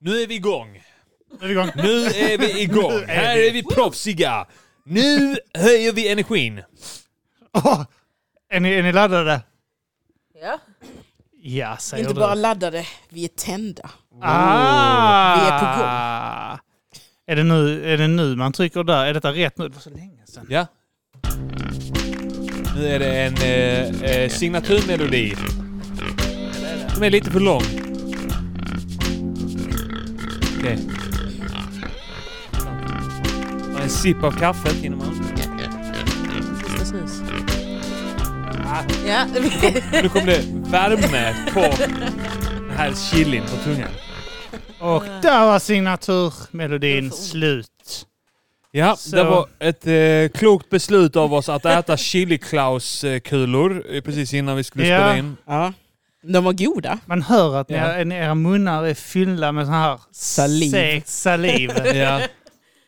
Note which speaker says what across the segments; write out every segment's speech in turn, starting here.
Speaker 1: Nu är vi igång.
Speaker 2: Nu är vi igång.
Speaker 1: Nu är vi igång.
Speaker 2: Nu är
Speaker 1: Här
Speaker 2: vi.
Speaker 1: är vi proffsiga. Nu höjer vi energin.
Speaker 2: Åh! är, ni, är ni laddade?
Speaker 3: Ja.
Speaker 2: Ja, säger
Speaker 4: Inte
Speaker 2: du.
Speaker 4: bara laddade, vi är tända.
Speaker 2: ah!
Speaker 4: Vi är på gång.
Speaker 2: Är det, nu, är det nu man trycker där? Är detta rätt nu? Det var så länge sedan.
Speaker 1: Ja. Nu är det en eh, eh, signaturmelodi. Som är lite för lång. Okej. Och En sipp av kaffet innan man...
Speaker 3: Sista snus. Ja.
Speaker 1: Nu kom det värme på den här chilin på tungan.
Speaker 2: Och där var signaturmelodin
Speaker 3: Det var så ont.
Speaker 2: slut.
Speaker 1: Ja,
Speaker 2: Så-
Speaker 1: det var ett eh, klokt beslut av oss att äta Chili Klaus-kulor eh, precis innan vi skulle
Speaker 2: Ja.
Speaker 1: spela in.
Speaker 4: Ja. De var goda.
Speaker 2: Man hör att ni-
Speaker 1: Ja.
Speaker 2: en- era munnar är fyllda med sån här
Speaker 4: Saliv.
Speaker 2: seg saliv.
Speaker 1: Ja.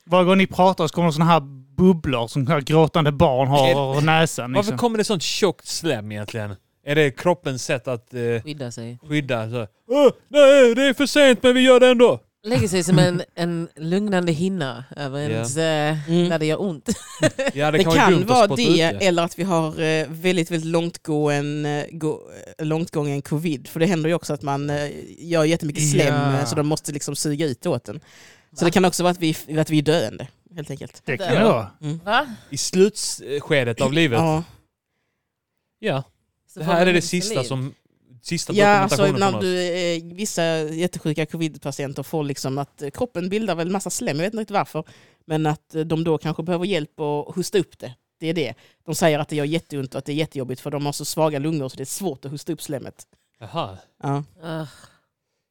Speaker 2: Varje gång ni pratar så kommer det såna här bubblor som här gråtande barn har i näsan.
Speaker 1: Varför
Speaker 2: Liksom.
Speaker 1: kommer det sånt tjockt slem egentligen? Är det kroppens sätt att eh,
Speaker 3: Skydda sig.
Speaker 1: skydda? Så, "Åh, nej, det är för sent men vi gör det ändå.
Speaker 3: Lägger sig som en, en lugnande hinna över
Speaker 1: Ja.
Speaker 3: ens... eh,
Speaker 4: Mm.
Speaker 3: När det gör ont.
Speaker 1: Ja, det,
Speaker 4: Det
Speaker 1: kan vara, dumt
Speaker 4: kan
Speaker 1: att
Speaker 4: vara
Speaker 1: spotta
Speaker 4: det
Speaker 1: ut det.
Speaker 4: eller att vi har eh, väldigt, väldigt långtgående, gå, eh, långtgången covid. För det händer ju också att man eh, gör jättemycket slem
Speaker 2: Ja.
Speaker 4: eh, så de måste liksom suga ut åt den. Så det kan också vara att vi, att vi är döende helt enkelt.
Speaker 2: Det kan det vara.
Speaker 3: Va?
Speaker 1: I slutskedet av livet. Ja.
Speaker 4: Ja,
Speaker 3: Så
Speaker 1: Det
Speaker 3: får man
Speaker 1: här är det
Speaker 3: ont i
Speaker 1: sista
Speaker 3: liv.
Speaker 1: som... Sista
Speaker 4: ja alltså
Speaker 1: dokumentationen
Speaker 4: när
Speaker 1: från oss.
Speaker 4: du, eh, vissa jättesjuka covidpatienter får liksom att eh, kroppen bildar väl massa slem, jag vet inte riktigt varför. Men att eh, de då kanske behöver hjälp att hosta upp det. Det är det. De säger att det gör jätteont och att det är jättejobbigt för de har så svaga lungor så det är svårt att hosta upp slemmet.
Speaker 1: Jaha.
Speaker 4: Ja.
Speaker 3: Ah,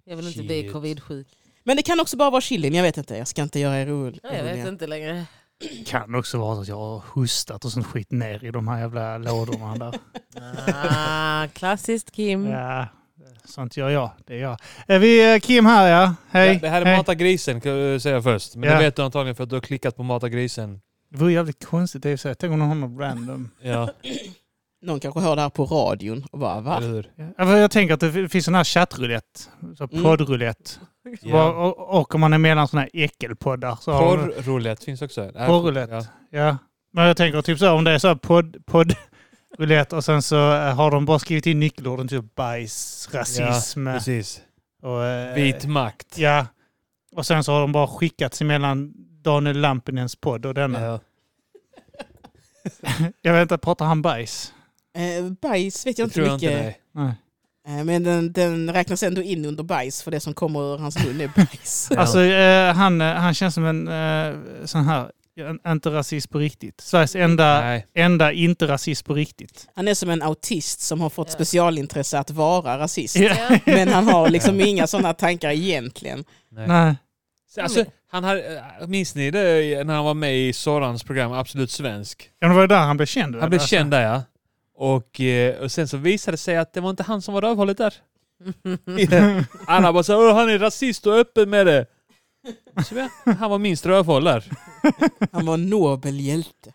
Speaker 3: Jag vill inte
Speaker 1: Shit.
Speaker 3: bli covid-sjuk.
Speaker 4: Men det kan också bara vara chilin, jag vet inte. Jag ska inte göra er orolig-
Speaker 3: Ja, Jag vet
Speaker 4: oroliga.
Speaker 3: inte längre.
Speaker 2: Det kan också vara att jag har hostat och sånt skit ner i de här jävla lådorna där.
Speaker 3: Ah, klassiskt Kim.
Speaker 2: Ja, sånt gör jag. Det är jag. Är vi eh, Kim här ja? Hej.
Speaker 1: Ja, det här är
Speaker 2: Hej.
Speaker 1: Mata grisen kan jag säga först. Men
Speaker 2: Ja.
Speaker 1: det vet du antagligen för att du har klickat på Mata grisen.
Speaker 2: Det vore jävligt konstigt i och för sig. Tänk om någon har något random.
Speaker 1: Ja,
Speaker 4: Någon kanske hör det här på radion och bara va?
Speaker 1: eller hur?
Speaker 2: Ja, för Jag tänker att det f- finns sån här chattroulette. Så
Speaker 4: Mm.
Speaker 2: poddroulette.
Speaker 1: Ja.
Speaker 2: Och, och, och om man är mellan såna här äckelpoddar. Så har de-
Speaker 1: Porrroulette finns också. Det här-
Speaker 2: Porrroulette.
Speaker 1: Ja.
Speaker 2: Ja. Men jag tänker typ så här, om det är så här podd, podd roulette och sen så eh, har de bara skrivit in nyckelorden typ bajs, rasism
Speaker 1: Precis.
Speaker 2: och... eh,
Speaker 1: Vit makt.
Speaker 2: Ja. Och sen så har de bara skickats emellan Daniel Lampinens podd och denna.
Speaker 1: Ja.
Speaker 2: Jag vet inte, pratar han bajs?
Speaker 4: Eh, bajs vet jag
Speaker 1: Det
Speaker 4: inte
Speaker 1: tror jag
Speaker 4: mycket.
Speaker 1: inte nej.
Speaker 2: Nej.
Speaker 4: eh, men den, den räknas ändå in under bajs för det som kommer ur hans mun är bajs.
Speaker 1: Ja.
Speaker 2: Alltså eh, han, eh, han känns som en eh, sån här, en- inte rasist på riktigt. Sveriges enda,
Speaker 1: Nej.
Speaker 2: enda inte rasist på riktigt.
Speaker 4: Han är som en autist som har fått
Speaker 3: Ja.
Speaker 4: specialintresse att vara rasist.
Speaker 3: Ja.
Speaker 4: Men han har liksom inga sådana tankar egentligen.
Speaker 2: Nej.
Speaker 1: Alltså, han hade, minns ni det när han var med i Sorans program Absolut Svensk?
Speaker 2: Ja, det var ju där han blev känd.
Speaker 1: Han blev
Speaker 2: Alltså,
Speaker 1: känd där ja. Och, eh, och sen så visade det sig att det var inte han som var rövhålet där. Alla bara så "Åh, han är rasist och öppen med det. Så, ja, han var minst rövhål där.
Speaker 4: Han var en nobel hjälte.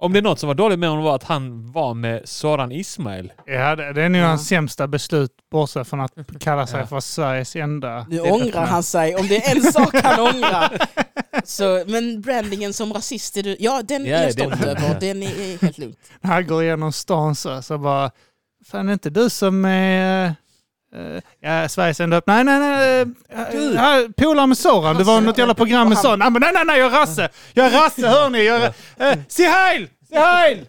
Speaker 1: Om det är något som var dåligt med honom var att han var med Soran Ismail.
Speaker 2: Ja, det, det är nog
Speaker 4: Ja.
Speaker 2: hans sämsta beslut, bortsett från att kalla sig
Speaker 1: Mm. Ja.
Speaker 2: för Sveriges enda...
Speaker 4: Nu ångrar han sig, om det är en sak han ångrar. Så, men brandingen som rasist, är du, ja den
Speaker 1: Ja,
Speaker 4: är jag
Speaker 1: den-
Speaker 4: stolt över. Den är, är helt lugnt.
Speaker 2: När han går igenom stan så, så bara... Fan, är inte du som är... eh, ja, Sveriges enda upp. Nej, nej, nej.
Speaker 1: Du.
Speaker 2: Uh, Polare med Soran. Det var
Speaker 4: Hasse.
Speaker 2: något jävla program med
Speaker 4: Och han-
Speaker 2: Soran. Nej, men nej, nej, nej, jag är rasse. Jag är rasse, hör ni. Jag är, uh, se heil! Se heil!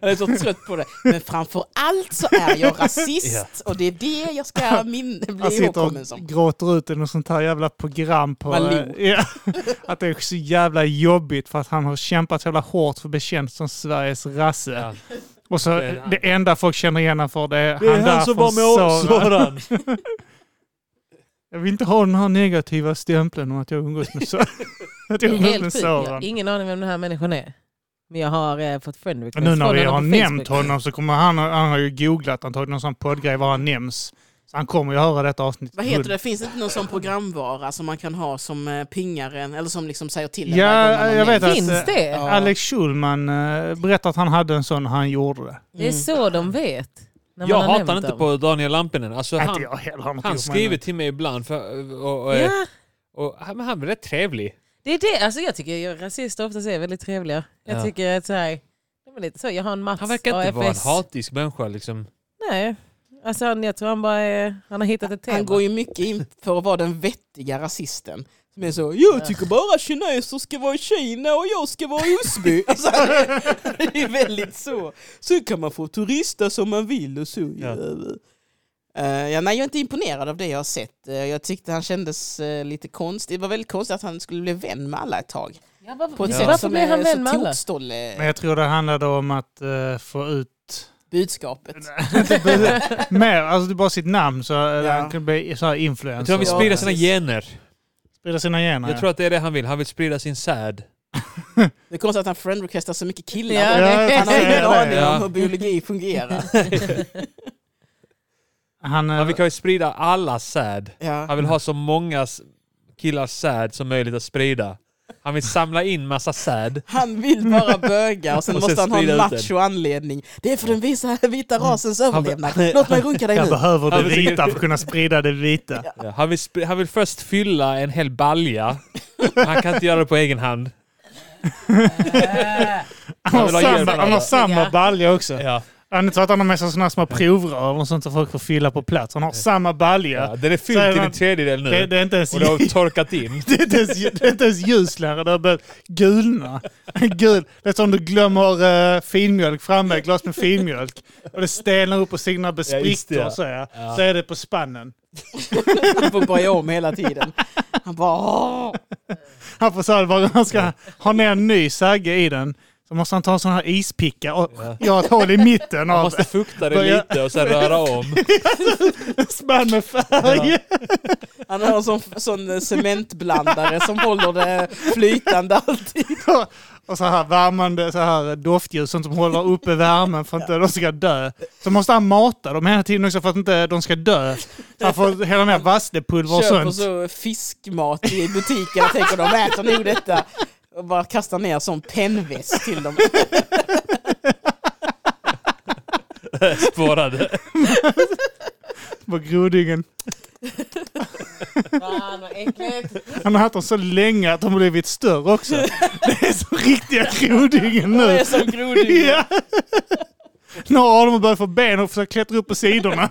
Speaker 4: Jag är så trött på det. Men framför allt så är jag rasist och det är det jag ska min,
Speaker 2: Han
Speaker 4: bli
Speaker 2: sitter och
Speaker 4: ihågkommen som.
Speaker 2: gråter ut i något sånt här jävla program på...
Speaker 4: Malou.
Speaker 2: eh, ja, att det är så jävla jobbigt för att han har kämpat så jävla hårt för att bli känd som Sveriges rasse.
Speaker 1: Ja.
Speaker 2: Och så
Speaker 1: är han.
Speaker 2: det enda folk känner igen honom för det är, han där från Sora. Jag vill inte ha den här negativa stämpeln om att jag umgås med Soran. att jag umgås med
Speaker 3: Helt sjukt. Jag har
Speaker 2: Soran.
Speaker 3: ingen aning vem den här människan är. Men jag har eh, fått friend request
Speaker 2: Nu när
Speaker 3: från
Speaker 2: vi har
Speaker 3: honom på
Speaker 2: nämnt
Speaker 3: Facebook.
Speaker 2: honom så kommer han, han har ju googlat antagligen någon sån poddgrej var han nämns. Så han kommer ju höra detta avsnitt.
Speaker 4: Vad heter det? Finns det inte någon sån programvara som man kan ha som eh, pingar en, eller som liksom säger till en
Speaker 2: Ja,
Speaker 4: varje gång man
Speaker 2: jag vet
Speaker 4: nämns?
Speaker 2: att-
Speaker 3: Finns
Speaker 2: Alltså,
Speaker 3: det?
Speaker 4: Ja.
Speaker 3: Mm.
Speaker 2: Alex Schulman eh, berättade att han hade en sån och han gjorde det.
Speaker 3: Det är så de vet. När
Speaker 1: jag
Speaker 3: man har
Speaker 1: hatar
Speaker 3: nämnt
Speaker 1: inte
Speaker 3: dem.
Speaker 1: på Daniel Lampinen. Alltså,
Speaker 2: Inte
Speaker 1: han
Speaker 2: jag heller. har något
Speaker 1: han
Speaker 2: gjort med
Speaker 1: skriver
Speaker 2: henne.
Speaker 1: till mig ibland. För, och, och,
Speaker 3: Ja,
Speaker 1: och, han- men han är rätt trevlig.
Speaker 3: det är det. Alltså jag tycker ju rasister ofta är väldigt trevliga. Jag
Speaker 1: Ja.
Speaker 3: tycker att så här, de är lite så. Jag har en Mats
Speaker 1: Han verkar inte vara en
Speaker 3: AFS.
Speaker 1: hatisk människa. Liksom.
Speaker 3: Nej. Alltså han, jag tror han bara är, han har hittat ett tema.
Speaker 4: Han går ju mycket in för att vara den vettiga rasisten. Som är så, jag tycker bara kineser ska vara i Kina och jag ska vara i Osby. Alltså, det är väldigt så. Så kan man få turista som man vill och så.
Speaker 1: Ja.
Speaker 4: Ja. ja, nej, jag är inte imponerad av det jag har sett. Eh, jag tyckte han kändes eh, lite konstig. Det var väldigt konstigt att han skulle bli vän med alla ett tag.
Speaker 3: Ja, varför
Speaker 4: På ett
Speaker 1: Ja.
Speaker 4: sätt
Speaker 3: varför
Speaker 4: som
Speaker 3: blir han
Speaker 4: är
Speaker 3: vän med
Speaker 4: så
Speaker 3: alla?
Speaker 4: tokstolle
Speaker 2: Men jag tror det handlade om att eh, få ut...
Speaker 4: budskapet.
Speaker 2: Mer, alltså det är bara sitt namn så eh,
Speaker 4: Ja.
Speaker 2: han kunde bli så här influencer.
Speaker 1: Jag tror han vill
Speaker 4: Ja,
Speaker 1: sprida sina
Speaker 4: precis.
Speaker 1: gener.
Speaker 2: Sprida sina gener.
Speaker 1: Jag tror att det är det han vill. Han vill sprida sin säd.
Speaker 4: Det är konstigt att han friendrequestar så mycket killar.
Speaker 3: Ja,
Speaker 2: Ja,
Speaker 4: Han har
Speaker 2: jag
Speaker 4: ingen
Speaker 2: ser det.
Speaker 4: aning
Speaker 1: Ja.
Speaker 4: om hur biologi fungerar.
Speaker 2: Han, eh,
Speaker 1: Han vill kanske sprida alla säd.
Speaker 4: Ja.
Speaker 1: Han vill ha så många s- killars säd som möjligt att sprida. Han vill samla in massa säd.
Speaker 4: Han vill bara böga och sen
Speaker 1: Och sen
Speaker 4: måste han ha en
Speaker 1: sprida ut den. Mm.
Speaker 4: macho anledning. Det är för den visa, vita rasens överlevnad.
Speaker 1: Han-
Speaker 4: Låt mig runka dig
Speaker 2: jag
Speaker 4: nu.
Speaker 2: behöver det
Speaker 1: Han vill-
Speaker 2: vita för att kunna sprida det vita.
Speaker 1: Ja, han, vill spri- han vill först fylla en hel balja. Han kan inte göra det på egen hand.
Speaker 2: Han har
Speaker 1: vill ha hjälp
Speaker 2: samma,
Speaker 1: av
Speaker 2: han har
Speaker 1: alla.
Speaker 2: samma
Speaker 3: Ja.
Speaker 2: balja också.
Speaker 1: Ja.
Speaker 2: Han är så att han har med sig sådana små provrör och sånt som folk får fylla på plats. Han har samma balja.
Speaker 1: den är
Speaker 2: Så är
Speaker 1: fylld till
Speaker 2: man-
Speaker 1: en tredjedel nu.
Speaker 2: Det, det är inte ens
Speaker 1: Och det har torkat in.
Speaker 2: Det är inte ens, det är inte ens ljuslära, det har börjat gulna. Gul. Det är som du glömmer eh, finmjölk framme, ett glas med finmjölk. Och det stelnar upp och sina
Speaker 1: Ja, just det,
Speaker 2: besprickor
Speaker 1: ja.
Speaker 2: och så, ja.
Speaker 1: Ja.
Speaker 2: så är det på spannen.
Speaker 4: Han får börja om hela tiden. Han bara... "Åh."
Speaker 2: Han får så här, bara- han ska ha ner en ny sagge i den. Så måste han ta en sån här ispicka och
Speaker 1: Ja.
Speaker 2: göra ett hål i mitten
Speaker 1: Man
Speaker 2: av
Speaker 1: måste fukta det
Speaker 2: Börja-
Speaker 1: lite och sen röra om.
Speaker 2: spann med färg.
Speaker 4: Han har en sån, sån eh, cementblandare som håller det flytande alltid.
Speaker 2: Och så här värmande så här doftljus, sånt som håller uppe värmen för att inte de ska dö. Så måste han mata dem hela tiden också för att inte de ska dö. Så han får hälla ner vasslepulver och
Speaker 4: Köper
Speaker 2: sånt.
Speaker 4: så fiskmat i butiken och tänker de äter nog detta. Och bara kastar ner sån pennväst till dem.
Speaker 1: Spårade.
Speaker 2: på grodingen.
Speaker 3: Fan vad äckligt.
Speaker 2: Han har haft dem så länge att de har blivit större också. Det är som riktiga grodingen
Speaker 4: De
Speaker 2: nu.
Speaker 4: är som groddjur.
Speaker 2: Ja. Några av dem har börjat få ben och försökt klättra upp på sidorna.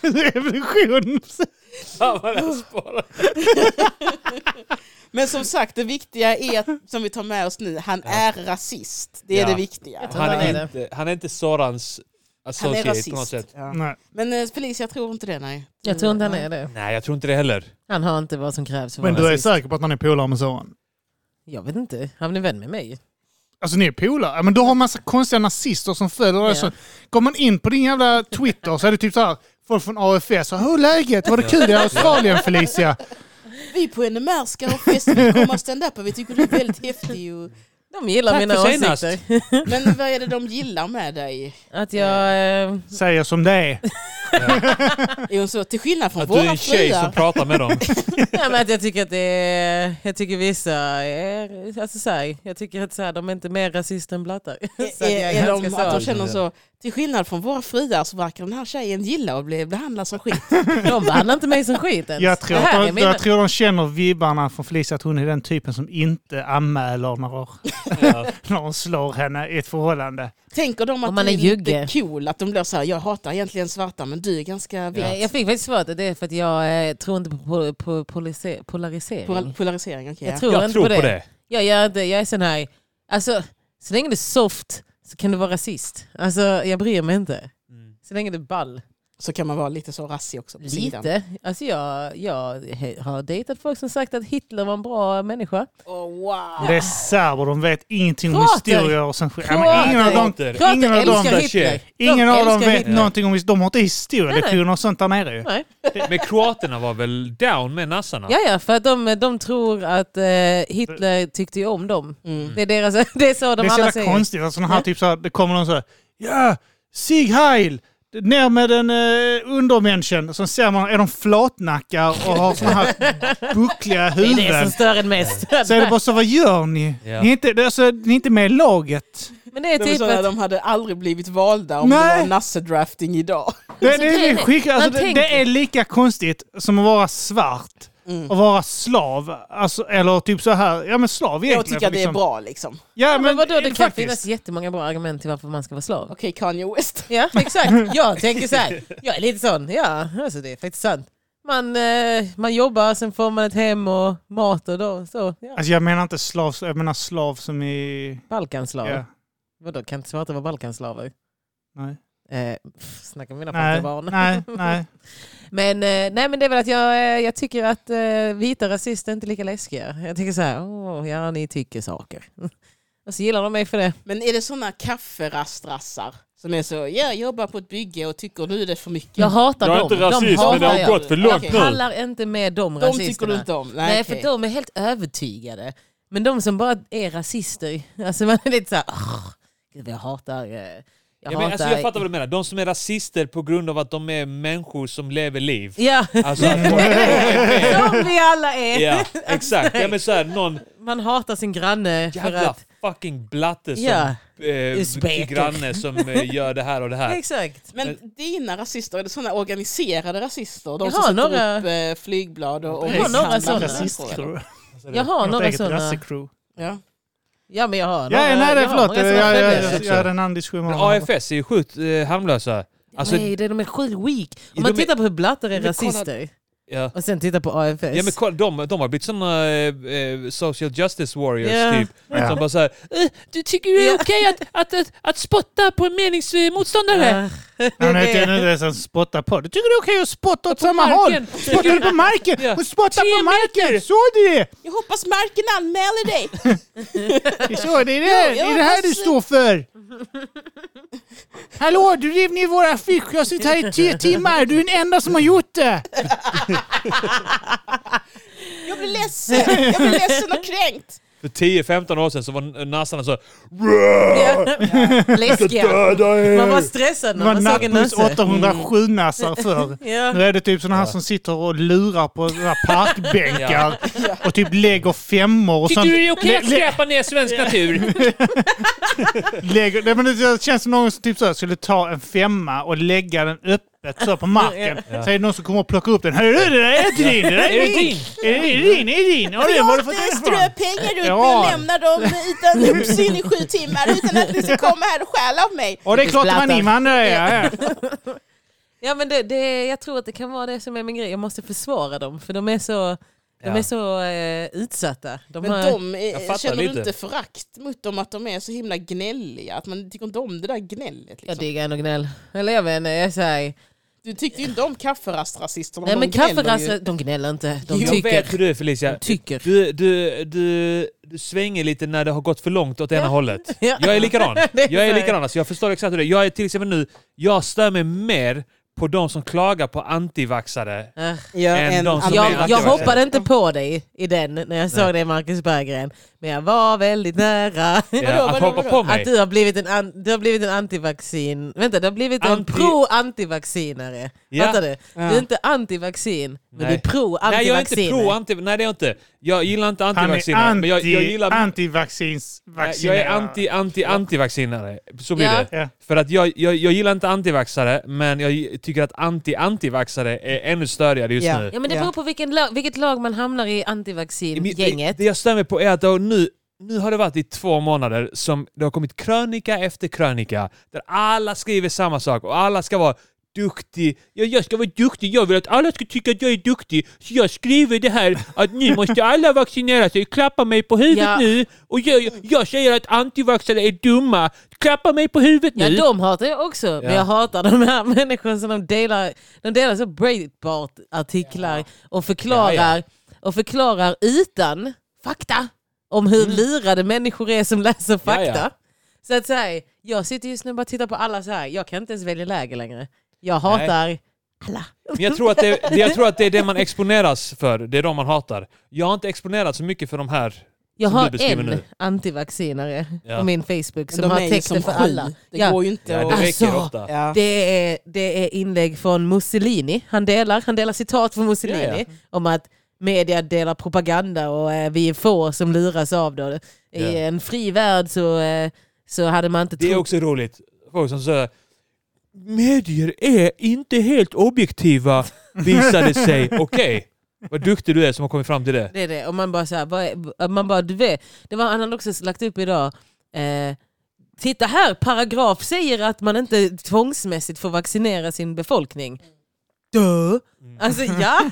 Speaker 2: Det är Evolution.
Speaker 1: Fan vad den spårade.
Speaker 4: Men som sagt, det viktiga är, att, som vi tar med oss nu, han är rasist. Det är
Speaker 1: Ja.
Speaker 4: det viktiga.
Speaker 3: tror
Speaker 1: Han
Speaker 3: han är
Speaker 1: är
Speaker 3: det.
Speaker 1: inte, han är inte Sorans
Speaker 4: Han är
Speaker 1: associate på något
Speaker 4: rasist.
Speaker 1: sätt.
Speaker 4: Ja.
Speaker 2: Nej.
Speaker 4: Men eh, Felicia, jag tror inte det, nej.
Speaker 3: Jag tror inte han är det.
Speaker 1: Nej, jag tror inte det heller.
Speaker 3: Han har inte vad som krävs för att
Speaker 2: Men
Speaker 3: vara
Speaker 2: du är
Speaker 3: rasist.
Speaker 2: säker på att han är polare med Soran?
Speaker 3: Jag vet inte. Han blir vän med mig.
Speaker 2: Alltså ni är polare. Ja, Men du har massa konstiga nazister som följer dig.
Speaker 3: Ja.
Speaker 2: Så Går man in på din jävla Twitter så är det typ så här. Folk från AFS. så, Hur är läget? Var det kul i Australien Felicia?
Speaker 4: Vi på NMR ska ha fest, vi kommer stand up och vi tycker du är väldigt häftig. Och...
Speaker 3: De gillar
Speaker 1: Tack
Speaker 3: mina
Speaker 1: för senast.
Speaker 3: åsikter.
Speaker 4: Men vad är det de gillar med dig?
Speaker 3: Att jag... Eh,
Speaker 2: Säger som det är.
Speaker 4: Är hon så, till skillnad från
Speaker 1: Att du är
Speaker 4: våra
Speaker 1: en tjej som
Speaker 4: fruar?
Speaker 1: pratar med dem.
Speaker 3: nej, men att jag tycker att det är... Jag tycker vissa är... Alltså så här, jag tycker att så här, de är inte mer rasister än blattar. Så
Speaker 4: Är,
Speaker 3: att jag är
Speaker 4: är de,
Speaker 3: ganska
Speaker 4: att de
Speaker 3: så.
Speaker 4: känner så, till skillnad från våra fruar så verkar den här tjejen gilla att bli behandlad som skit.
Speaker 3: De behandlar inte mig som skit ens.
Speaker 2: Jag tror,
Speaker 3: det här är
Speaker 2: att de,
Speaker 3: mina...
Speaker 2: jag tror de känner vibbarna från Felicia att hon är den typen som inte anmäler när,
Speaker 1: Ja.
Speaker 2: när hon slår henne i ett förhållande.
Speaker 4: Tänker de att
Speaker 3: Om man
Speaker 4: du
Speaker 3: är
Speaker 4: är lite
Speaker 3: jugge.
Speaker 4: cool, att de blir så här, jag hatar egentligen svarta men du är ganska vit.
Speaker 3: Nej, Jag fick faktiskt svaret att det är för att jag eh, tror inte på, po- po- polariser- polarisering.
Speaker 4: Pol- Polarisering, okej.
Speaker 3: jag
Speaker 4: ja.
Speaker 3: tror
Speaker 1: Jag
Speaker 3: inte
Speaker 1: tror
Speaker 3: på det.
Speaker 1: på det.
Speaker 3: Jag gör inte, jag är sån här, alltså så länge det är soft så kan du vara rasist. Alltså jag bryr mig inte. Så länge det är ball.
Speaker 4: Så kan man vara lite så rassig också Mm. på sidan.
Speaker 3: Lite. Alltså jag, jag he- har dejtat folk som sagt att Hitler var en bra människa.
Speaker 4: Oh, wow.
Speaker 2: Det är serber, de vet ingenting om
Speaker 3: Kroater.
Speaker 2: historia och sen skit. Ja, men ingen av dem,
Speaker 1: Kroater.
Speaker 2: ingen
Speaker 3: Kroater
Speaker 2: av dem,
Speaker 3: älskar
Speaker 1: där
Speaker 3: Hitler.
Speaker 1: tjejer.
Speaker 2: ingen av dem
Speaker 3: älskar
Speaker 2: vet
Speaker 3: Hitler.
Speaker 2: någonting om historia. De har inte historielektioner och sånt där nere ju.
Speaker 3: Nej.
Speaker 1: Men kroaterna var väl down med nassarna?
Speaker 3: Ja, ja, för att de, de tror att eh, Hitler tyckte ju om dem.
Speaker 4: Mm.
Speaker 3: Det, är deras, det är så de
Speaker 2: det är så
Speaker 3: alla
Speaker 2: jävla
Speaker 3: säger.
Speaker 2: konstigt. Alltså, den här,
Speaker 3: Ja.
Speaker 2: typ, så här, det kommer någon så här. Ja, Sieg Heil! Ner med den eh, undermänniskan. Sen ser man, är de flatnackar och har såna här buckliga
Speaker 3: Det är det som
Speaker 2: huvuden.
Speaker 3: stör en mest.
Speaker 2: Så är det bara så, vad gör ni?
Speaker 1: Ja.
Speaker 2: Ni, är inte, det är alltså, ni är inte med i laget.
Speaker 3: Men det är
Speaker 4: De, är
Speaker 3: typ
Speaker 4: sådana,
Speaker 3: att...
Speaker 4: de hade aldrig blivit valda om det
Speaker 2: Nej.
Speaker 4: var Nasse-drafting idag.
Speaker 2: Det,
Speaker 3: Alltså,
Speaker 2: det, är
Speaker 3: grejen
Speaker 2: det,
Speaker 3: är-
Speaker 2: skick, alltså,
Speaker 3: man
Speaker 2: det, det
Speaker 3: tänker-
Speaker 2: är lika konstigt som att vara svart
Speaker 4: Mm.
Speaker 2: och vara slav. Alltså, eller typ så här, ja men slav egentligen.
Speaker 4: Jag tycker att det är
Speaker 2: liksom.
Speaker 4: bra liksom.
Speaker 2: Ja,
Speaker 3: Ja, men eh, vadå, det kan
Speaker 2: faktiskt.
Speaker 3: finnas jättemånga bra argument till varför man ska vara slav.
Speaker 4: Okej, Kanye West.
Speaker 3: Ja, exakt. Jag tänker så här. Jag är lite sån. Ja, alltså det är faktiskt sant. Man, eh, man jobbar, sen får man ett hem och mat och då, så. Ja.
Speaker 2: Alltså jag menar inte slav, jag menar slav som i...
Speaker 3: Balkanslav.
Speaker 2: Ja.
Speaker 3: Vadå, kan inte svarta vara balkanslaver?
Speaker 2: Nej.
Speaker 3: Eh, pff, snacka med mina
Speaker 2: Nej,
Speaker 3: barn.
Speaker 2: nej, nej.
Speaker 3: Men, eh, nej, men det är väl att jag, eh, jag tycker att eh, vita rasister är inte lika läskiga. Jag tycker så här, åh, ja ni tycker saker. Och så gillar de mig för det.
Speaker 4: Men är det sådana kafferastrassar som är så, jag jobbar på ett bygge och tycker nu är det för mycket.
Speaker 3: Jag hatar
Speaker 1: Jag är
Speaker 3: dem.
Speaker 1: inte rasist,
Speaker 3: de
Speaker 1: men det
Speaker 3: hatar
Speaker 1: har
Speaker 3: jag.
Speaker 1: gått för långt
Speaker 4: Okej.
Speaker 3: Jag
Speaker 1: nu.
Speaker 3: pallar inte med de,
Speaker 4: De
Speaker 3: rasisterna.
Speaker 4: tycker du inte om? Nej,
Speaker 3: Nej,
Speaker 4: okej.
Speaker 3: för de är helt övertygade. Men de som bara är rasister, alltså man är lite så här, "Åh, gud jag hatar... eh, Jag
Speaker 1: Ja,
Speaker 3: hatar...
Speaker 1: men, alltså, jag fattar vad du menar. De som är rasister på grund av att de är människor som lever liv.
Speaker 3: Ja,
Speaker 1: Alltså, att de är med.
Speaker 3: som vi alla är.
Speaker 1: Ja, exakt. Ja, men så här, någon
Speaker 3: Man hatar sin granne för
Speaker 1: jävla
Speaker 3: att...
Speaker 1: fucking blatte som
Speaker 3: Ja,
Speaker 1: eh,
Speaker 3: Uzbeker.
Speaker 1: granne som eh, gör det här och det här.
Speaker 3: exakt.
Speaker 4: Men dina rasister, är det sådana organiserade rasister? De
Speaker 3: Jag
Speaker 4: som
Speaker 3: har
Speaker 4: sätter
Speaker 3: några-
Speaker 4: upp eh, flygblad och, och
Speaker 3: Jag har några
Speaker 4: misshandlar
Speaker 3: sådana.
Speaker 4: människor, eller?
Speaker 2: Rasistcrew.
Speaker 1: Alltså,
Speaker 3: Jag har några
Speaker 2: eget
Speaker 3: sådana.
Speaker 2: rassecrew.
Speaker 4: Ja.
Speaker 3: Ja men jag har
Speaker 2: Ja,
Speaker 3: några-
Speaker 2: nej, det
Speaker 3: jag
Speaker 2: är
Speaker 3: har
Speaker 2: förlåt.
Speaker 3: många
Speaker 2: Jag,
Speaker 3: sådana
Speaker 2: jag,
Speaker 3: vänner.
Speaker 2: jag, jag hade en annan diskussion.
Speaker 1: Men
Speaker 2: med honom.
Speaker 1: AFS är ju sjukt eh, harmlösa. Alltså,
Speaker 3: Nej, det- de är sjukt weak. Om
Speaker 1: Ja,
Speaker 3: man
Speaker 1: de är-
Speaker 3: tittar på hur blattar är
Speaker 1: Men kolla-
Speaker 3: rasister
Speaker 1: ja.
Speaker 3: och sen tittar på AFS.
Speaker 1: Ja, men kolla, de, de har blivit såna eh, eh, social justice warriors
Speaker 3: Ja.
Speaker 1: typ.
Speaker 2: Ja.
Speaker 1: Som bara såhär, du tycker
Speaker 3: det är
Speaker 1: okej att, att, att, spotta på en meningsmotståndare?
Speaker 3: Ja.
Speaker 2: Han heter nu det som spottar på. Du tycker det är okej att spotta åt samma
Speaker 1: marken.
Speaker 2: håll? Spottar du på marken?
Speaker 1: Ja.
Speaker 2: Och spotta
Speaker 1: Tre
Speaker 2: på marken! Såg du det?
Speaker 4: Jag hoppas marken anmäler dig!
Speaker 2: Det är Så, det är det,
Speaker 4: Ja,
Speaker 2: det, är det här
Speaker 4: jag-
Speaker 2: du står för! Hallå, du rev ner vår affisch. Jag har suttit här i tio timmar. Du är den enda som har gjort det.
Speaker 4: Jag blir ledsen! Jag blir ledsen och kränkt!
Speaker 1: För 10-15 år sedan så var nassarna så
Speaker 3: Ja. Läskiga.
Speaker 2: Döda er!
Speaker 3: Man var stressad
Speaker 2: Det
Speaker 3: när
Speaker 2: var
Speaker 3: man såg en
Speaker 2: Nattbuss
Speaker 3: nasse.
Speaker 2: 807 nassar förr. Nu
Speaker 3: Ja.
Speaker 2: är det typ såna här som sitter och lurar på såna här parkbänkar och typ lägger femmor och sånt.
Speaker 1: det är
Speaker 2: okej att
Speaker 1: skräpa ner svensk natur?
Speaker 2: Lägger, nej, men det känns som någon som typ så här, skulle ta en femma och lägga den öppet så här på marken. Så är det någon som kommer och plockar upp den. Hörru, det där är inte din! Det där
Speaker 1: Är det
Speaker 2: är
Speaker 1: din?
Speaker 2: din! Är det din? Är det din? Ja, det var det för den ifrån.
Speaker 4: pengar runt
Speaker 2: Ja. mig och
Speaker 4: lämnar dem utan uppsyn i sju timmar utan att ni ska komma här och stjäla av mig.
Speaker 2: Och det är klart att man
Speaker 3: Splattar.
Speaker 2: invandrare är. Ja.
Speaker 3: Ja, men det, det, jag tror att det kan vara det som är min grej. Jag måste försvara dem för de är så,
Speaker 1: Ja.
Speaker 3: de är så eh, utsatta. De
Speaker 4: Men
Speaker 3: har,
Speaker 4: de, eh,
Speaker 1: Jag fattar
Speaker 4: känner du
Speaker 1: lite.
Speaker 4: inte förakt mot dem att de är så himla gnälliga? Att man tycker inte om det där gnället?
Speaker 3: jag
Speaker 4: Liksom.
Speaker 3: diggar ändå gnäll. Eller jag vet inte, jag säger...
Speaker 4: Du tyckte ju inte om kafferastrasisterna.
Speaker 3: Nej
Speaker 4: de
Speaker 3: men
Speaker 4: gnäller
Speaker 3: kafferassar,
Speaker 4: ju.
Speaker 3: de gnäller inte. De
Speaker 1: Jag
Speaker 3: tycker.
Speaker 1: vet hur du är Felicia.
Speaker 3: tycker.
Speaker 1: Du, du, du, du svänger lite när det har gått för långt åt ena hållet.
Speaker 3: Ja.
Speaker 1: Jag är likadan.
Speaker 3: Det är
Speaker 1: Jag är
Speaker 3: så.
Speaker 1: likadan. Alltså, jag förstår exakt hur det är. Jag är till exempel nu, jag stör mig mer på de som klagar på antivaxare.
Speaker 3: Äh.
Speaker 4: Ja,
Speaker 1: än de som Alltså, är
Speaker 3: Jag, jag
Speaker 1: antivaxxare.
Speaker 3: hoppade inte på dig i den när jag såg dig Marcus Berggren. Men jag var väldigt nära.
Speaker 1: Ja,
Speaker 4: Vadå,
Speaker 1: att
Speaker 4: vadå,
Speaker 1: hoppa
Speaker 4: vadå?
Speaker 1: på mig.
Speaker 3: Att du har blivit en, an, du har blivit en antivaccin... Vänta, du har blivit en
Speaker 1: Anti-
Speaker 3: pro-antivaccinare.
Speaker 1: Ja.
Speaker 3: Fattar du? Du är
Speaker 4: Ja.
Speaker 3: inte antivaccin, men du
Speaker 1: Nej.
Speaker 3: är pro-antivacciner.
Speaker 1: Nej, jag är inte pro anti Nej, det är jag inte. Jag gillar inte
Speaker 2: Han är
Speaker 1: antivacciner. Men
Speaker 2: anti,
Speaker 1: jag, jag gillar...
Speaker 2: antivaccins
Speaker 1: Nej, jag är anti anti antivaccinare. Så blir
Speaker 3: Ja.
Speaker 1: det.
Speaker 2: Ja.
Speaker 1: För att jag, jag, jag gillar inte antivaxare, men jag tycker att anti antivaxare är ännu störigare just
Speaker 4: Ja.
Speaker 1: nu.
Speaker 3: Ja, men det
Speaker 4: Ja.
Speaker 3: beror på vilken lag, vilket lag man hamnar i
Speaker 1: Men
Speaker 3: antivaccin-gänget.
Speaker 1: Det, det jag stämmer på är att det har nu, nu har det varit i två månader som det har kommit krönika efter krönika där alla skriver samma sak och alla ska vara duktig. Ja, jag ska vara duktig. Jag vill att alla ska tycka att jag är duktig. Så jag skriver det här att nu måste alla vaccinera sig. Klappa mig på huvudet
Speaker 3: Ja.
Speaker 1: nu. Och jag, jag säger att antivaxxare är dumma. Klappa mig på huvudet
Speaker 3: Ja,
Speaker 1: nu.
Speaker 3: de hatar jag också. Men jag hatar de här människorna som de delar, de delar så Breitbart-artiklar och, förklarar,
Speaker 1: Ja,
Speaker 3: och förklarar utan fakta om hur lurade människor är som läser
Speaker 1: Mm. Ja,
Speaker 3: fakta.
Speaker 1: ja.
Speaker 3: Så att säga, jag sitter just nu och bara tittar på alla så här. jag kan inte ens välja läger längre. Jag hatar alla.
Speaker 1: Men jag tror, att det, det- jag tror att det är det man exponeras för. Det är de man hatar. Jag har inte exponerats så mycket för de här.
Speaker 3: Jag
Speaker 1: Som du
Speaker 3: har
Speaker 1: beskriver
Speaker 3: en
Speaker 1: nu.
Speaker 3: antivaccinare
Speaker 1: Ja.
Speaker 3: på min Facebook
Speaker 4: Men
Speaker 3: som har
Speaker 4: ju
Speaker 3: täckt
Speaker 4: som
Speaker 3: det för
Speaker 4: sju.
Speaker 3: alla.
Speaker 4: Det
Speaker 3: Ja.
Speaker 4: går ju inte
Speaker 1: Ja, det
Speaker 4: att...
Speaker 1: räcker
Speaker 3: Alltså.
Speaker 1: ofta.
Speaker 4: Ja.
Speaker 3: Det är, det är inlägg från Mussolini. Han delar, han delar citat från Mussolini
Speaker 1: Ja, ja.
Speaker 3: om att media delar propaganda och eh, vi är få som luras av det. I
Speaker 1: Ja.
Speaker 3: en fri värld så eh, så hade man inte
Speaker 1: Det är
Speaker 3: trott...
Speaker 1: också roligt. Folk som säger medier är inte helt objektiva visade sig. Okej, vad duktig du är som har kommit fram till det.
Speaker 3: Det är det. Och man bara så här, vad är, man bara, du vet. Det var, han hade också lagt upp idag. Eh, titta här, paragraf säger att man inte tvångsmässigt får vaccinera sin befolkning. Dö.
Speaker 1: Mm.
Speaker 3: Alltså ja,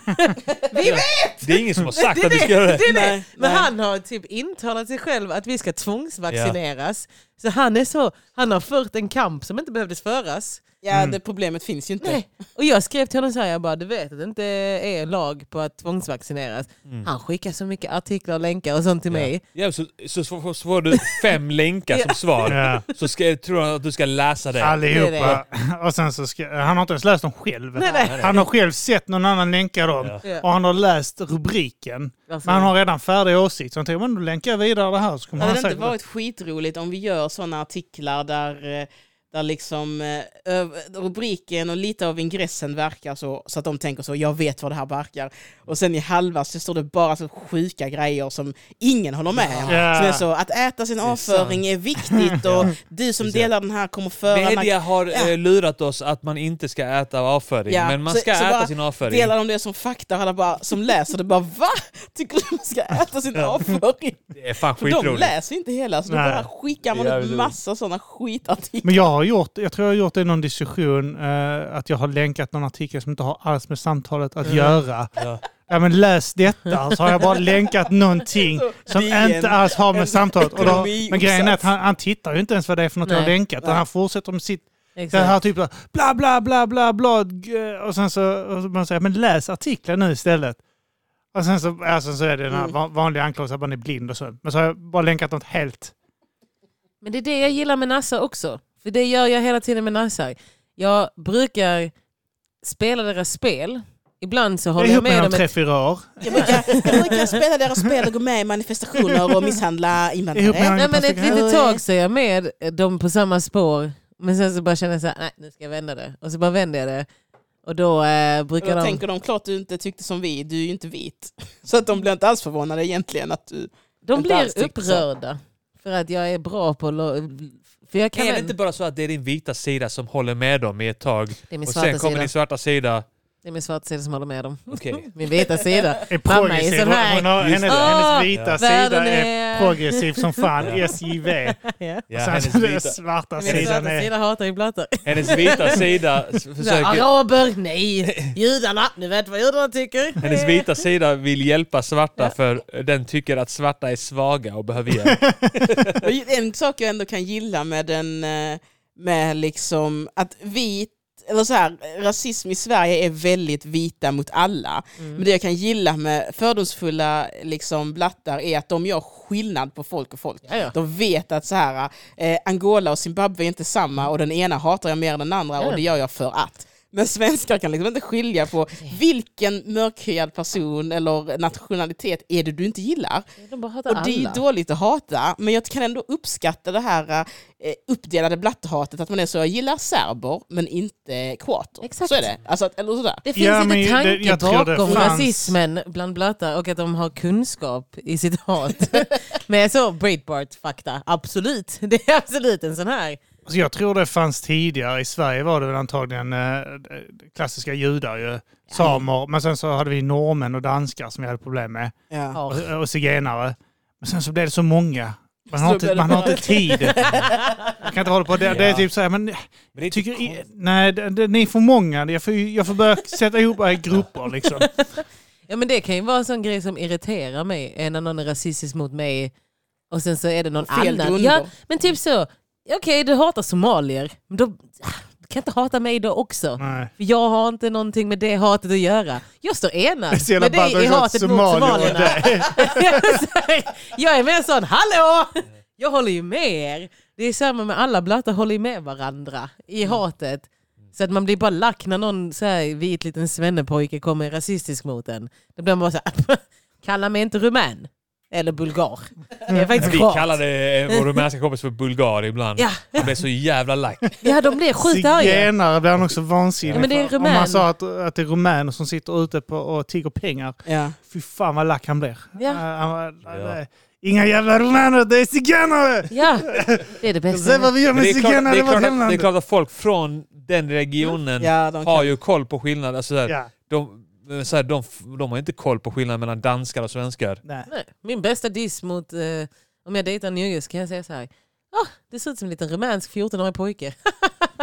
Speaker 3: vi vet!
Speaker 1: Det är ingen som har
Speaker 3: Det
Speaker 1: sagt
Speaker 3: är
Speaker 1: att vi
Speaker 3: det,
Speaker 1: ska göra det.
Speaker 3: det är det.
Speaker 4: Nej,
Speaker 3: Men
Speaker 4: nej.
Speaker 3: han har typ intalat sig själv att vi ska tvångsvaccineras. Så han är så, han har fört en kamp som inte behövdes föras.
Speaker 4: Ja, det problemet finns ju inte.
Speaker 3: Mm. Nej. Och jag skrev till honom så här, jag bara, du vet att det inte är lag på att tvångsvaccineras. Han skickar så mycket artiklar och länkar och sånt till mig.
Speaker 1: Mm. Ja, så, så, så, så får du fem länkar som svar.
Speaker 2: Ja.
Speaker 1: Så ska, tror jag att du ska läsa det.
Speaker 2: Allihopa. Och sen så ska, han har inte ens läst dem själv.
Speaker 3: Nej, nej.
Speaker 2: Han har själv sett någon annan länka dem.
Speaker 1: Ja.
Speaker 3: Ja.
Speaker 2: Och han har läst rubriken.
Speaker 3: Varför?
Speaker 2: Men han har redan färdig åsikt. Så han tänkte, men då länkar jag vidare det här. Så kommer
Speaker 4: Hade
Speaker 2: han
Speaker 4: det inte
Speaker 2: säkert...
Speaker 4: varit skitroligt om vi gör sådana artiklar där, eh, där liksom eh, öv- rubriken och lite av ingressen verkar så, så att de tänker så, jag vet vad det här verkar. Och sen i halva så står det bara så sjuka grejer som ingen håller med om.
Speaker 2: Ja.
Speaker 4: Som är så, att äta sin avföring är viktigt och du som delar den här kommer föra...
Speaker 1: Media har
Speaker 4: Ja.
Speaker 1: eh, lurat oss att man inte ska äta avföring,
Speaker 4: Ja,
Speaker 1: men man
Speaker 4: så-
Speaker 1: ska
Speaker 4: så
Speaker 1: äta
Speaker 4: bara
Speaker 1: sin avföring.
Speaker 4: Delar de det som fakta och alla bara, som läser det bara va? Tycker du man ska äta sin avföring?
Speaker 1: Det är fan
Speaker 4: För de
Speaker 1: skitroligt.
Speaker 4: läser inte hela, så då
Speaker 2: Nej.
Speaker 4: bara skickar
Speaker 1: Det är
Speaker 4: man ut
Speaker 1: jävligt
Speaker 4: massa sådana skitartiklar.
Speaker 2: Men jag har gjort, jag tror jag har gjort det i någon diskussion, eh, att jag har länkat någon artikel som inte har alls med samtalet
Speaker 4: Mm.
Speaker 2: att göra.
Speaker 1: Ja.
Speaker 2: Ja men läs detta, så har jag bara länkat någonting som
Speaker 4: DN,
Speaker 2: inte alls har
Speaker 4: en
Speaker 2: med samtalet och då,
Speaker 4: ekonomi-
Speaker 2: Men grejen är att
Speaker 4: uppsats.
Speaker 2: han, han tittar ju inte ens vad det är för något jag har
Speaker 3: Nej.
Speaker 2: länkat, utan han fortsätter med sitt det
Speaker 3: Exakt.
Speaker 2: här typ av bla bla bla bla bla g- och sen så, och så man säger men läs artikeln nu istället. Och sen så, alltså, så är det den här
Speaker 4: Mm.
Speaker 2: van- vanliga anklagelsen att man är blind och så. Men så har jag bara länkat något helt.
Speaker 3: Men det är det jag gillar med Nassar också. För det gör jag hela tiden med Nassar. Jag brukar spela deras spel. Ibland så
Speaker 2: Jag är
Speaker 3: håller jag
Speaker 2: ihop med
Speaker 3: med
Speaker 2: honom
Speaker 3: dem
Speaker 2: tre,
Speaker 3: ett...
Speaker 2: fyra år.
Speaker 4: Jag brukar, jag brukar spela deras spel och gå med i manifestationer och misshandla
Speaker 2: Ihop med
Speaker 4: invandrare.
Speaker 2: honom i
Speaker 3: Nej, men ett
Speaker 2: pasticken.
Speaker 3: litet tag så är jag med dem på samma spår. Men sen så bara känner jag så här, nej nu ska jag vända det. Och så bara vänder jag det. Och då eh,
Speaker 4: Och
Speaker 3: brukar
Speaker 4: då
Speaker 3: de...
Speaker 4: tänker de, klart du inte tyckte som vi, du är ju inte vit. Så att de blir inte alls förvånade egentligen att du...
Speaker 3: De
Speaker 4: Inte alls
Speaker 3: blir
Speaker 4: tyckte så.
Speaker 3: upprörda. För att jag är bra på... Lo- för jag kan
Speaker 1: Är det
Speaker 3: en-
Speaker 1: inte bara så att det är din vita sida som håller med dem i ett tag
Speaker 3: Det är min
Speaker 1: och sen
Speaker 3: svarta
Speaker 1: kommer
Speaker 3: sida.
Speaker 1: din svarta sida?
Speaker 3: Det är min svarta sida som håller med dem.
Speaker 1: Okej.
Speaker 3: Min vita sida.
Speaker 2: Är
Speaker 3: Mamma är
Speaker 2: progressiv.
Speaker 3: sån
Speaker 2: Hon
Speaker 3: här.
Speaker 2: hon har,
Speaker 1: Just
Speaker 2: hennes,
Speaker 1: det.
Speaker 3: Åh,
Speaker 2: hennes vita sida
Speaker 3: världen
Speaker 2: är
Speaker 3: är-
Speaker 2: progressiv som fan,
Speaker 1: Ja.
Speaker 2: SJV.
Speaker 1: Ja,
Speaker 2: och
Speaker 1: hennes,
Speaker 2: sen den
Speaker 1: vita,
Speaker 2: svarta
Speaker 3: Min
Speaker 2: sidan
Speaker 3: svarta
Speaker 2: är...
Speaker 3: sida hatar ju plattor.
Speaker 1: hennes vita sida s- försöker...
Speaker 3: Araber, nej! Judarna, nu vet vad judarna tycker.
Speaker 1: Hennes vita sida vill hjälpa svarta för eh, den tycker att svarta är svaga och behöver hjälp.
Speaker 4: Och En sak jag ändå kan gilla med den, eh, med liksom att vit, eller så här, rasism i Sverige är väldigt vita mot alla.
Speaker 3: Mm.
Speaker 4: Men det jag kan gilla med fördomsfulla liksom, blattar är att de gör skillnad på folk och folk.
Speaker 3: Ja, ja.
Speaker 4: De vet att så här, eh, Angola och Zimbabwe är inte samma och den ena hatar jag mer än den andra
Speaker 3: Ja.
Speaker 4: och det gör jag för att. Men svenskar kan liksom inte skilja på vilken mörkhyad person eller nationalitet är det du inte gillar.
Speaker 3: De bara hatar
Speaker 4: Och det är ju
Speaker 3: alla.
Speaker 4: dåligt att hata, men jag kan ändå uppskatta det här eh, uppdelade blatthatet, att man är så, jag gillar serber, men inte kroater.
Speaker 3: Exakt.
Speaker 4: Så är det. Alltså, att- eller sådär.
Speaker 3: Det finns
Speaker 2: Ja, men
Speaker 3: inte
Speaker 2: det-
Speaker 3: tanke
Speaker 2: jag tror det
Speaker 3: bakom
Speaker 2: fanns-
Speaker 3: rasismen bland blattar och att de har kunskap i sitt hat. Med så Breitbart-fakta, absolut. Det är absolut en sån här.
Speaker 2: Så jag tror det fanns tidigare, i Sverige var det väl antagligen eh, klassiska judar ju, samer, men sen så hade vi norrmän och danskar som vi hade problem med,
Speaker 4: Ja.
Speaker 3: Har.
Speaker 2: och, och zigenare. Men sen så blev det så många. Man
Speaker 4: Så
Speaker 2: har, inte,
Speaker 4: blev det
Speaker 2: man har
Speaker 4: bara-
Speaker 2: inte tid. Man kan inte hålla på. Det, det är
Speaker 1: Ja.
Speaker 2: typ så här, men
Speaker 1: Men det är
Speaker 2: Tycker,
Speaker 1: inte
Speaker 2: i- nej, det, det, ni är för många. Jag får, ju- jag får börja sätta ihop era grupper liksom.
Speaker 3: Ja men det kan ju vara en sån grej som irriterar mig, är när någon är rasistisk mot mig och sen så är det någon
Speaker 4: Fel
Speaker 3: annan.
Speaker 4: grunder.
Speaker 3: Ja, men typ så, okej du hatar somalier, men då, ah, du kan inte hata mig då också.
Speaker 2: Nej.
Speaker 3: För jag har inte någonting med det hatet att göra. Jag står enad
Speaker 2: Det är så jävla
Speaker 3: med dig
Speaker 2: ballt
Speaker 3: i
Speaker 2: också att
Speaker 3: hatet mot
Speaker 2: somalier och
Speaker 3: somalierna. jag är mer sån, hallå! Jag håller ju med er. Det är samma med alla blattar, håller ju med varandra
Speaker 2: Mm.
Speaker 3: i hatet. Så att man blir bara lack när någon så här, vit liten svennepojke kommer rasistisk mot en. Då blir man bara så här, kalla mig inte rumän. Eller bulgar. Det
Speaker 2: Mm.
Speaker 3: är faktiskt
Speaker 1: Vi
Speaker 3: bra.
Speaker 1: kallade eh, vår rumänska kompis för bulgar ibland.
Speaker 3: Ja.
Speaker 1: Han blev så jävla lack.
Speaker 3: ja, de blir sjukt arga.
Speaker 2: Zigenare blir han också vansinnig
Speaker 3: Ja, men det är
Speaker 2: för. Om
Speaker 3: rumän.
Speaker 2: han sa att, att det är rumäner som sitter ute på, och tigger pengar.
Speaker 4: Ja.
Speaker 2: Fy fan vad lack han blir.
Speaker 3: Ja.
Speaker 2: Äh, han var-
Speaker 1: Ja.
Speaker 2: äh, Inga jävla romaner, det är zigenare!
Speaker 3: Ja, det
Speaker 2: Se
Speaker 3: är det
Speaker 2: vad
Speaker 3: bästa.
Speaker 2: vi gör
Speaker 1: Men
Speaker 2: med
Speaker 1: det, är klart,
Speaker 2: zigenare
Speaker 1: det,
Speaker 2: i
Speaker 1: är
Speaker 2: vårt
Speaker 1: klart att, det är
Speaker 2: hemland.
Speaker 1: klart att folk från den regionen
Speaker 4: Ja, de
Speaker 1: har
Speaker 4: kan.
Speaker 1: ju koll på skillnad. Alltså, så här,
Speaker 2: Ja,
Speaker 1: de, eh, så här, de, f- de har ju inte koll på skillnaden mellan danskar och svenskar.
Speaker 2: nej.
Speaker 3: Nej, Min bästa diss mot, eh, om jag dejtar en judisk kan jag säga så här. Ah, det ser ut som en liten rumänsk 14-årig pojke.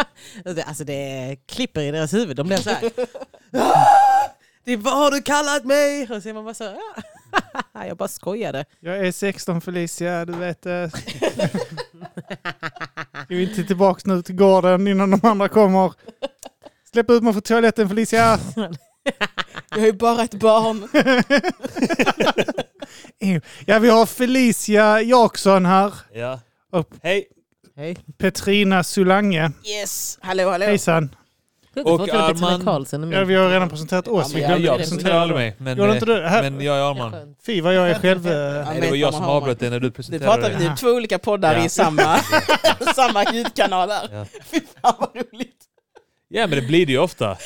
Speaker 3: alltså det klipper i deras huvud. De blir så här. "Ah, Det är vad har du kallat mig? Och så är man bara så här, ah. Jag bara skojade.
Speaker 2: Jag är 16 Felicia, du vet. eh. Ska vi inte tillbaka nu till gården innan de andra kommer? Släpp ut mig från toaletten Felicia!
Speaker 4: Jag är ju bara ett barn.
Speaker 2: Ja, vi har Felicia Jaksson här
Speaker 1: Ja.
Speaker 2: och
Speaker 1: Hej!
Speaker 3: Hej.
Speaker 2: Petrina Sulange.
Speaker 4: Yes, hallå hallå.
Speaker 2: Hejsan!
Speaker 1: Och
Speaker 3: Och Arman...
Speaker 1: Arman-
Speaker 3: Karlsson är
Speaker 2: Ja,
Speaker 3: min.
Speaker 2: vi har redan presenterat oss. Vi
Speaker 1: Ja,
Speaker 4: Ja,
Speaker 2: glömde
Speaker 4: det är
Speaker 1: jag
Speaker 4: det.
Speaker 1: presenterade
Speaker 2: presentera
Speaker 1: mig, men,
Speaker 2: Gjorde inte
Speaker 1: eh,
Speaker 2: du? Här-
Speaker 1: men jag är Arman.
Speaker 2: Fy vad jag är själv...
Speaker 4: Ja,
Speaker 2: eh,
Speaker 1: Nej, det var
Speaker 4: men
Speaker 1: jag
Speaker 4: man
Speaker 1: som
Speaker 4: har man.
Speaker 1: avbröt dig när du
Speaker 4: Nu
Speaker 1: presenterade
Speaker 4: pratar
Speaker 1: dig.
Speaker 4: vi nu två olika poddar
Speaker 1: Ja.
Speaker 4: i samma, samma ljudkanal här.
Speaker 1: Ja.
Speaker 4: Fy fan vad roligt.
Speaker 1: Ja, men det blir det ju ofta.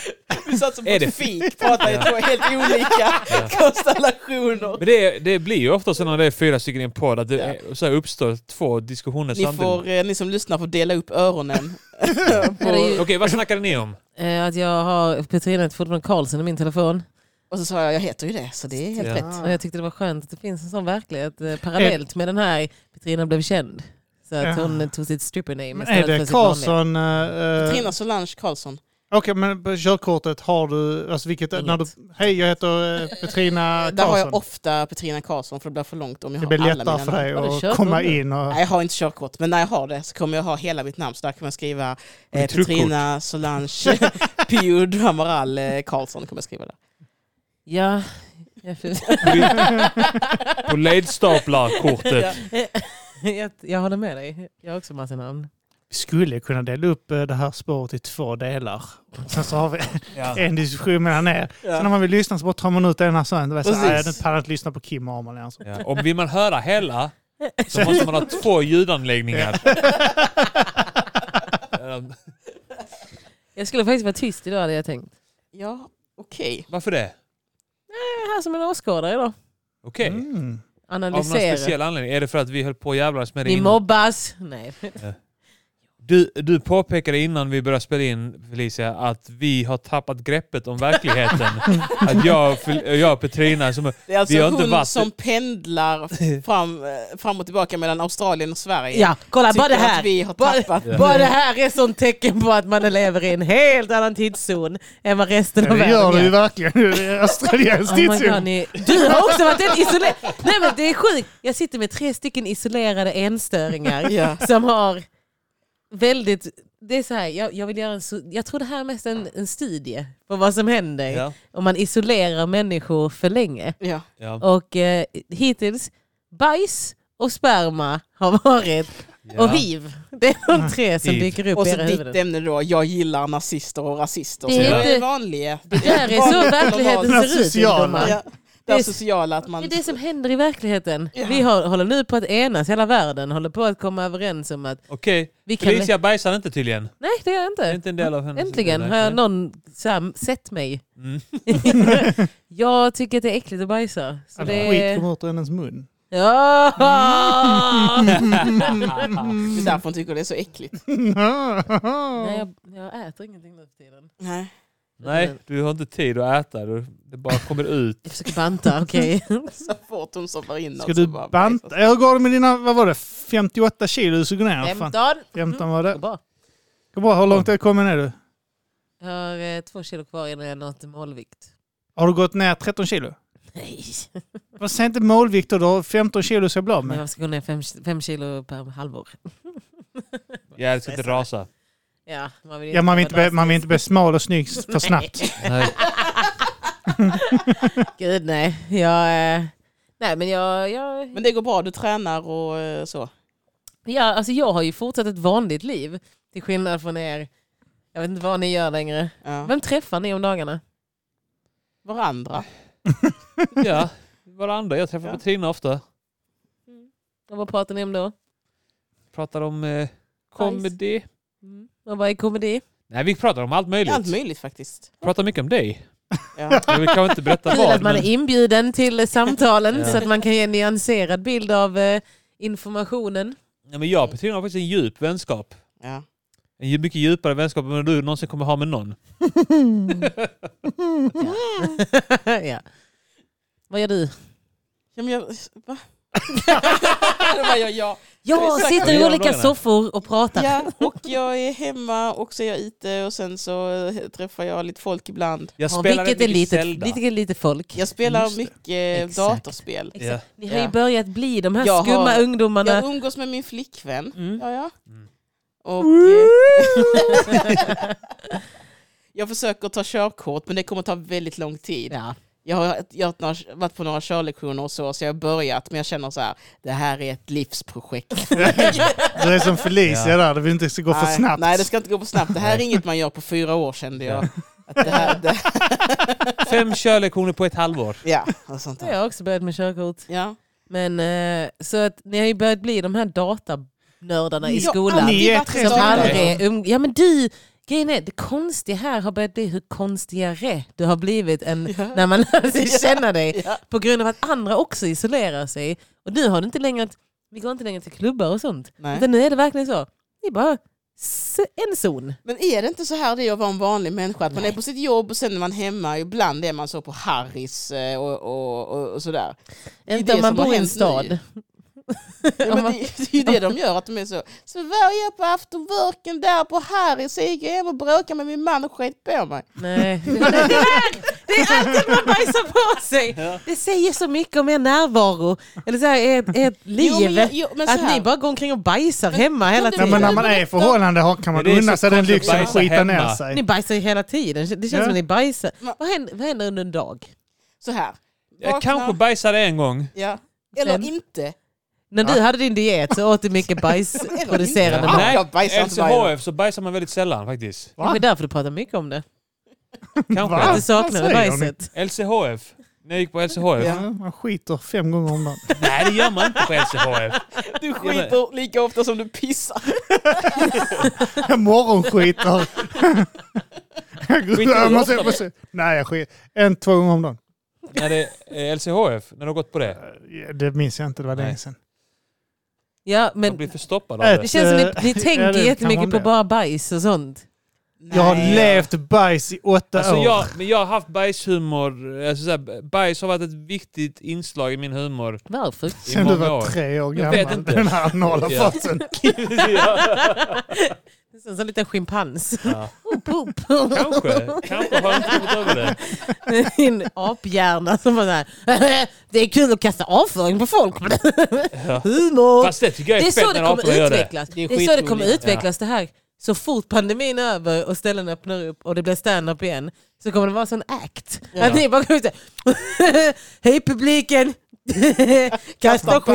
Speaker 4: Vi satt som på
Speaker 1: Är det-
Speaker 4: ett fik, pratade i två helt olika konstellationer.
Speaker 1: Men det, det blir ju ofta så när det är fyra stycken i en podd att det
Speaker 4: Ja.
Speaker 1: är- så här uppstår två diskussioner
Speaker 4: Ni,
Speaker 1: samtidigt.
Speaker 4: får, eh, ni som lyssnar får dela upp öronen.
Speaker 3: Ja, det är ju-
Speaker 1: Okej, vad snackade ni om?
Speaker 3: Eh, Att jag har Petrina ett fotogram Karlsson i min telefon.
Speaker 4: Och så sa jag, jag heter ju det, så det är helt
Speaker 1: Ja.
Speaker 4: rätt.
Speaker 3: Och jag tyckte det var skönt att det finns en sån verklighet eh, parallellt med den här Petrina blev känd. Så att
Speaker 2: Ja.
Speaker 3: hon tog sitt strippername
Speaker 2: Men är det Karlsson... eh,
Speaker 4: Trina Solange Karlsson.
Speaker 2: Okej, men på körkortet har du... Alltså vilket...
Speaker 3: Inget.
Speaker 2: När du, Hej, jag heter eh, Petrina
Speaker 4: Där har jag
Speaker 2: Karlsson.
Speaker 4: ofta Petrina Karlsson för det blir för långt om jag
Speaker 2: Det
Speaker 4: har
Speaker 2: blir
Speaker 4: alla mina
Speaker 2: lättare för
Speaker 4: namn.
Speaker 2: dig
Speaker 3: Har du
Speaker 2: att
Speaker 3: körkort
Speaker 2: komma
Speaker 3: nu?
Speaker 2: in och...
Speaker 4: Nej, jag har inte körkort, men när jag har det så kommer jag ha hela mitt namn. Så där kan man skriva eh,
Speaker 1: Ditt truckkort.
Speaker 4: Petrina Solange Pio du Amaral eh, Karlsson. Kommer jag skriva där.
Speaker 3: Ja. Jag, för-
Speaker 1: På ledstaplarkortet.
Speaker 3: jag, jag håller med dig. Jag har också massa namn.
Speaker 2: Vi skulle kunna dela upp eh, det här spåret i två delar. Sen så har vi
Speaker 1: Ja.
Speaker 2: en diskussion mellan er. Sen när man vill lyssna så bara tar man ut ena så här. Det var så här,
Speaker 4: Precis.
Speaker 2: "Nej, Jag pallar inte lyssna på Kim och Arman. Alltså.
Speaker 1: Ja. Om vill man höra hela så måste man ha två ljudanläggningar. Ehm,
Speaker 3: Jag skulle faktiskt vara tyst idag hade jag tänkt.
Speaker 4: Ja, okej.
Speaker 1: Varför det?
Speaker 3: Jag är här som en åskådare idag.
Speaker 1: Okej.
Speaker 2: Mm.
Speaker 1: Av någon
Speaker 3: Analysera.
Speaker 1: speciell anledning? Är det för att vi höll på att jävlas med det
Speaker 3: Ni
Speaker 1: innan?
Speaker 3: mobbas. Nej.
Speaker 1: Du, du påpekade innan vi började spela in, Felicia, att vi har tappat greppet om verkligheten. att jag, och Fel- jag och Petrina som...
Speaker 4: Det är alltså
Speaker 1: Vi har inte
Speaker 4: hon
Speaker 1: varit-
Speaker 4: som pendlar fram, eh, fram och tillbaka mellan Australien och Sverige.
Speaker 3: Ja, kolla
Speaker 4: Tycker
Speaker 3: bara det
Speaker 4: Att
Speaker 3: här.
Speaker 4: vi har
Speaker 3: Bara,
Speaker 4: tappat.
Speaker 3: bara det här är sånt tecken på att man lever i en helt annan tidszon än vad resten av
Speaker 2: Det gör
Speaker 3: världen
Speaker 2: du ju
Speaker 3: gör.
Speaker 2: verkligen. Det är australiensk
Speaker 3: Oh my God,
Speaker 2: tidszon.
Speaker 3: ni, du har också varit en isolerad... Nej men det är sjukt. Jag sitter med tre stycken isolerade enstöringar.
Speaker 4: Ja.
Speaker 3: som har väldigt... Det är så här, jag, jag, vill göra en, so- jag tror det här är mest en, en studie på vad som händer
Speaker 1: Ja,
Speaker 3: om man isolerar människor för länge.
Speaker 4: Ja.
Speaker 1: ja,
Speaker 3: Och eh, hittills, bajs och sperma har varit, och
Speaker 1: ja.
Speaker 3: hiv. Det är de tre som
Speaker 1: Hiv.
Speaker 3: dyker upp
Speaker 4: Och
Speaker 3: i
Speaker 4: så
Speaker 3: era
Speaker 4: ditt
Speaker 3: huvuden.
Speaker 4: ämne då, jag gillar nazister och rasister.
Speaker 3: Det
Speaker 4: Så
Speaker 1: är
Speaker 4: jag
Speaker 3: inte-
Speaker 4: är vanliga.
Speaker 3: Det där är så verkligheten
Speaker 2: normalt.
Speaker 3: ser ut
Speaker 2: Sociala.
Speaker 3: ungdomar.
Speaker 4: Ja.
Speaker 3: Det
Speaker 4: Det
Speaker 3: är-
Speaker 4: är sociala att
Speaker 3: Det
Speaker 4: man...
Speaker 3: är det som händer i verkligheten.
Speaker 4: Ja.
Speaker 3: Vi har, håller nu på att enas, hela världen håller på att komma överens om att
Speaker 1: Okej.
Speaker 3: vi kan...
Speaker 1: Felicia bajsar inte tydligen.
Speaker 3: Nej, det gör jag
Speaker 1: Det är
Speaker 3: inte.
Speaker 1: inte en del av hennes...
Speaker 3: Äntligen har jag någon så här, sett mig
Speaker 1: Mm.
Speaker 3: Jag tycker att det är äckligt att bajsa. Så
Speaker 2: All
Speaker 3: det
Speaker 2: skit
Speaker 3: är...
Speaker 2: kommer ut ur hennes mun.
Speaker 3: Ja! Mm.
Speaker 4: Mm. Det är därför hon tycker det är så äckligt.
Speaker 3: Nej, jag, jag äter ingenting nu för tiden.
Speaker 4: Nej.
Speaker 1: Nej, du har inte tid att äta. Du, det bara kommer ut.
Speaker 3: Jag försöker banta, okej.
Speaker 4: Så fort hon sover in
Speaker 2: Ska du banta? Hur går det med dina, vad var det, 58 kilo du såg ner? Fan,
Speaker 3: 15!
Speaker 2: 15 var
Speaker 3: Det går
Speaker 2: det.
Speaker 3: bra.
Speaker 2: Gå bra, hur långt kommer ner du?
Speaker 3: Jag har eh, två kilo kvar innan jag nått målvikt.
Speaker 2: Har du gått ner 13 kilo?
Speaker 3: Nej!
Speaker 2: Vad säger inte målvikt då? Du har 15 kilo så jag blir av
Speaker 3: Men
Speaker 2: med.
Speaker 3: jag ska gå ner fem, fem kilo per halvår.
Speaker 1: Ja, det ska inte rasa.
Speaker 3: Ja, man vill inte,
Speaker 2: Ja, man vill inte,
Speaker 3: vara
Speaker 2: bli, man vill inte bli smal och snygg för snabbt.
Speaker 1: Nej.
Speaker 3: dans- Gud nej. Jag, eh, nej men jag, jag,
Speaker 4: Men det går bra, du tränar och eh, så.
Speaker 3: Ja, alltså jag har ju fortsatt ett vanligt liv. Till skillnad från er. Jag vet inte vad ni gör längre.
Speaker 4: Ja.
Speaker 3: Vem träffar ni om dagarna?
Speaker 4: Varandra.
Speaker 1: Ja, varandra. Jag träffar
Speaker 4: Ja.
Speaker 1: Petrina ofta.
Speaker 3: Och vad pratar ni om då?
Speaker 1: Pratar om eh, comedy.
Speaker 3: Och vad är komedi?
Speaker 1: Nej, vi pratar om allt möjligt.
Speaker 4: Allt möjligt faktiskt.
Speaker 1: Pratar mycket om dig.
Speaker 4: Ja.
Speaker 1: Jag vill kanske inte berätta
Speaker 3: Kul
Speaker 1: vad.
Speaker 3: att man är
Speaker 1: Men,
Speaker 3: inbjuden till eh, samtalen
Speaker 1: Ja.
Speaker 3: så att man kan ge en nyanserad bild av eh, informationen.
Speaker 1: ja, men jag och Petrina har faktiskt en djup vänskap.
Speaker 4: Ja.
Speaker 1: En dju- mycket djupare vänskap än du någonsin kommer ha med någon.
Speaker 3: ja. Vad gör du?
Speaker 4: Ja, men jag... Va? Då var jag ja.
Speaker 3: Jag
Speaker 4: Exakt.
Speaker 1: Det
Speaker 3: sitter i
Speaker 1: är
Speaker 3: olika
Speaker 1: jävlarna.
Speaker 3: soffor och pratar.
Speaker 4: ja. Och jag är hemma och så är jag ute och sen så eh, träffar jag lite folk ibland.
Speaker 1: Jag
Speaker 3: Ja,
Speaker 1: spelar
Speaker 3: vilket är
Speaker 1: mycket
Speaker 3: lite,
Speaker 1: Zelda.
Speaker 3: lite, lite folk.
Speaker 4: Jag spelar
Speaker 1: Just det.
Speaker 4: mycket
Speaker 3: Exakt.
Speaker 4: datorspel.
Speaker 1: Ja.
Speaker 3: Exakt. Ni har ju
Speaker 4: Ja.
Speaker 3: börjat bli de här
Speaker 4: Jag har-
Speaker 3: skumma ungdomarna.
Speaker 4: Jag umgås med min flickvän.
Speaker 1: Mm.
Speaker 4: Ja, ja.
Speaker 1: Mm.
Speaker 4: Och, eh, jag försöker ta körkort men det kommer ta väldigt lång tid.
Speaker 3: Ja.
Speaker 4: Jag har, jag har några- varit på några körlektioner och så, så jag har börjat men jag känner så här, det här är ett livsprojekt.
Speaker 2: Du är som Felicia
Speaker 1: Ja.
Speaker 2: där, det vill inte gå för
Speaker 4: nej,
Speaker 2: snabbt.
Speaker 4: Nej, det ska inte gå för snabbt. Det här är inget man gör på fyra år kände jag. Att det här, det,
Speaker 1: Fem körlektioner på ett halvår.
Speaker 4: ja, och sånt
Speaker 3: Så
Speaker 4: där.
Speaker 3: Jag har också börjat med körkort.
Speaker 4: Ja.
Speaker 3: Men, eh, så att ni har ju börjat bli de här datanördarna i
Speaker 4: Jag har
Speaker 3: skolan.
Speaker 4: aldrig
Speaker 2: Ni är
Speaker 4: varit
Speaker 2: tre
Speaker 4: en
Speaker 3: Som
Speaker 4: sån där.
Speaker 3: aldrig är um... Ja men du, grejen är, det konstiga här har börjat bli hur konstigare du har blivit än
Speaker 4: Ja.
Speaker 3: när man lärde sig känna dig.
Speaker 4: Ja.
Speaker 3: På grund av att andra också isolerar sig. Och nu har du inte längre att, vi går inte längre till klubbar och sånt.
Speaker 4: Nej.
Speaker 3: Utan nu är det verkligen så. Det är bara s- en zon.
Speaker 4: Men är det inte så här det är att vara en vanlig människa? Att man är på sitt jobb och sen är man hemma. Ibland är man så på Harris eh, och, och, och, och sådär. Det är
Speaker 3: Inte
Speaker 4: det
Speaker 3: om man
Speaker 4: som har
Speaker 3: bor i en
Speaker 4: hänt
Speaker 3: stad.
Speaker 4: nu. Ja, men
Speaker 3: Om man-
Speaker 4: det, det är ju det de gör, att de är så. Så var jag på afterworken där på Harrys, så gick jag hem och bråkade med min man och skit på mig.
Speaker 3: Nej. Det där! Det är alltid att man bajsar på sig. Det säger så mycket om er närvaro. Eller så här, ert, ert liv.
Speaker 4: Jo, men, jag- jo, men så
Speaker 3: att
Speaker 4: här.
Speaker 3: ni bara går omkring och bajsar hemma hela
Speaker 4: det-
Speaker 2: Nej, men
Speaker 3: tiden.
Speaker 2: när man är i förhållande har- kan man
Speaker 1: Det är
Speaker 2: unna
Speaker 1: så
Speaker 2: sig den
Speaker 1: konstigt att
Speaker 2: lyxen och
Speaker 1: bajsa
Speaker 2: skita ner
Speaker 1: hemma.
Speaker 2: sig.
Speaker 3: Ni bajsar ju hela tiden. Det känns
Speaker 2: Ja.
Speaker 3: som att ni bajsar.
Speaker 4: Ma-
Speaker 3: Vad händer, vad händer under en dag?
Speaker 4: Så här. Vakna.
Speaker 1: Jag kanske bajsade en gång.
Speaker 4: Ja. Eller
Speaker 3: Sen.
Speaker 4: inte.
Speaker 3: När du hade din diet så åt du mycket bajsproducerande
Speaker 4: Ja, men-
Speaker 3: mat.
Speaker 4: jag bajsar inte varje dag.
Speaker 1: LCHF så bajsar man väldigt sällan faktiskt.
Speaker 3: Det är därför du pratar mycket om det.
Speaker 1: Kanske.
Speaker 2: Va?
Speaker 3: Att du saknade
Speaker 2: Vad säger hon?
Speaker 3: bajset.
Speaker 1: LCHF. När jag gick på LCHF.
Speaker 4: Ja.
Speaker 2: Ja, man skiter fem gånger om dagen.
Speaker 1: Nej, det gör man inte på LCHF.
Speaker 4: Du
Speaker 1: men-
Speaker 4: skiter lika ofta som du pissar.
Speaker 2: Jag morgonskiter. Jag går-
Speaker 1: Skiter du
Speaker 2: jag måste-
Speaker 1: ofta?
Speaker 2: jag måste- Nej, jag skiter en, två gånger om dagen.
Speaker 1: När det är LCHF, när du har gått på det.
Speaker 2: Ja, Det minns jag inte, det var
Speaker 1: Nej.
Speaker 2: länge sedan.
Speaker 3: Ja,
Speaker 1: Jag
Speaker 3: men
Speaker 1: blir förstoppad av det.
Speaker 3: det känns som att ni, ni
Speaker 2: Ja,
Speaker 3: tänker
Speaker 2: det kan
Speaker 3: jättemycket
Speaker 2: man
Speaker 3: på
Speaker 2: det.
Speaker 3: bara bajs och sånt.
Speaker 2: Jag har
Speaker 4: Nej.
Speaker 2: levt bajs i åtta
Speaker 1: Alltså
Speaker 2: år.
Speaker 1: jag, men jag har haft bajshumor. Alltså så här, bajs har varit ett viktigt inslag i min humor.
Speaker 3: Varför?
Speaker 1: i
Speaker 2: Sen du
Speaker 1: många år.
Speaker 2: var tre
Speaker 1: Jag
Speaker 2: år gammal.
Speaker 1: vet inte.
Speaker 2: Den här anala
Speaker 1: Ja.
Speaker 2: fasen.
Speaker 3: Det är Som en liten schimpans. Oh,
Speaker 1: Ja.
Speaker 3: Poop.
Speaker 1: Kanske. Kanske har jag inte kommit över det.
Speaker 3: en aphjärna som var såhär. Det är kul att kasta avföring på folk. Humor.
Speaker 1: Fast det tycker jag är,
Speaker 3: det är så
Speaker 1: fett
Speaker 3: det
Speaker 1: när aporna
Speaker 3: kommer
Speaker 1: gör det.
Speaker 3: utvecklas.
Speaker 4: Det
Speaker 3: Det
Speaker 4: är
Speaker 3: är, så det kommer
Speaker 4: skitroligt.
Speaker 3: utvecklas det här. Så fort pandemin är över och ställen öppnar upp och det blir stand-up igen så kommer det vara en sån act.
Speaker 4: Ja.
Speaker 3: Att ni bara kommer ut såhär, Hej publiken! Kasta
Speaker 4: Kasta
Speaker 3: skit!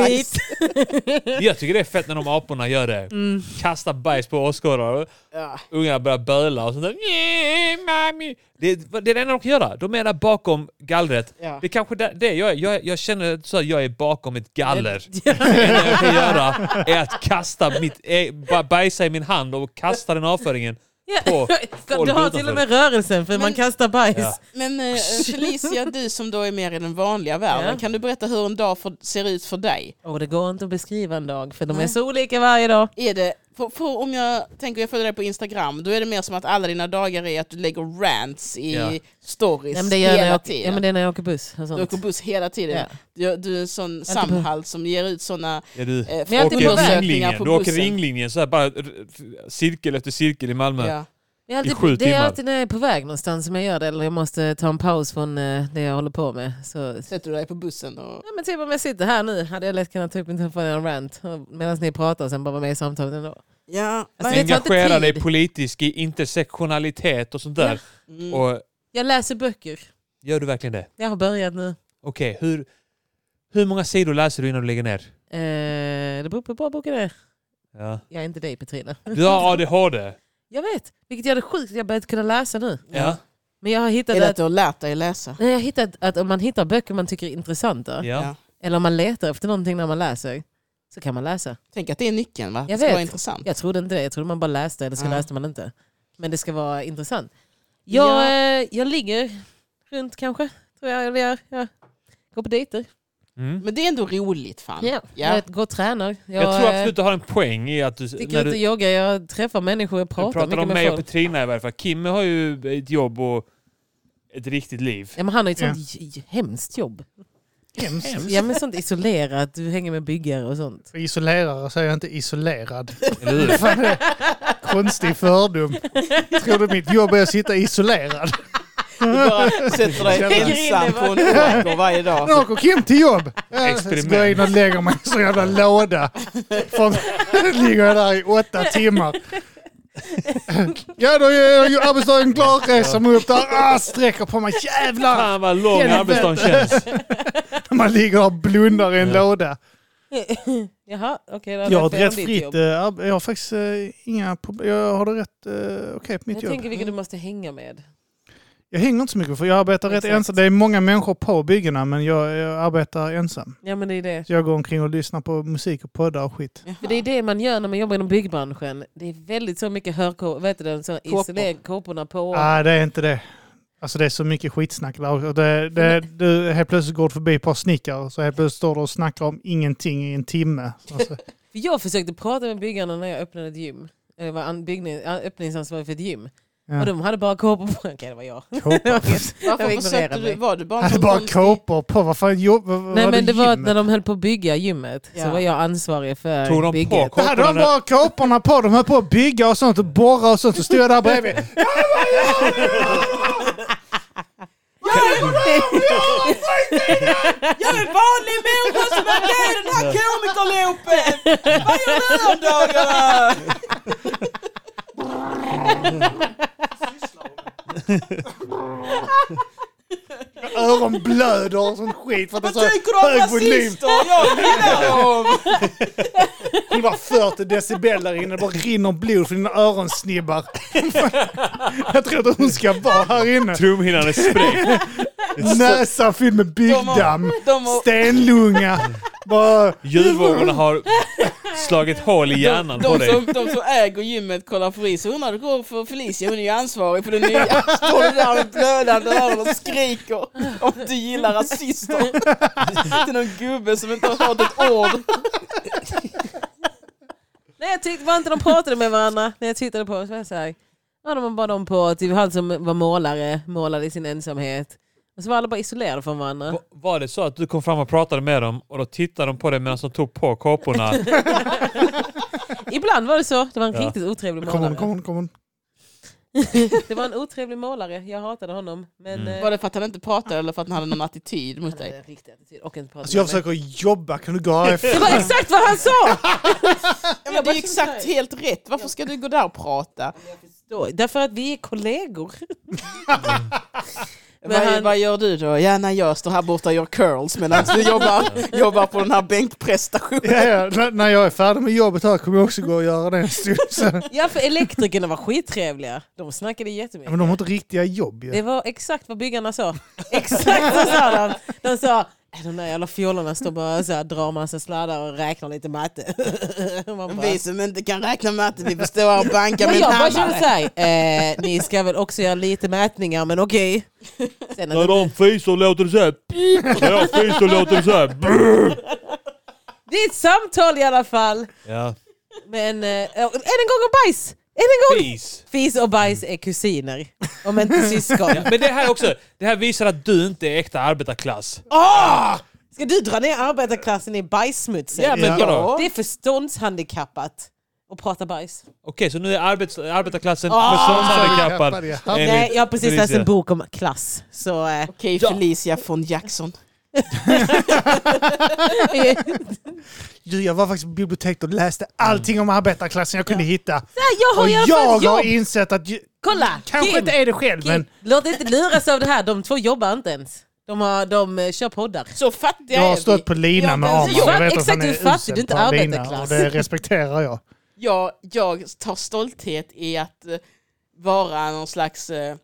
Speaker 4: bajs.
Speaker 1: Jag tycker det är fett när de aporna gör det.
Speaker 3: Mm.
Speaker 1: Kastar bajs på åskådare.
Speaker 4: Ja.
Speaker 1: Ungarna börjar böla och sånt där. "Yeah, Mami. Det, är- det är det enda de kan göra. De är där bakom gallret.
Speaker 4: Ja.
Speaker 1: Det är kanske det, det jag, är. jag, jag känner så att jag är bakom ett galler. Det enda jag kan göra är att kasta mitt, eh, ba- bajsa i min hand och kasta den avföringen.
Speaker 3: Ja.
Speaker 1: På folk
Speaker 3: Du har till
Speaker 1: utanför.
Speaker 3: och med rörelsen för man
Speaker 4: Men-
Speaker 3: kastar bajs.
Speaker 1: Ja.
Speaker 4: Men eh, Felicia, du som då är mer i den vanliga världen,
Speaker 3: Ja.
Speaker 4: kan du berätta hur en dag för, ser ut för dig?
Speaker 3: Och det går inte att beskriva en dag för de är
Speaker 4: Nej.
Speaker 3: så olika varje dag.
Speaker 4: Är det, för, för om jag tänker, jag följer dig på Instagram, då är det mer som att alla dina dagar är att du lägger rants i
Speaker 1: Ja.
Speaker 4: stories
Speaker 3: Nej, men det gör
Speaker 4: hela
Speaker 3: när jag,
Speaker 4: tiden.
Speaker 3: ja, men det är när jag åker buss och
Speaker 4: Du
Speaker 3: sånt.
Speaker 4: åker buss hela tiden.
Speaker 3: Ja.
Speaker 4: Du, du är en sån Samhall som ger ut såna
Speaker 1: Ja, du
Speaker 4: eh,
Speaker 3: jag är alltid på
Speaker 1: åker
Speaker 3: väg.
Speaker 4: folkundersökningar
Speaker 1: ringlinjen.
Speaker 4: på
Speaker 1: Du åker
Speaker 4: bussen.
Speaker 1: ringlinjen så här bara r- r- cirkel efter cirkel i Malmö.
Speaker 4: Ja.
Speaker 3: Jag är alltid,
Speaker 1: i sju
Speaker 3: det är
Speaker 1: timmar.
Speaker 3: alltid när jag är på väg någonstans som jag gör det eller jag måste ta en paus från eh, det jag håller på med. Så,
Speaker 4: Sätter du dig på bussen och...
Speaker 3: Ja, men typ om jag sitter här nu hade jag lätt kunnat ta upp min telefon och göra en rant medan ni pratar och sen bara vara med i samtalet ändå.
Speaker 4: Ja,
Speaker 3: Alltså,
Speaker 4: nej.
Speaker 3: det tar inte
Speaker 1: Engagera dig
Speaker 3: tid.
Speaker 1: politiskt i intersektionalitet och sånt där.
Speaker 4: Mm.
Speaker 1: Och
Speaker 3: Jag läser böcker.
Speaker 1: gör du verkligen det?
Speaker 3: Jag har börjat nu.
Speaker 1: Okej, hur, hur många sidor läser du innan du lägger ner?
Speaker 3: Eh, det beror på hur bra boken är.
Speaker 1: Ja.
Speaker 3: Jag är inte dig Petrina.
Speaker 1: Du har ADHD.
Speaker 3: Jag vet, vilket gör det sjukt att jag börjat kunna läsa nu.
Speaker 1: Ja.
Speaker 3: Men jag har hittat
Speaker 4: Är det att
Speaker 3: att,
Speaker 4: du har lärt dig läsa?
Speaker 3: nej, jag har hittat att om man hittar böcker man tycker är intressanta
Speaker 1: ja.
Speaker 3: eller om man letar efter någonting när man läser så kan man läsa.
Speaker 4: Tänk att det är nyckeln va?
Speaker 3: Jag
Speaker 4: det ska
Speaker 3: vet.
Speaker 4: vara intressant.
Speaker 3: Jag trodde inte det. Jag trodde man bara läste eller så
Speaker 4: Ja.
Speaker 3: läste man inte. Men det ska vara intressant. Jag, eh, jag ligger runt kanske. Tror jag jag gör. Ja. Går på dejter.
Speaker 1: Mm.
Speaker 4: Men det är ändå roligt fan.
Speaker 3: Ja. Jag går och tränar.
Speaker 1: Jag,
Speaker 3: Jag,
Speaker 1: tror
Speaker 3: eh,
Speaker 1: absolut du har en poäng i att du...
Speaker 3: sticker ut och
Speaker 1: du
Speaker 3: joggar. Jag träffar människor. Jag pratar,
Speaker 1: du pratar
Speaker 3: mycket
Speaker 1: om
Speaker 3: med
Speaker 1: mig och
Speaker 3: folk.
Speaker 1: Petrina i varje fall. Kimme har ju ett jobb och ett riktigt liv.
Speaker 3: Ja, men han har ju ett sånt j- hemskt jobb.
Speaker 2: Hemskt.
Speaker 3: Ja, men sånt isolerat. Du hänger med byggare och sånt.
Speaker 2: Isolerare säger jag inte isolerad.
Speaker 1: Eller hur?
Speaker 2: Fan, det är konstig fördom. Tror du mitt jobb är att sitta isolerad?
Speaker 4: Du bara sätter dig
Speaker 2: Känner-
Speaker 4: ensam på en åker varje
Speaker 2: Nu
Speaker 4: dag.
Speaker 2: åker Kim till jobb. Jag
Speaker 1: Experiment.
Speaker 2: ska in och lägger mig i en sån jävla låda. Från, ligger jag där i åtta timmar. Ja, då är ju arbetsdagen klar. Reser mig upp där. Ah, sträcker på mig. Jävlar!
Speaker 1: Fan vad lång
Speaker 2: Helvete.
Speaker 1: arbetsdagen känns.
Speaker 2: Man ligger och blundar i en
Speaker 1: Ja.
Speaker 2: låda.
Speaker 3: Jaha, okej. då har
Speaker 2: Jag har ett
Speaker 3: fel om
Speaker 2: rätt
Speaker 3: ditt
Speaker 2: fritt...
Speaker 3: jobb.
Speaker 2: eh, arb- Jag har faktiskt eh, inga problem. Jag har det rätt eh, okej på mitt
Speaker 3: Jag
Speaker 2: jobb.
Speaker 3: tänker vilka du måste hänga med.
Speaker 2: Jag hänger inte så mycket för jag arbetar rätt
Speaker 3: Exakt.
Speaker 2: ensam. Det är många människor på byggena men jag, jag arbetar ensam.
Speaker 3: Ja, men det är det.
Speaker 2: Så jag går omkring och lyssnar på musik och poddar och skit.
Speaker 3: För det är det man gör när man jobbar inom byggbranschen. Det är väldigt så mycket hörkåpor, vet du den, så
Speaker 4: Kåpor.
Speaker 3: isolering, kåporna på.
Speaker 2: Nej, Ah, det är inte det. Alltså det är så mycket skitsnack där. Och det, det, du, helt plötsligt går du förbi ett par snickare så helt plötsligt står du och snackar om ingenting i en timme. Alltså,
Speaker 3: För jag försökte prata med byggarna när jag öppnade ett gym. Jag var an- byggning, an- öppningsansvarig för ett gym.
Speaker 2: Ja. Mm.
Speaker 3: Och de hade bara kåpor på. Okej, det var jag.
Speaker 2: kåpor.
Speaker 3: Jag
Speaker 4: Varför
Speaker 3: ignorerar
Speaker 4: försökte
Speaker 3: mig.
Speaker 4: du? Var du bara en
Speaker 2: Hade
Speaker 4: sån
Speaker 2: bara
Speaker 4: konstig-
Speaker 2: kåpor på. Vad fan jobb, vad, vad
Speaker 3: Nej
Speaker 2: var
Speaker 3: men det var att
Speaker 2: gym?
Speaker 3: när de höll på att bygga gymmet så
Speaker 4: Ja.
Speaker 3: var jag ansvarig för
Speaker 1: Tog de
Speaker 3: bygget.
Speaker 1: på
Speaker 2: Hade de
Speaker 1: kåporna?
Speaker 2: bara kåporna på? De höll på att bygga och sånt och borra och sånt. Så stod jag där bredvid.
Speaker 4: Jag är en vanlig människa som är med i den här komikerloopen! Vad gör du om dagarna?
Speaker 2: Öron blöder och sånt skit. För att det är
Speaker 4: Vad
Speaker 2: så
Speaker 4: tycker du om
Speaker 2: Alltså, hög volym.
Speaker 4: rasister? Jag gillar dem!
Speaker 2: 140 decibel där inne. Det bara rinner blod från dina öronsnibbar. Jag tror att hon ska vara här inne.
Speaker 1: Trumhinnan är sprängd.
Speaker 2: Näsa fylld med byggdamm.
Speaker 4: De har,
Speaker 2: Stenlunga. Bara...
Speaker 1: Ljudvågorna har slagit hål i hjärnan på
Speaker 4: de,
Speaker 1: dig.
Speaker 4: som, de som äger gymmet kollar på Felicia. Hon hade gått för Felicia, hon är ju ansvarig för det nya. Står du där med blödande öron och skriker om du gillar rasister. Till någon gubbe som inte har hört ett ord.
Speaker 3: Nej jag tyckte bara inte de pratade med varandra när jag tittade på dem. Så var jag så här, ja, de var bara de på, typ han som var målare, målade i sin ensamhet. Och så var alla bara isolerade från varandra.
Speaker 1: Va- Var det så att du kom fram och pratade med dem och då tittade de på dig medan de tog på kåporna?
Speaker 3: Ibland var det så. Det var en
Speaker 1: Ja.
Speaker 3: riktigt otrevlig
Speaker 2: Kom
Speaker 3: målare.
Speaker 2: hon, kom hon, kom hon.
Speaker 3: Det var en otrevlig målare. Jag hatade honom. Men,
Speaker 1: Mm.
Speaker 3: eh,
Speaker 4: Var det för att han inte pratade eller för att han hade någon attityd mot
Speaker 3: han hade
Speaker 4: dig?
Speaker 3: en riktig attityd och inte pratade
Speaker 2: Alltså jag
Speaker 3: med mig.
Speaker 2: försöker jobba. Kan du gå härifrån?
Speaker 3: Det var exakt vad han sa!
Speaker 4: Ja,
Speaker 3: Jag
Speaker 4: men det är ju
Speaker 3: bara känner
Speaker 4: exakt
Speaker 3: så här.
Speaker 4: helt rätt. Varför ska du gå där och prata?
Speaker 3: Då, därför att vi är kollegor. Men
Speaker 4: vad,
Speaker 3: han-
Speaker 4: vad gör du då? Ja, nej, jag står här borta och gör curls medan du jobbar, jobbar på den här bänkprestationen.
Speaker 2: Ja, ja. N- När jag är färdig med jobbet här kommer jag också gå och göra det en stund. sen.
Speaker 3: Ja, för elektrikerna var skittrevliga. De snackade
Speaker 2: Ja,
Speaker 3: jättemycket.
Speaker 2: Men de har inte riktiga jobb ju.
Speaker 3: Det var exakt vad byggarna sa. Exakt så sa de. De sa, "Äh, de där jävla fjollorna står bara och så här, drar massa sladdar och räknar lite matte. Man bara,
Speaker 4: Vi som inte kan räkna med att vi får stå här och banka
Speaker 3: Ja,
Speaker 4: med en
Speaker 3: jag bara känner
Speaker 4: hammare.
Speaker 3: såhär, eh, ni ska väl också göra lite mätningar men okej. Sen att-
Speaker 1: de fiser låter det såhär. När jag fiser låter det såhär.
Speaker 3: Det är ett samtal i alla fall.
Speaker 1: Ja.
Speaker 3: Men eh, än en gång och bajs! Än en gång!
Speaker 1: Fis.
Speaker 3: Fis och bajs är kusiner, om inte syskon.
Speaker 1: Ja, men det här också. Det här visar att du inte är äkta arbetarklass.
Speaker 3: Åh! Ska du dra ner arbetarklassen i bajssmutsen?
Speaker 1: Ja, men
Speaker 2: Ja.
Speaker 1: vadå?
Speaker 3: Det är förståndshandikappat att prata bajs.
Speaker 1: Okej, så nu är arbets, arbetarklassen
Speaker 3: Ah!
Speaker 1: förståndshandikappad.
Speaker 2: Ja.
Speaker 1: enligt
Speaker 3: Nej, jag har precis läst
Speaker 1: Felicia.
Speaker 3: en bok om klass. Så, eh,
Speaker 4: Okej,
Speaker 1: Ja.
Speaker 4: Felicia von Jackson.
Speaker 2: Du, jag var faktiskt på biblioteket och läste
Speaker 3: Mm.
Speaker 2: allting om arbetarklassen jag kunde hitta.
Speaker 3: jag har
Speaker 2: Och
Speaker 3: i alla fall
Speaker 2: jag
Speaker 3: ett jobb!
Speaker 2: har insett att... ju-
Speaker 3: Kolla!
Speaker 2: Kanske
Speaker 3: Kim,
Speaker 2: inte är det själv,
Speaker 3: Kim,
Speaker 2: men...
Speaker 3: Låt dig inte luras av det här, de två jobbar inte ens. De, har, de eh, kör poddar.
Speaker 4: Så fattiga
Speaker 2: Jag har
Speaker 4: är vi.
Speaker 2: stått på lina
Speaker 4: Ja,
Speaker 2: med
Speaker 4: men
Speaker 2: Arman.
Speaker 3: så-
Speaker 2: Jag vet att
Speaker 3: exakt,
Speaker 2: han är
Speaker 3: du fattar,
Speaker 2: usel
Speaker 3: du är inte
Speaker 2: på lina,
Speaker 3: arbetarklass.
Speaker 2: Och det respekterar jag.
Speaker 4: Jag, jag tar stolthet i att eh, vara någon slags eh,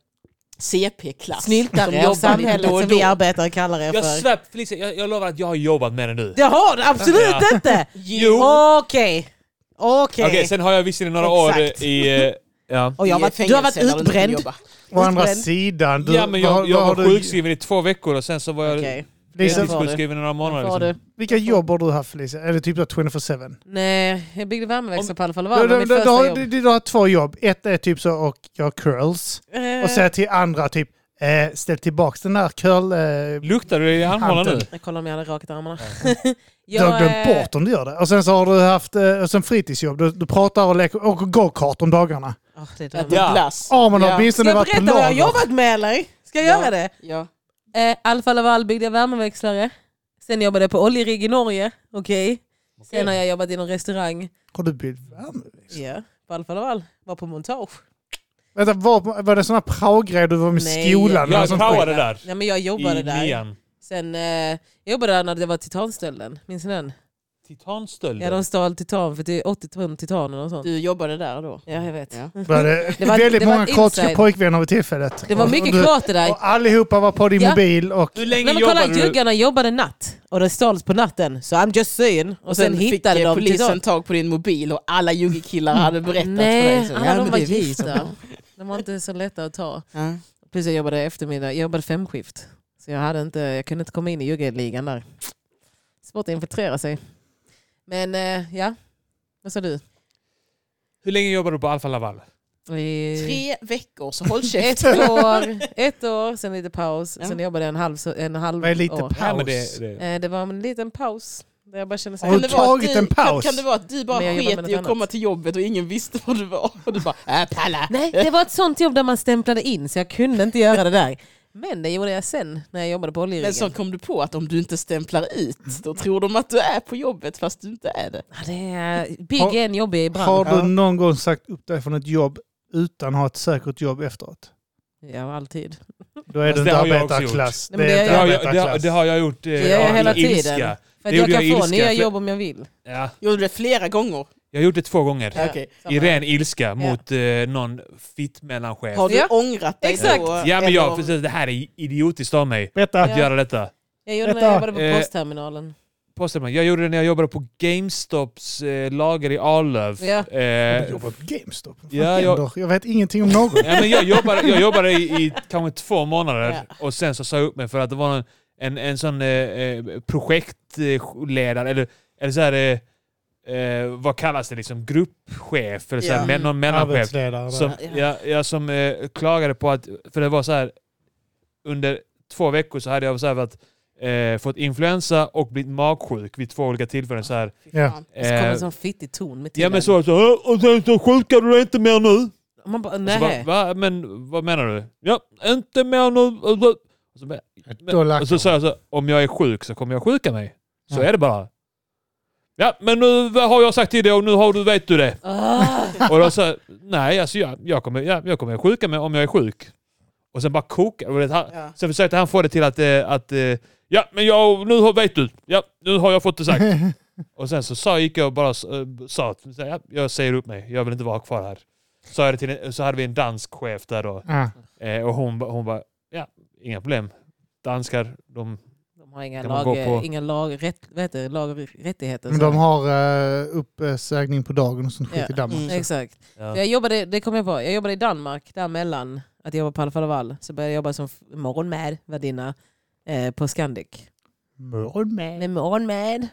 Speaker 4: CP-klass. som
Speaker 3: Snyltare
Speaker 4: jobbar
Speaker 3: av
Speaker 4: lite
Speaker 3: samhället
Speaker 4: då och
Speaker 3: som
Speaker 4: då.
Speaker 3: vi arbetare kallar er
Speaker 1: Jag
Speaker 3: för.
Speaker 1: svär Felicia, jag, jag lovar att jag har jobbat mer än du.
Speaker 3: Det har du absolut
Speaker 1: Ja.
Speaker 3: inte!
Speaker 1: Jo.
Speaker 3: Okej. Okej.
Speaker 1: Okej, sen har jag visserligen några
Speaker 3: Exakt.
Speaker 1: år i eh, Ja.
Speaker 4: i
Speaker 3: Och jag har
Speaker 4: ett
Speaker 3: varit, du har varit
Speaker 4: fängelse där du inte får
Speaker 3: utbränd.
Speaker 4: jobba.
Speaker 2: Å andra
Speaker 3: Utbränd.
Speaker 2: sidan, du,
Speaker 1: ja, men
Speaker 2: vad
Speaker 1: jag,
Speaker 2: har-
Speaker 1: jag
Speaker 2: vad har
Speaker 1: var
Speaker 2: du-
Speaker 1: sjukskriven i två veckor och sen så var jag
Speaker 4: Okej.
Speaker 2: Lisa,
Speaker 4: Ja.
Speaker 1: deltidssjukskriven i några månader.
Speaker 3: Vad har
Speaker 1: Liksom.
Speaker 3: du?
Speaker 2: Vilka jobb har du haft Felicia? Är det typ där 24-7?
Speaker 3: Nej, jag byggde värmeväxlar på alla fall. Det
Speaker 2: Du,
Speaker 3: var
Speaker 2: du,
Speaker 3: mitt
Speaker 2: du, du,
Speaker 3: första
Speaker 2: har-
Speaker 3: jobb.
Speaker 2: du, du har två jobb. Ett är typ så och jag har curls. Och
Speaker 3: Eh,
Speaker 2: säga till andra typ eh, ställ tillbaks den där curl... Eh,
Speaker 1: Luktar du i armhålan nu?
Speaker 2: Anton.
Speaker 3: Jag kollar om jag hade rakat armarna.
Speaker 2: du har glömt
Speaker 3: eh,
Speaker 2: bort om du gör det. Och sen så har du haft eh, och sen fritidsjobb. Du, du pratar och leker och go-kart om dagarna.
Speaker 3: ah, det är
Speaker 4: Äta
Speaker 3: dumt.
Speaker 1: Ja.
Speaker 4: glass.
Speaker 2: Ja, men
Speaker 4: Ja.
Speaker 3: Ska
Speaker 2: åtminstone
Speaker 3: jag
Speaker 2: varit på
Speaker 3: berätta vad jag har
Speaker 2: lager.
Speaker 3: jobbat med eller? Ska jag
Speaker 4: Ja.
Speaker 3: göra det?
Speaker 4: Ja.
Speaker 3: Eh, Alfa Laval byggde jag värmeväxlare. Sen jobbade jag på oljerigg i Norge. Okej. Sen har jag jobbat inom restaurang.
Speaker 2: Har du bytt värme?
Speaker 3: Ja, på Alfa Laval. Var på montage.
Speaker 2: Vänta, var, var det sån här praogrej du var med i
Speaker 3: Nej.
Speaker 2: skolan? eller
Speaker 1: Jag
Speaker 2: sånt
Speaker 1: praoade
Speaker 2: skit?
Speaker 1: där
Speaker 3: Nej, men jag jobbade
Speaker 1: i
Speaker 3: där.
Speaker 1: nian.
Speaker 3: Sen eh, jag jobbade där när det var titanstölden. Minns ni den? Ja,
Speaker 1: Titanstölden.
Speaker 3: de stal titan för det är 80 ton titan och något sånt.
Speaker 4: Du jobbade där då?
Speaker 3: Ja, jag vet.
Speaker 4: Ja.
Speaker 2: Var det,
Speaker 3: Det var-
Speaker 2: väldigt
Speaker 3: det var
Speaker 2: många
Speaker 3: ett
Speaker 2: kroatiska
Speaker 3: inside.
Speaker 2: pojkvänner vid tillfället.
Speaker 3: Det var
Speaker 2: Och-
Speaker 3: mycket
Speaker 2: och du-
Speaker 3: klart det där.
Speaker 2: Och allihopa var på din
Speaker 3: Ja.
Speaker 2: mobil och...
Speaker 1: Hur länge
Speaker 3: Nej, men kolla,
Speaker 1: jobbade du?
Speaker 3: juggarna jobbade natt och det stals på natten. Så I'm just saying. Och, sen, hittade
Speaker 4: fick eh,
Speaker 3: de
Speaker 4: polisen
Speaker 3: titan.
Speaker 4: tag på din mobil och alla juggikillar hade berättat för dig.
Speaker 3: Nej,
Speaker 4: Så,
Speaker 3: alla
Speaker 4: ja, men
Speaker 3: de var Mm.
Speaker 4: det är vi som-
Speaker 3: gifta. De var inte så lätta att ta.
Speaker 4: Ja.
Speaker 3: Plus jag jobbade eftermiddag, jag jobbade femskift. Så jag, hade inte, jag kunde inte komma in i juggerligan där. Svårt att infiltrera sig. Men eh, ja, vad sa du?
Speaker 1: Hur länge jobbade du på Alfa Laval?
Speaker 3: I-
Speaker 4: Tre veckor, så håll
Speaker 3: ett
Speaker 4: käften.
Speaker 3: år, ett år, sen lite paus.
Speaker 4: Ja.
Speaker 3: Sen jobbade jag en halv, så- en halv
Speaker 2: Vad är lite
Speaker 3: år.
Speaker 1: Nej, men
Speaker 2: paus?
Speaker 1: det, det.
Speaker 3: Eh, det var en liten paus. Där jag bara kände så
Speaker 2: Har
Speaker 3: här,
Speaker 2: du tagit
Speaker 4: du,
Speaker 2: en
Speaker 4: Kan,
Speaker 2: paus?
Speaker 4: kan det vara att du bara
Speaker 3: Men jag jobbar med
Speaker 4: sket
Speaker 3: något
Speaker 4: i att
Speaker 3: annat.
Speaker 4: komma till jobbet och ingen visste var du var? Och du bara, äh, palla.
Speaker 3: Nej, det var ett sånt jobb där man stämplade in så jag kunde inte göra det där. Men det gjorde jag sen när jag jobbade på
Speaker 4: Men så
Speaker 3: oljeriggen.
Speaker 4: kom du på att om du inte stämplar ut, då tror de att du är på jobbet fast du inte är det.
Speaker 3: Ja, det är, bygg
Speaker 2: Har-
Speaker 3: är en jobbig
Speaker 2: Har
Speaker 3: bransch.
Speaker 2: du någon gång sagt upp dig från ett jobb utan att ha ett säkert jobb efteråt?
Speaker 3: Ja, alltid.
Speaker 2: Då är
Speaker 1: Fast
Speaker 2: du
Speaker 1: det
Speaker 2: inte
Speaker 1: har jag också
Speaker 2: arbetarklass.
Speaker 3: gjort.
Speaker 2: Det
Speaker 3: Nej,
Speaker 2: är
Speaker 3: men
Speaker 1: Det,
Speaker 3: det
Speaker 2: inte
Speaker 1: har jag, det, har-
Speaker 2: arbetarklass.
Speaker 1: det har jag gjort eh,
Speaker 3: Det gör jag
Speaker 1: i
Speaker 3: hela
Speaker 1: ilska.
Speaker 3: tiden. För att
Speaker 1: Det
Speaker 3: jag
Speaker 1: gjorde
Speaker 3: kan
Speaker 1: jag
Speaker 3: få
Speaker 1: ilska,
Speaker 3: nya
Speaker 1: för-
Speaker 3: jobb om jag vill.
Speaker 1: Ja,
Speaker 4: Gjorde du det flera gånger?
Speaker 1: jag har gjort det två gånger.
Speaker 4: Ja. Okej.
Speaker 1: I
Speaker 3: Samma.
Speaker 1: ren ilska mot eh, någon fitt mellanchef. Eh,
Speaker 4: Har du
Speaker 3: Ja.
Speaker 4: ångrat dig
Speaker 3: Exakt.
Speaker 4: då?
Speaker 1: Ja, men
Speaker 4: eller-
Speaker 1: jag, precis, det här är idiotiskt av mig
Speaker 2: Berätta.
Speaker 1: att göra detta.
Speaker 3: Jag gjorde det när
Speaker 2: Vänta.
Speaker 3: jag jobbade på
Speaker 1: Eh.
Speaker 3: postterminalen.
Speaker 1: Påstämmer. Jag gjorde det när jag jobbade på GameStops eh, lager i Arlöv.
Speaker 3: Ja.
Speaker 1: Eh,
Speaker 2: Jag jobbar på GameStop. Vad fan
Speaker 1: Ja, jag-
Speaker 2: händer? Jag vet ingenting om någon.
Speaker 1: ja, men jag jobbade, jag jobbade i, i kanske två månader
Speaker 4: Ja.
Speaker 1: och sen så sa jag upp mig för att det var en, en, en sån eh, eh, projektledare eller, eller så här, eh, eh, vad kallas det, liksom gruppchef eller så här,
Speaker 4: Ja.
Speaker 1: men, någon mellanchef.
Speaker 2: Arbetsledare.
Speaker 1: Som,
Speaker 4: Ja.
Speaker 1: jag, jag som eh, klagade på att, för det var så här, under två veckor så hade jag så här varit, eh, fått influensa och blivit magsjuk vid två olika tillfällen. Så här,
Speaker 4: Fy fan.
Speaker 2: Ja.
Speaker 3: Och så kom
Speaker 1: eh,
Speaker 3: en sån fittig ton med
Speaker 1: Ja
Speaker 3: tiden.
Speaker 1: men så, så "Äh, och sen så sjukar du dig inte mer nu?
Speaker 3: Och Man bara,
Speaker 1: Och så bara,
Speaker 3: nej.
Speaker 1: Alltså, va? Men vad menar du? Ja, inte mer nu. Och så, och så, bara-
Speaker 2: Då lackar
Speaker 1: och så sa jag så, om jag är sjuk så kommer jag sjuka mig. Så är det bara. Ja, men nu vad har jag sagt till dig och nu har du, vet du det.
Speaker 3: Ah,
Speaker 1: Och då sa jag, nej alltså jag, jag, kommer, ja, jag kommer sjuka mig om jag är sjuk. Och sen bara kokar och det. Han,
Speaker 4: Ja.
Speaker 1: Sen försökte han få det till att, eh, att eh, ja men jag, nu har, vet du, ja nu har jag fått det sagt. Och sen så sa, gick jag och bara eh, sa att ja, jag säger upp mig, jag vill inte vara kvar här. Så, jag det till, en- så hade vi en dansk chef där då.
Speaker 2: Ja.
Speaker 1: Eh, och hon, ba- hon bara, ja inga problem. Danskar, de...
Speaker 3: de har inga,
Speaker 1: Kan man gå
Speaker 3: lag,
Speaker 1: på-
Speaker 3: inga lag, rätt, vad heter det, lag, rättigheter.
Speaker 2: Men
Speaker 3: så här.
Speaker 2: de har eh, uppsägning på dagen och sånt skit
Speaker 3: Ja.
Speaker 2: i Danmark.
Speaker 4: Mm.
Speaker 3: Exakt.
Speaker 1: Ja.
Speaker 3: För Jag jobbade, det kom jag på, jag jobbade i Danmark, där mellan att jag var på Alfa Laval. Så började jag jobba som f- morgonmäd, värdinna, eh, på Scandic.
Speaker 2: Morgonmäd.
Speaker 3: Med morgonmäd.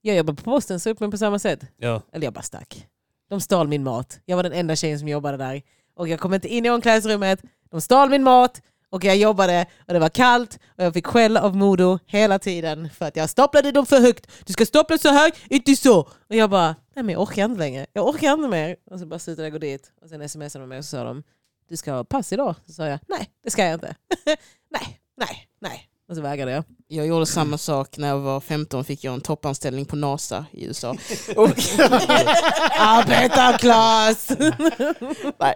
Speaker 3: Jag jobbade på posten, så upp mig på samma sätt.
Speaker 1: Ja.
Speaker 3: Eller jag bara stack. De stal min mat. Jag var den enda tjejen som jobbade där. Och jag kom inte in i omklädningsrummet. De stal min mat. Och jag jobbade och det var kallt och jag fick skäll av Modo hela tiden för att jag staplade dem för högt. Du ska stapla så här, inte så. Och jag bara, nej men jag orkar inte längre. Jag orkar inte mer. Och så bara slutade jag gå dit. Och sen smsade de mig och så sa de, du ska ha pass idag. Så sa jag, nej det ska jag inte. nej, nej, nej. Och så vägrade jag.
Speaker 4: Jag gjorde samma sak när jag var 15 fick jag en toppanställning på NASA i USA. Och,
Speaker 3: Arbetarklass!
Speaker 4: nej.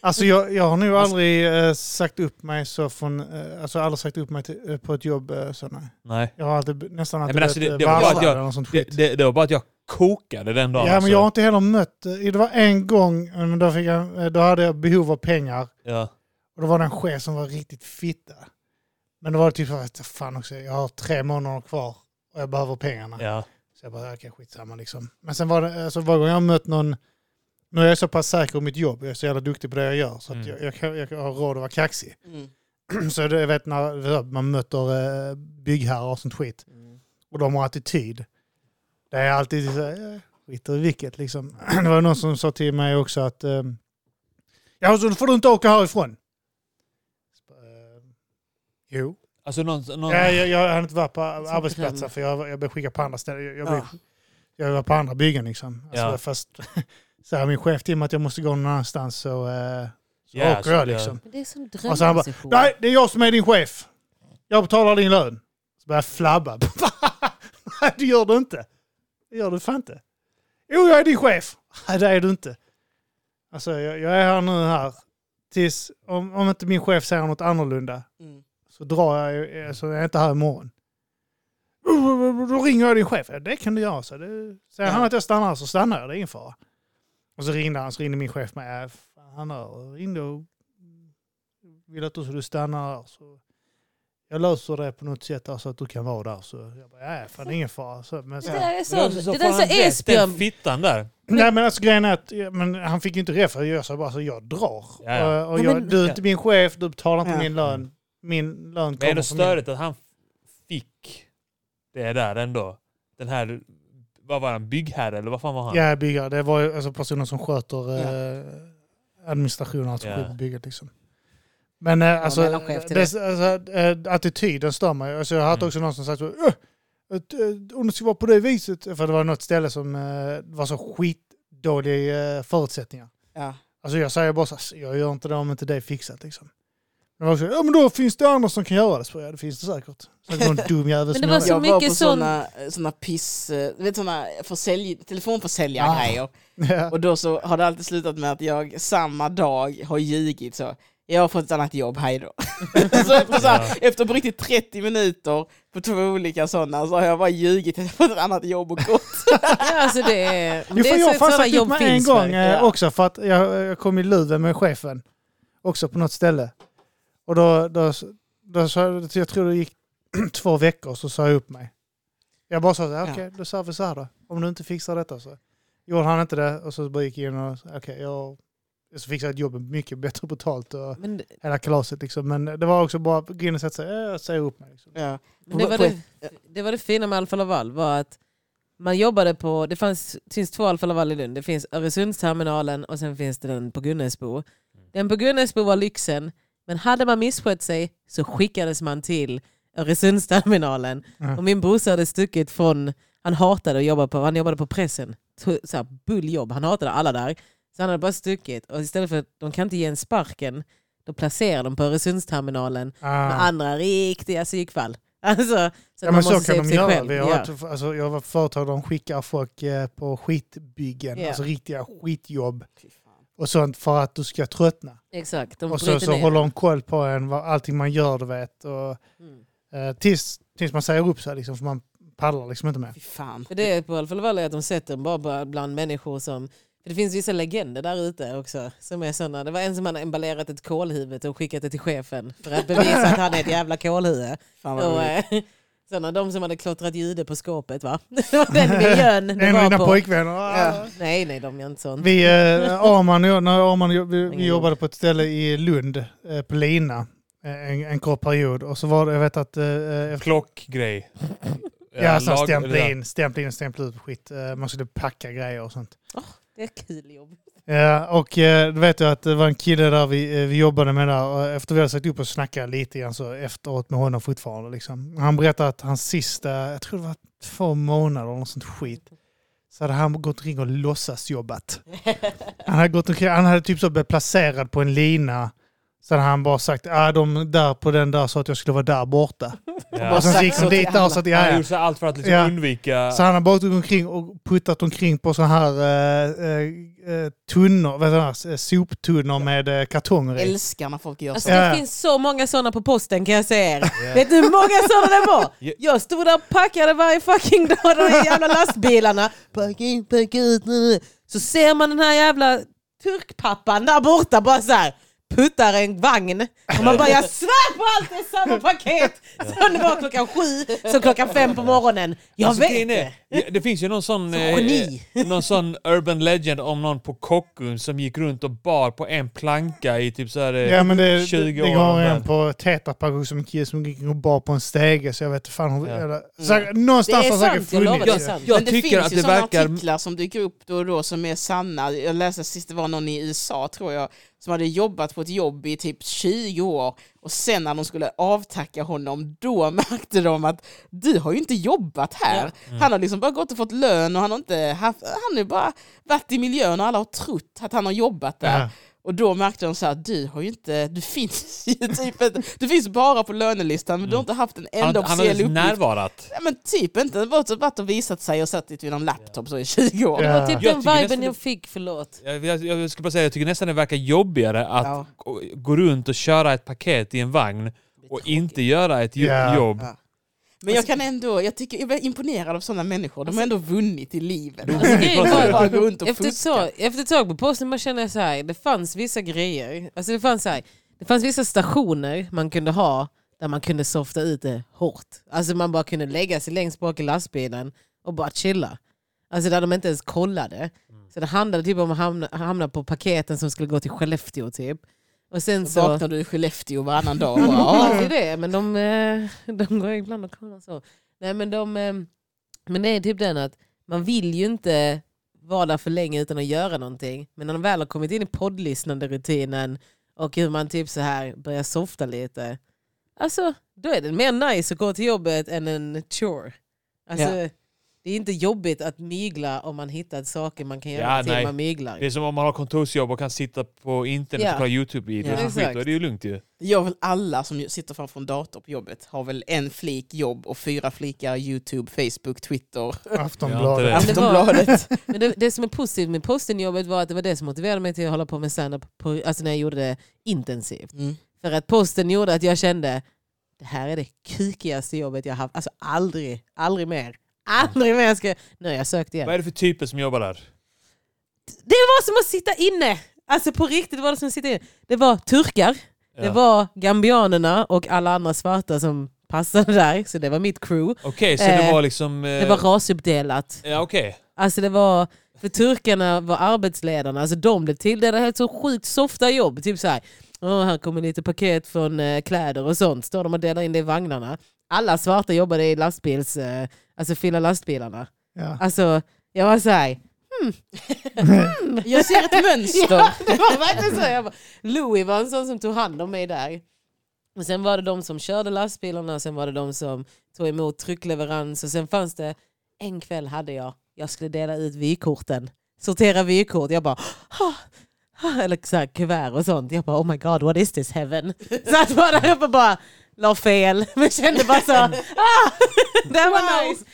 Speaker 2: Alltså jag, jag har nog aldrig eh, sagt upp mig så från, eh, alltså aldrig sagt upp mig till, eh, på ett jobb eh, så nej.
Speaker 1: Nej.
Speaker 2: Jag har alltid, nästan alltid
Speaker 1: men alltså,
Speaker 2: blivit,
Speaker 1: det-
Speaker 2: eh,
Speaker 1: det var bara att
Speaker 2: varslad
Speaker 1: jag-
Speaker 2: eller något sånt skit.
Speaker 1: Det, det, det var bara att jag kokade den dagen.
Speaker 2: Ja,
Speaker 1: alltså.
Speaker 2: men jag har inte heller mött... eh, Det var en gång, eh, men då, fick jag, eh, då hade jag behov av pengar
Speaker 1: ja.
Speaker 2: och då var det en chef som var riktigt fitta. Men då var det typ så här, fan också, jag har tre månader kvar och jag behöver pengarna.
Speaker 1: Ja.
Speaker 2: Så jag bara, okej skitsamma liksom. Men sen var det, alltså varje gång jag har mött någon Nu är jag så pass säker på mitt jobb, jag är så jävla duktig på det jag gör, så att jag, jag, kan- jag har råd att vara kaxig.
Speaker 4: Mm.
Speaker 2: Så det, jag vet när man möter eh, byggherrar och sånt skit,
Speaker 4: Mm.
Speaker 2: och de har attityd. Det är alltid så här, eh, skiter i vilket liksom. Det var någon som sa till mig också att, eh, ja så får du inte åka härifrån. Så, eh, Jo.
Speaker 1: Alltså någon... någon
Speaker 2: Ja, jag, jag hann inte vara på
Speaker 4: som
Speaker 2: arbetsplatsen
Speaker 4: dröm.
Speaker 2: för jag, jag blev skickad på andra ställen. Jag, jag, blev,
Speaker 4: Ja.
Speaker 2: jag var på andra byggen liksom. Alltså,
Speaker 1: Ja.
Speaker 2: Fast så här, min chef till mig att jag måste gå någon annanstans så, eh, så
Speaker 1: Ja,
Speaker 2: åker
Speaker 1: så
Speaker 2: jag
Speaker 1: det-
Speaker 2: liksom.
Speaker 5: Men det är som
Speaker 2: Och så han bara,
Speaker 5: drömposition.
Speaker 2: nej det är jag som är din chef. Jag betalar din lön. Så börjar jag flabba. nej det gör du inte. Det gör du fan inte. Jo jag är din chef. Nej det är du inte. Alltså jag, jag är här nu här. Tills, om, om inte min chef säger något annorlunda
Speaker 4: Mm.
Speaker 2: så drar jag, ju- eh, så jag är inte här imorgon. Oh, Då ringer jag din chef. Ja, det kan du göra. Så det, säger han
Speaker 4: Ja.
Speaker 2: att jag stannar så stannar jag, det är ingen fara. Och så ringde han, så ringde min chef med. "Äh, fan, Han har- ringde och ville att du skulle stanna här. Så jag löser det på något sätt där, så att du kan vara där. Så jag bara, ja, fan, det är ingen fara. Så, men,
Speaker 5: Det
Speaker 2: sen,
Speaker 5: där är så,
Speaker 1: Men också
Speaker 5: det
Speaker 1: får
Speaker 5: där är
Speaker 1: han
Speaker 5: så
Speaker 1: rätt, Den
Speaker 5: Esbjörn.
Speaker 1: fittan där.
Speaker 2: nej men alltså grejen är att ja, men, han fick ju inte rätt för jag sa bara så jag drar.
Speaker 1: Ja, ja.
Speaker 2: Och, och
Speaker 5: Ja,
Speaker 2: jag,
Speaker 5: men-
Speaker 2: du är inte min chef, du betalar inte
Speaker 4: Ja.
Speaker 2: min lön. Min lön
Speaker 1: Men
Speaker 2: kommer
Speaker 1: ändå
Speaker 2: från min
Speaker 1: störigt att han fick det där ändå. Den här... Vad var han? Byggherre eller vad fan var han?
Speaker 2: Ja, byggare. Det var ju alltså personer som sköter eh, administrationen alltså
Speaker 1: Ja.
Speaker 2: på bygget. Liksom. Men eh, alltså,
Speaker 5: mellanchef till
Speaker 2: det, alltså eh, attityden stör mig. Alltså, jag har hört
Speaker 1: Mm.
Speaker 2: också någon som sagt så, "Öh, att, eh, om det ska vara på det viset. För det var något ställe som eh, var så skitdåliga eh, förutsättningar.
Speaker 4: Ja.
Speaker 2: Alltså jag säger bara så här, jag gör inte det om inte det är fixat liksom. Men också, ja men då finns det andra som kan göra det. Så, ja, det finns det säkert. Så är det någon dum jävel
Speaker 5: Men
Speaker 2: som
Speaker 5: det
Speaker 2: gör
Speaker 5: var
Speaker 2: det.
Speaker 5: så
Speaker 4: jag var på
Speaker 5: mycket sån-
Speaker 4: såna, såna piss, eh, du vet såna försälj, telefonförsäljargrejer.
Speaker 2: Ja.
Speaker 4: Och då så har det alltid slutat med att jag samma dag har ljugit så. Jag har fått ett annat jobb, hej då. så efter, så här, efter på riktigt 30 minuter på två olika sådana så har jag bara ljugit att jag fått ett annat jobb och gått.
Speaker 3: Ja, alltså det är,
Speaker 2: Jo,
Speaker 3: det
Speaker 2: för
Speaker 3: är
Speaker 2: jag
Speaker 3: så, sådana
Speaker 2: fastnade ut
Speaker 3: jobb
Speaker 2: med en
Speaker 3: finns.
Speaker 2: gång
Speaker 3: verkligen.
Speaker 2: eh,
Speaker 4: ja.
Speaker 2: också för att jag, jag kom i luven med chefen. Också på något ställe. Och då, då, då, sa jag jag tror det gick två veckor så sa jag upp mig. Jag bara sa så här, okej
Speaker 4: Ja.
Speaker 2: då sa vi så här då. Om du inte fixar detta så. Gjorde han inte det och så bara gick jag in och sa, okej jag så fixade jag ett jobb mycket bättre betalt och
Speaker 3: Men, det-
Speaker 2: hela kalaset liksom. Men det var också bara att gå in och sätta sig, eh, jag säger upp mig. Liksom.
Speaker 4: Ja.
Speaker 3: men det, var
Speaker 4: På-
Speaker 3: det, det var det fina med Alfa Laval var att man jobbade på, det fanns, finns två Alfa Laval i Lund. Det finns Öresundsterminalen och sen finns det den på Gunnesbo. Den på Gunnesbo var lyxen, men hade man misskött sig så skickades man till Öresundsterminalen.
Speaker 2: Mm.
Speaker 3: Och min brorsa hade stuckit från, han hatade att jobba på, han jobbade på pressen. To- Så här, bulljobb, han hatade alla där. Så han hade bara stuckit. Och istället för att de kan inte ge en sparken, då placerar de på Öresundsterminalen med
Speaker 2: Ah.
Speaker 3: andra riktiga psykfall. Alltså, så att
Speaker 2: Ja, men
Speaker 3: man måste
Speaker 2: så
Speaker 3: se
Speaker 2: kan
Speaker 3: upp
Speaker 2: de
Speaker 3: sig
Speaker 2: göra.
Speaker 3: själv.
Speaker 2: Vi har
Speaker 3: ja.
Speaker 2: ett, alltså, jag var företag de skickar folk eh, på skitbyggen,
Speaker 3: Ja.
Speaker 2: alltså riktiga skitjobb och sånt för att du ska tröttna.
Speaker 3: Exakt, de
Speaker 2: och så,
Speaker 3: bryter
Speaker 2: så
Speaker 3: ner.
Speaker 2: håller de koll på en, vad, allting man gör du vet. Och,
Speaker 3: Mm.
Speaker 2: eh, tills, tills man säger upp sig liksom, för man pallar liksom inte med.
Speaker 4: Fy fan.
Speaker 3: För det är på Alfa Laval är att de sätter dem bara bland- bland människor som... För det finns vissa legender där ute också. Som är såna. Det var en som hade emballerat ett kolhuvud och skickat det till chefen för att bevisa att han är ett jävla kolhuvud.
Speaker 4: fan vad
Speaker 3: Och,
Speaker 4: roligt.
Speaker 3: eh, såna, de som hade klottrat ljudet på skåpet va? Det var den miljön
Speaker 2: En
Speaker 3: det
Speaker 2: av
Speaker 3: var
Speaker 2: dina
Speaker 3: på.
Speaker 2: pojkvänner. "Ah,
Speaker 4: Ja.
Speaker 3: Nej, nej, de gör inte sånt.
Speaker 2: Vi, eh, Arman och jag, när Arman och jag, vi, vi
Speaker 3: Ingen
Speaker 2: jobbade på ett ställe i Lund, eh, på Lina, eh, en, en kort period. Och så var det, jag vet att eh, efter
Speaker 1: Klockgrej.
Speaker 2: Ja, så
Speaker 1: lag-
Speaker 2: stämpla
Speaker 1: eller-
Speaker 2: in, stämpla in, stämpla ut skit. Eh, Man skulle packa grejer och sånt.
Speaker 3: Det är kul jobb.
Speaker 2: Ja, och eh, då vet jag att det var en kille där vi, eh, vi jobbade med där. Och efter vi hade satt upp och snackat lite grann så efteråt med honom fortfarande. Liksom. Han berättade att hans sista, jag tror det var två månader eller något sånt skit. Så hade han gått omkring och låtsasjobbat. Han hade, gått omkring, han hade typ så blivit placerad på en lina. Så hade han bara sagt, ah, de där på den där sa att jag skulle vara där borta.
Speaker 1: Ja.
Speaker 2: Och sen så gick
Speaker 4: Sagt
Speaker 2: de
Speaker 4: så till
Speaker 2: dit där och sa att ja,
Speaker 1: Han
Speaker 2: ja.
Speaker 1: gjorde så allt för att liksom
Speaker 2: Ja.
Speaker 1: undvika...
Speaker 2: Så han har bara gått omkring och puttat omkring på sådana här eh, eh, eh, tunnor, vad heter det, eh, soptunnor med eh, kartonger i.
Speaker 4: Älskar när folk gör så.
Speaker 3: Alltså,
Speaker 2: Ja.
Speaker 3: Det finns så många sådana på posten kan jag säga er.
Speaker 1: Ja.
Speaker 3: Vet du hur många sådana det var?
Speaker 1: Ja.
Speaker 3: Jag stod där och packade varje fucking dag de där jävla lastbilarna. Packa in, packa ut. nu. Så ser man den här jävla turkpappan där borta bara så här. puttar en vagn. Och man bara jag svär på allt det är samma paket! Som det var klockan sju, som klockan fem på morgonen. Jag
Speaker 1: Alltså,
Speaker 3: vet
Speaker 1: grejen är,
Speaker 3: det!
Speaker 1: ja, det finns ju någon sån, eh,
Speaker 3: geni.
Speaker 1: någon sån urban legend om någon på Kockums som gick runt och bar på en planka i typ så här, eh,
Speaker 2: Ja men det,
Speaker 1: 20
Speaker 2: det
Speaker 1: år
Speaker 2: går
Speaker 1: men-
Speaker 2: en på Tetra Pak också, som en kille som gick och bar på en stege så jag vet fan hon,
Speaker 1: Ja.
Speaker 2: eller, säkert, någonstans
Speaker 3: Mm. Det är
Speaker 2: har säkert
Speaker 3: sant, jag lovar,
Speaker 2: funnits.
Speaker 3: det
Speaker 2: det.
Speaker 3: är sant.
Speaker 1: Jag
Speaker 4: men det
Speaker 1: tycker
Speaker 4: finns
Speaker 1: att
Speaker 4: ju
Speaker 1: det
Speaker 4: sådana
Speaker 1: verkar-
Speaker 4: artiklar som dyker upp då och då som är sanna. Jag läste sist, det var någon i USA tror jag, som hade jobbat på ett jobb i typ 20 år och sen när de skulle avtacka honom, då märkte de att du har ju inte jobbat här.
Speaker 1: Mm.
Speaker 4: Han har liksom bara gått och fått lön och han har inte haft, han har bara varit i miljön och alla har trott att han har jobbat där.
Speaker 2: Ja.
Speaker 4: Och då märkte de så här, du har ju inte, du finns ju typ inte, du finns bara på lönelistan men du har inte haft en
Speaker 1: Mm. han,
Speaker 4: enda
Speaker 1: han har
Speaker 4: officiell
Speaker 1: ens
Speaker 4: uppgift.
Speaker 1: närvarat.
Speaker 4: Ja, men typ inte. Det var typ varit och visat sig och suttit vid någon laptop så i 20 år.
Speaker 2: Ja.
Speaker 3: Det var typ
Speaker 1: Jag
Speaker 3: den
Speaker 1: tycker
Speaker 3: viben
Speaker 1: nästan-
Speaker 3: jag fick, förlåt.
Speaker 1: Jag, jag, jag skulle bara säga, jag tycker nästan det verkar jobbigare att
Speaker 4: Ja.
Speaker 1: gå- gå runt och köra ett paket i en vagn och inte göra ett jo-
Speaker 2: Ja.
Speaker 1: jobb.
Speaker 4: Ja. Men jag kan ändå, jag tycker jag är imponerad av sådana människor. De har ändå vunnit i livet.
Speaker 3: Alltså, grejen var-
Speaker 4: bara gå runt och
Speaker 3: efter, ett
Speaker 4: fuska.
Speaker 3: tag, efter ett tag på posten man kände så här, det fanns vissa grejer. Alltså det, fanns så här, det fanns vissa stationer man kunde ha där man kunde softa ut det hårt. Alltså man bara kunde lägga sig längst bak i lastbilen och bara chilla. Alltså där de inte ens kollade.
Speaker 4: Mm.
Speaker 3: Så det handlade typ om att hamna, hamna på paketen som skulle gå till Skellefteå typ. Och sen
Speaker 4: Så
Speaker 3: så...
Speaker 4: vaknar du i Skellefteå varannan dag.
Speaker 3: De
Speaker 4: Ja.
Speaker 3: hoppas ju det, men de, eh, de går ibland och kollar så. Nej, men, de, eh, men det är typ den att man vill ju inte vara där för länge utan att göra någonting. Men när de väl har kommit in i poddlyssnande rutinen och hur man typ så här börjar softa lite. Alltså, då är det mer nice att gå till jobbet än en chore. Alltså, Det är inte jobbigt att mygla om man hittat saker man kan göra
Speaker 1: Ja,
Speaker 3: till
Speaker 1: nej.
Speaker 3: man myglar.
Speaker 1: Det är som om man har kontorsjobb och kan sitta på internet
Speaker 3: Ja.
Speaker 1: och kolla YouTube-videos
Speaker 4: Ja.
Speaker 1: och skit. Då är
Speaker 3: Exakt.
Speaker 1: det ju lugnt ju.
Speaker 4: Jag vill alla som sitter framför en dator på jobbet har väl en flik jobb och fyra flikar YouTube, Facebook, Twitter,
Speaker 2: Aftonbladet.
Speaker 1: Ja,
Speaker 3: det var-
Speaker 4: Aftonbladet.
Speaker 3: Men det, det som är positivt med postenjobbet var att det var det som motiverade mig till att hålla på med standup, på, alltså när jag gjorde det intensivt.
Speaker 4: Mm.
Speaker 3: För att posten gjorde att jag kände, det här är det kukigaste jobbet jag haft. Alltså aldrig, aldrig mer. Aldrig mer ska jag... Nu har jag sökt igen.
Speaker 1: Vad är det för typer som jobbar där?
Speaker 3: Det var som att sitta inne! Alltså på riktigt var det som att sitta inne. Det var turkar, det
Speaker 1: Ja.
Speaker 3: var gambianerna och alla andra svarta som passade där. Så det var mitt crew.
Speaker 1: Okej, så
Speaker 3: Eh,
Speaker 1: det var liksom... eh,
Speaker 3: Det var rasuppdelat.
Speaker 1: Ja, okej.
Speaker 3: Alltså det var, för turkarna var arbetsledarna, alltså de blev tilldelade helt så sjukt softa jobb. Typ så här, "Åh, här kommer lite paket från eh, kläder och sånt. Står de och delar in det i vagnarna. Alla svarta jobbade i lastbils, eh, alltså fylla lastbilarna.
Speaker 2: Ja.
Speaker 3: Alltså jag var så här, "Hmm,
Speaker 4: Jag ser ett mönster.
Speaker 3: Ja, det var verkligen så. Jag bara, Louis var en sån som tog hand om mig där. Och sen var det de som körde lastbilarna, sen var det de som tog emot tryckleverans och sen fanns det, en kväll hade jag, jag skulle dela ut vykorten. Sortera vykort. Jag bara, "Ah, ah," eller så här, kuvert och sånt. Jag bara, oh my god, what is this heaven? Så att vara där uppe och bara, la fel. Men kände bara så, ah, det här var
Speaker 4: Wow.
Speaker 3: nice.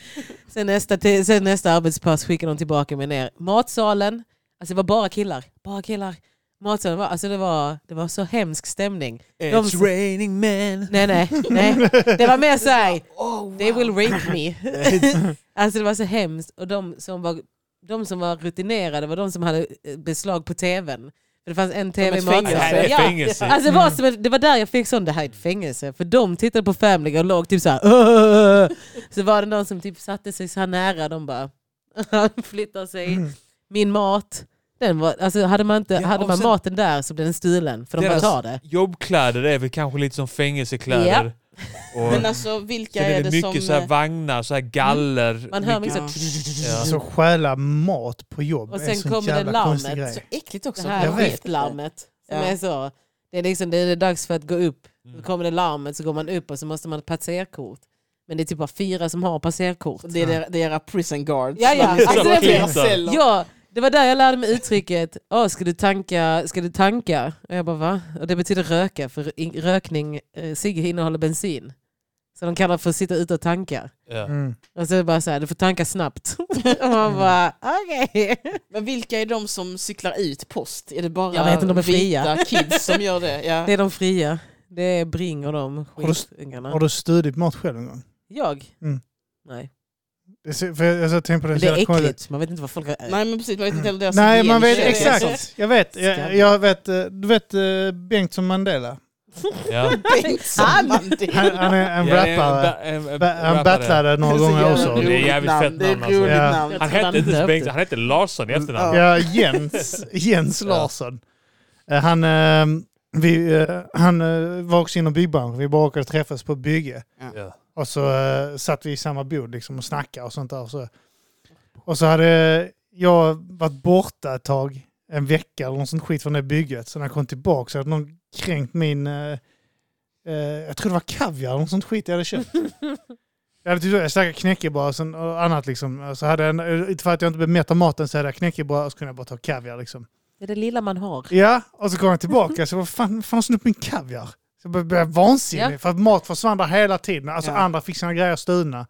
Speaker 3: Sen nästa, ti- sen nästa arbetspass skickade de tillbaka mig ner. Matsalen, alltså det var bara killar. Bara killar. Matsalen var, alltså det var, det var så hemsk stämning.
Speaker 1: It's raining men.
Speaker 3: Nej, nej, nej. Det var mer
Speaker 1: Oh,
Speaker 3: såhär, they will rape me. alltså det var så hemskt. Och de som var, de som var rutinerade var de som hade eh, beslag på tvn. För det fanns en tv i
Speaker 4: ett
Speaker 1: Det här
Speaker 3: matsalen.
Speaker 1: är
Speaker 3: Ja.
Speaker 1: fängelse. Mm.
Speaker 3: Alltså det, var som, ett- det var där jag fick sån, det här är ett fängelse. För de tittade på Family Guy och låg typ såhär... "Åh!" Så var det någon som typ satte sig så här nära, de bara flyttar sig. Min mat. Den var, alltså hade man, inte,
Speaker 1: Ja,
Speaker 3: hade
Speaker 1: och
Speaker 3: man
Speaker 1: sen-
Speaker 3: maten där så blev den stulen, för de bara
Speaker 1: Deras
Speaker 3: tar det.
Speaker 1: Jobbkläder är väl kanske lite som fängelsekläder. Och
Speaker 4: Men alltså vilka
Speaker 1: sen
Speaker 4: är
Speaker 1: är
Speaker 4: det
Speaker 1: det
Speaker 4: som...
Speaker 1: mycket så här vagnar, så här galler.
Speaker 3: eh, Man hör mig så
Speaker 4: Ja.
Speaker 1: Ja.
Speaker 2: Alltså stjäla mat på jobb
Speaker 3: Och
Speaker 2: är
Speaker 3: sen
Speaker 2: en sån
Speaker 3: kommer det
Speaker 2: jävla konstig
Speaker 3: larmet.
Speaker 2: grej.
Speaker 4: äckligt också.
Speaker 3: Det
Speaker 2: Jag
Speaker 3: här
Speaker 2: vet.
Speaker 3: skiftlarmet. Som
Speaker 4: Ja.
Speaker 3: är så. Det är liksom det är dags för att gå upp. Då
Speaker 1: Mm.
Speaker 3: kommer det larmet så går man upp och så måste man ha ett passerkort. Men det är typ bara fyra som har passerkort.
Speaker 4: Det är deras, deras prison guards.
Speaker 3: Ja, ja.
Speaker 4: Man sitter
Speaker 3: Alltså, det
Speaker 4: och
Speaker 3: blir-
Speaker 4: hanterar celler.
Speaker 3: Ja, det var där jag lärde mig uttrycket oh, ska, du tanka, ska du tanka? Och jag bara va? Och det betyder röka för i- rökning, eh, cigg innehåller bensin. Så de kallar det för att sitta ute och tanka.
Speaker 1: Ja.
Speaker 2: Mm.
Speaker 3: Och så är det bara så här, du får tanka snabbt. och man bara okej.
Speaker 4: Men vilka är de som cyklar ut post? Är det bara
Speaker 3: Jag vet inte, de är fria.
Speaker 4: vita kids som gör det? Ja.
Speaker 3: Det är de fria. Det är Bring och de
Speaker 2: Har du-
Speaker 3: skitungarna.
Speaker 2: Har du stulit mat själv en gång?
Speaker 3: Jag?
Speaker 2: Mm.
Speaker 3: Nej.
Speaker 2: Det ser- för jag, alltså, jag tänker på det,
Speaker 3: Men det
Speaker 2: så jävla
Speaker 3: är
Speaker 2: konstigt.
Speaker 3: äckligt. Man vet inte vad folk...
Speaker 4: Nej men precis, man vet inte heller deras
Speaker 2: Nej, man vet
Speaker 4: hygieniska regler och sånt.
Speaker 2: exakt. Jag vet. Jag,
Speaker 3: Skallig.
Speaker 2: jag vet eh, du vet eh, Bengtsson Mandela?
Speaker 1: Ja.
Speaker 4: Bengtsson
Speaker 2: Han,
Speaker 4: Mandela.
Speaker 2: han är en
Speaker 1: Ja, det är
Speaker 2: rappare.
Speaker 1: ba- en- en
Speaker 2: Ba- Han
Speaker 1: rappare.
Speaker 2: battlade några
Speaker 4: Så
Speaker 2: gånger
Speaker 4: jävla
Speaker 2: också.
Speaker 1: Det är
Speaker 4: roligt
Speaker 1: jävligt
Speaker 4: namn.
Speaker 1: fett
Speaker 4: Det är ett
Speaker 1: namn alltså.
Speaker 4: roligt
Speaker 2: Ja.
Speaker 4: namn.
Speaker 1: Han
Speaker 3: tror
Speaker 1: hette inte ens
Speaker 3: döpte.
Speaker 1: Bengtsson, han hette Larsson i efternamn.
Speaker 4: Ja.
Speaker 2: Ja, Jens, Jens
Speaker 1: Ja.
Speaker 2: Larsson. Eh, Han, eh, vi, eh, han eh, var också inom byggbranschen. Vi bara åkte och träffades på bygge.
Speaker 1: Ja.
Speaker 2: Och så eh, satt vi i samma bord liksom, och snackade och sånt där. Och så, och så hade jag varit borta ett tag, en vecka eller något sånt skit från det bygget. Så när jag kom tillbaka så hade någon kränkt min, eh, eh, jag tror det var kaviar eller något sånt skit jag hade köpt. Jag hade typ jag käkat knäckebröd och, sen- och annat liksom. Så hade jag, inte för att jag inte blev mätt av maten så hade jag knäckebröd och så kunde jag bara ta kaviar liksom.
Speaker 3: Det är det lilla man har.
Speaker 2: Ja, och så kom jag tillbaka så vad fan, vad fan har snott min kaviar? Så jag blev vansinnig
Speaker 3: Ja.
Speaker 2: för att mat försvann där hela tiden. Alltså
Speaker 4: Ja.
Speaker 2: andra fick sina grejer stulna.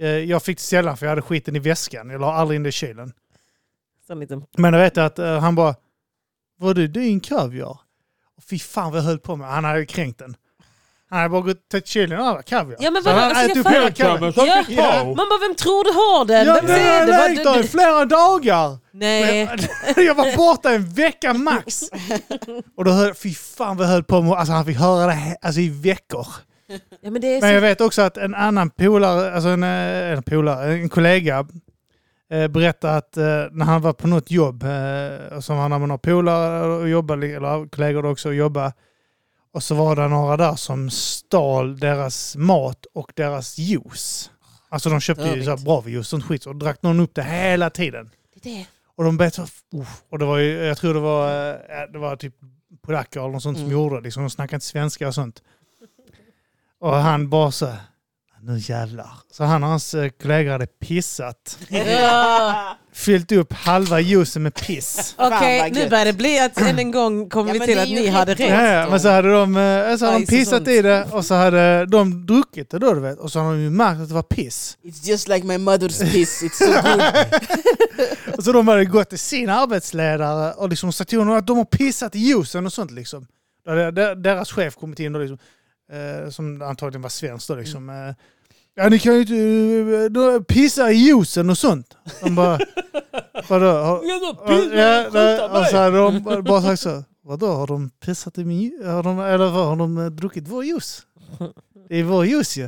Speaker 2: Eh, Jag fick det sällan för jag hade skiten i väskan. Jag la aldrig in det i kylen.
Speaker 3: Sån liten...
Speaker 2: Men jag vet att eh, han bara, var det din kaviar? Och fy fan vad jag höll på med. Han hade kränkt den. Han hade bara gått till kylen och alla kaviar.
Speaker 3: Ja, men
Speaker 2: Så
Speaker 3: vadå?
Speaker 2: han
Speaker 3: Alltså,
Speaker 2: hade
Speaker 3: jag
Speaker 2: ätit upp hela
Speaker 3: fattar.
Speaker 2: kaviar.
Speaker 3: Ja.
Speaker 2: Ja.
Speaker 3: Man bara, vem tror du har den?
Speaker 2: typ Ja,
Speaker 3: vem
Speaker 2: men
Speaker 3: säger
Speaker 2: jag
Speaker 3: det?
Speaker 2: har
Speaker 3: Vad-
Speaker 2: lekt där i flera dagar!
Speaker 3: Nej.
Speaker 2: Jag var borta en vecka
Speaker 4: alltså.
Speaker 2: max.
Speaker 1: alltså.
Speaker 2: Och då höll, fy fan vad jag höll på med, alltså han fick höra det he- alltså, i veckor.
Speaker 3: Ja, men det är
Speaker 2: Men jag
Speaker 3: så...
Speaker 2: vet också att en annan polare, alltså en, eh, en, polare, en kollega eh, berättade att eh, när han var på något jobb, eh, som han när man har polare och jobbar, li- eller kollegor också och jobbar, och så var det några där som stal deras mat och deras juice. Alltså de köpte ju
Speaker 3: Störigt.
Speaker 2: så här bravejuice och sånt skit och drack någon upp det hela tiden.
Speaker 3: Det är det.
Speaker 2: Och de bet så, uff, och det var ju, jag tror det var, eh, det var typ polacker eller något sånt som
Speaker 4: Mm.
Speaker 2: gjorde det, liksom, de snackade inte svenska och sånt. Och han bara så, nu jävlar. Så han och hans eh, kollegor hade pissat,
Speaker 3: Ja.
Speaker 2: fyllt upp halva juicen med piss.
Speaker 3: Okej,
Speaker 4: vad
Speaker 3: nu
Speaker 4: gött.
Speaker 3: börjar det bli att än en gång kom
Speaker 4: Ja,
Speaker 3: vi
Speaker 4: men
Speaker 3: till
Speaker 4: det är
Speaker 3: att
Speaker 4: ju
Speaker 3: ni
Speaker 4: helt
Speaker 3: hade rätt.
Speaker 2: Ja, ja, men så hade de, eh, så hade de
Speaker 3: Bajs och
Speaker 2: pissat
Speaker 3: sånt.
Speaker 2: i det och så hade de druckit det då du vet. Och så hade de ju märkt att det var piss.
Speaker 4: It's just like my mother's piss, it's so good.
Speaker 2: Och så de hade gått till sin arbetsledare och liksom sagt till honom att de har pissat i juicen och sånt liksom. Då hade de- Deras chef kommit in och liksom, eh, som antagligen var svensk då liksom. Eh, ja ni kan ju inte eh, då, pissa i juicen och sånt. De bara, vadå? Har, och, ja, nej, och så hade de bara sagt så. Vadå, har de pissat i min ju- har de, Eller vad, har de eh, druckit vår juice? Det är vår juice ju.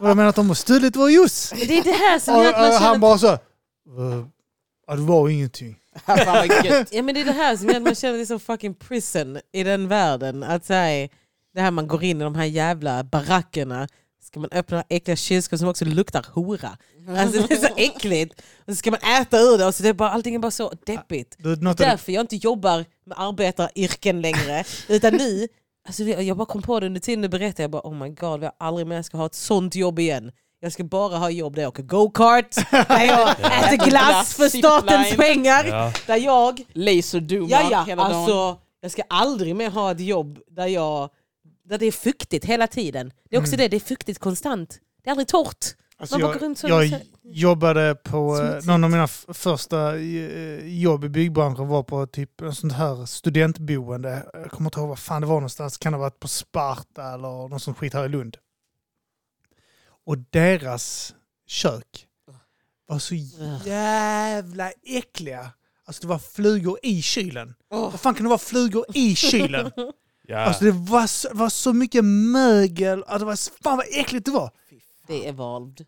Speaker 2: Och de menar att de har stulit vår juice?
Speaker 3: Men det är det här som
Speaker 2: Och,
Speaker 3: gör
Speaker 2: och,
Speaker 3: att man känner...
Speaker 2: han bara så. "Eh, Ja, det var ingenting.
Speaker 4: Fan vad gött.
Speaker 3: Ja, men det är det här som gör att man känner sig som fucking prison i den världen. Att så här, det här man går in i de här jävla barackerna. Ska man öppna äckliga kylskåp som också luktar hora. Alltså det är så äckligt. Och så ska man äta ur det och så det är bara, allting är bara så deppigt.
Speaker 2: Du, något av det-
Speaker 3: Därför jag inte jobbar med arbetaryrken längre. Utan nu, alltså det- jag bara kom på det under tiden du berättade. Jag bara oh my god, jag aldrig mer ska ha ett sånt jobb igen. Jag ska bara ha jobb där jag åker go-kart, där jag äter glass för statens
Speaker 4: Zipline.
Speaker 3: pengar.
Speaker 1: Ja.
Speaker 3: Där jag,
Speaker 4: Laserdoomar
Speaker 3: ja ja,
Speaker 4: hela dagen.
Speaker 3: alltså jag ska aldrig mer ha ett jobb där jag, där det är fuktigt hela tiden. Det är också det, det är fuktigt konstant. Det är aldrig torrt.
Speaker 2: Alltså
Speaker 3: Man bara går
Speaker 2: jag,
Speaker 3: runt så-
Speaker 2: jag
Speaker 3: så-
Speaker 2: jobbade på, eh,
Speaker 3: Smutsigt.
Speaker 2: någon av mina f- första eh, jobb i byggbranschen var på typ en sånt här studentboende. Jag kommer inte ihåg vad fan det var någonstans. Kan det ha varit på Sparta eller någon sån skit här i Lund. Och deras kök var så jävla äckliga. Alltså det var flugor i kylen. Vad fan kan det vara flugor i kylen?
Speaker 1: Ja.
Speaker 2: Alltså det var så, det var så mycket mögel. Alltså det var, fan vad äckligt det var.
Speaker 3: Det är valvd.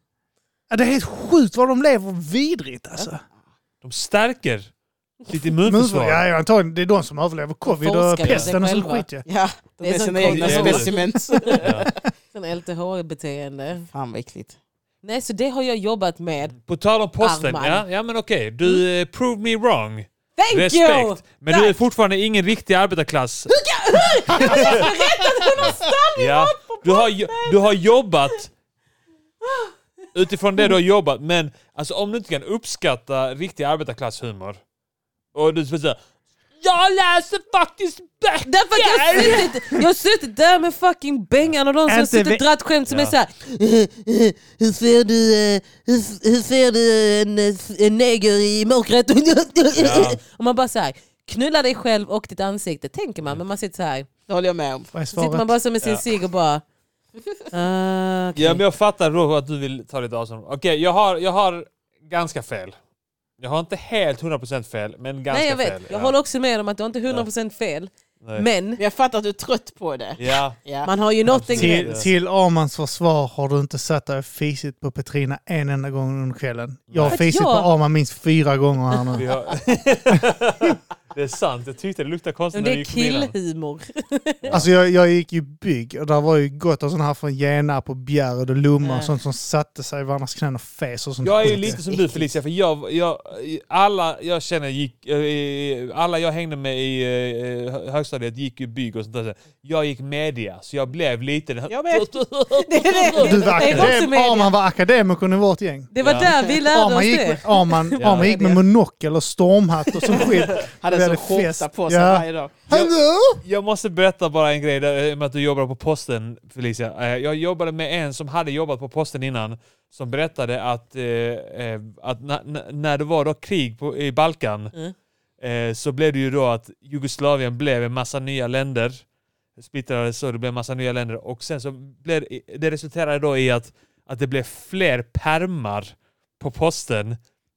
Speaker 2: Ja, det är helt sjukt vad de lever vidrigt alltså.
Speaker 1: De stärker sitt
Speaker 2: Munspår,
Speaker 1: immunförsvar.
Speaker 2: ja, ja, antagligen. Det är de som överlever covid och
Speaker 3: forskar på
Speaker 2: pesten och
Speaker 3: sig
Speaker 2: sån
Speaker 3: själva.
Speaker 2: skit. Ja.
Speaker 4: Ja, de
Speaker 3: Det är
Speaker 4: är
Speaker 3: sån
Speaker 4: sina egna
Speaker 1: konstig-
Speaker 4: specimens.
Speaker 1: Ja.
Speaker 3: Sen LTH-beteende.
Speaker 4: Fan vad äckligt.
Speaker 3: Nej så det har jag jobbat med.
Speaker 1: På tal om posten,
Speaker 3: Armar.
Speaker 1: ja, ja men okej. Du eh, prove me wrong.
Speaker 3: Thank you!
Speaker 1: Respekt. Men du är
Speaker 3: Tack.
Speaker 1: fortfarande ingen riktig arbetarklass. Ja. Du, har, jo- du har jobbat
Speaker 3: Ah.
Speaker 1: utifrån det du har jobbat, men alltså, om du inte kan uppskatta riktig arbetarklasshumor och du säger jag läser faktiskt böcker!
Speaker 3: Därför att jag har suttit, jag har suttit där med fucking Bengan och de som har
Speaker 2: Inte
Speaker 3: suttit och
Speaker 2: vi-
Speaker 3: dragit skämt som
Speaker 1: Ja.
Speaker 3: är såhär eh, Hur ser du, eh, hur, hur ser du en, eh, en neger i mörkret?
Speaker 1: Ja.
Speaker 3: Och man bara såhär, knulla dig själv och ditt ansikte tänker man, men man sitter såhär
Speaker 4: Det håller jag med om.
Speaker 2: Vad är
Speaker 3: Sitter man
Speaker 2: svaret?
Speaker 3: bara som med sin
Speaker 1: Ja.
Speaker 3: cigg och bara Ah, okej.
Speaker 1: Ja, men jag fattar då att du vill ta lite avstånd. Okej, jag, har, jag har ganska fel. Jag har inte helt 100% fel, men ganska
Speaker 3: Nej jag vet,
Speaker 1: fel.
Speaker 3: jag håller också med om att du har inte 100% fel.
Speaker 1: Nej.
Speaker 3: Men
Speaker 4: Men jag fattar att du är trött på det.
Speaker 1: Ja,
Speaker 4: Ja.
Speaker 3: man har ju nått en
Speaker 1: Absolut.
Speaker 3: gräns.
Speaker 2: Till, till Armans försvar har du inte satt dig och fisit på Petrina en enda gång under kvällen. Jag har
Speaker 3: Att
Speaker 2: fisit
Speaker 3: jag-
Speaker 2: på Arman minst fyra gånger här nu.
Speaker 1: vi har... det är sant. Jag tyckte det luktade konstigt
Speaker 3: Men
Speaker 1: när
Speaker 3: Det
Speaker 1: jag
Speaker 3: är
Speaker 1: gick förbi den.
Speaker 3: killhumor.
Speaker 2: Alltså jag, jag gick ju bygg och där var ju gott och sådana här från Genarp och Bjärred och Lomma och
Speaker 4: Nej.
Speaker 2: sånt som satte sig i varandras knän och fes och sånt.
Speaker 1: Jag är ju
Speaker 2: skit.
Speaker 1: lite som du Felicia, för jag, jag, alla jag känner gick, eh, alla jag hängde med i eh, högstadiet gick ju bygg och sånt där. Jag gick media, så jag blev lite...
Speaker 4: Jag vet.
Speaker 1: Det
Speaker 3: är
Speaker 2: Du var
Speaker 3: Det är också
Speaker 2: akadem,
Speaker 3: media.
Speaker 2: Arman var akademiker i vårt gäng.
Speaker 3: Det var
Speaker 1: Ja.
Speaker 3: där vi lärde oss
Speaker 2: Arman gick med,
Speaker 3: det.
Speaker 2: Arman,
Speaker 1: Ja.
Speaker 2: Arman gick med monokel och stormhatt och sån skit. Vi
Speaker 4: Hade så
Speaker 2: hade
Speaker 4: skjorta
Speaker 2: fest.
Speaker 4: på sig
Speaker 2: Ja.
Speaker 4: varje dag.
Speaker 2: Hallå!
Speaker 1: Jag måste berätta bara en grej där, eh, med att du jobbar på posten Felicia. Eh, Jag jobbade med en som hade jobbat på posten innan som berättade att, eh, eh, att na, na, när det var då krig på, i Balkan eh, så blev det ju då att Jugoslavien blev en massa nya länder. Splittrades så det blev en massa nya länder och sen så blev det- det resulterade då i att, att det blev fler permar på posten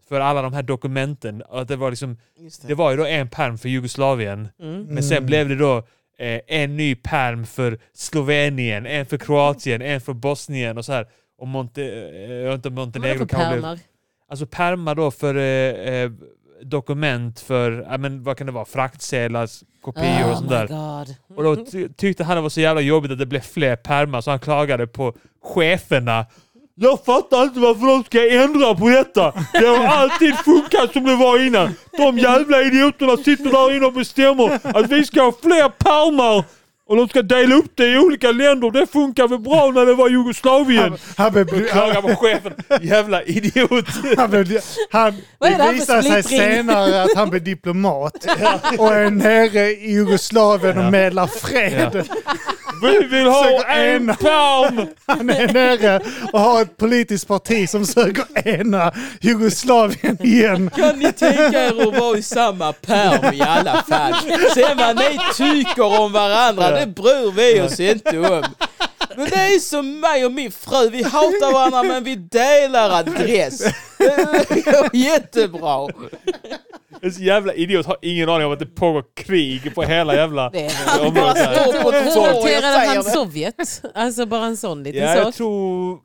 Speaker 1: för alla de här dokumenten. Och att det var liksom,
Speaker 4: Just
Speaker 1: det var ju då en perm för Jugoslavien.
Speaker 4: Mm.
Speaker 1: Men sen blev det då eh, en ny perm för Slovenien, en för Kroatien, en för Bosnien och så här. Och Monte, eh, inte Montenegro
Speaker 3: Vadå för
Speaker 1: kanske blev...
Speaker 3: pärmar?
Speaker 1: Alltså pärmar då för eh, eh, dokument för, ja, men vad kan det vara, fraktsedlar, kopior och sånt
Speaker 3: Oh
Speaker 1: där.
Speaker 3: my god.
Speaker 1: Och då ty- tyckte han det var så jävla jobbigt att det blev fler pärmar så han klagade på cheferna. Jag fattar inte varför de ska ändra på detta. Det har alltid funkat som det var innan. De jävla idioterna sitter där inne och bestämmer att vi ska ha fler pärmar och de ska dela upp det i olika länder. Det funkar väl bra när det var Jugoslavien.
Speaker 2: Han blev, blu-
Speaker 1: Klagar på chefen. Jävla idiot.
Speaker 2: han blev, han,
Speaker 3: Vad är det
Speaker 2: det
Speaker 3: här för
Speaker 2: visade sig
Speaker 3: splittring?
Speaker 2: senare att han blev diplomat och är nere i Jugoslavien
Speaker 1: Ja.
Speaker 2: och medlar fred.
Speaker 1: Vi vill ha
Speaker 2: Försöker
Speaker 1: en
Speaker 2: ena.
Speaker 1: pärm.
Speaker 2: Han är nere och har ett politiskt parti som söker ena Jugoslavien igen.
Speaker 4: Kan ni tänka er att vara i samma pärm i alla fall? Sen vad ni tycker om varandra, det bryr vi oss inte om. Men det är som mig och min fru, vi hatar varandra men vi delar adress. Det går jättebra.
Speaker 1: En så jävla idiot har ingen aning om att det pågår krig på hela jävla
Speaker 3: Det är
Speaker 1: området. här.
Speaker 4: Står på ett torg, jag
Speaker 3: Noterade
Speaker 4: säger
Speaker 3: han
Speaker 4: det.
Speaker 3: Sovjet? Alltså bara en sån liten
Speaker 1: Ja, jag
Speaker 3: sak.
Speaker 1: tror...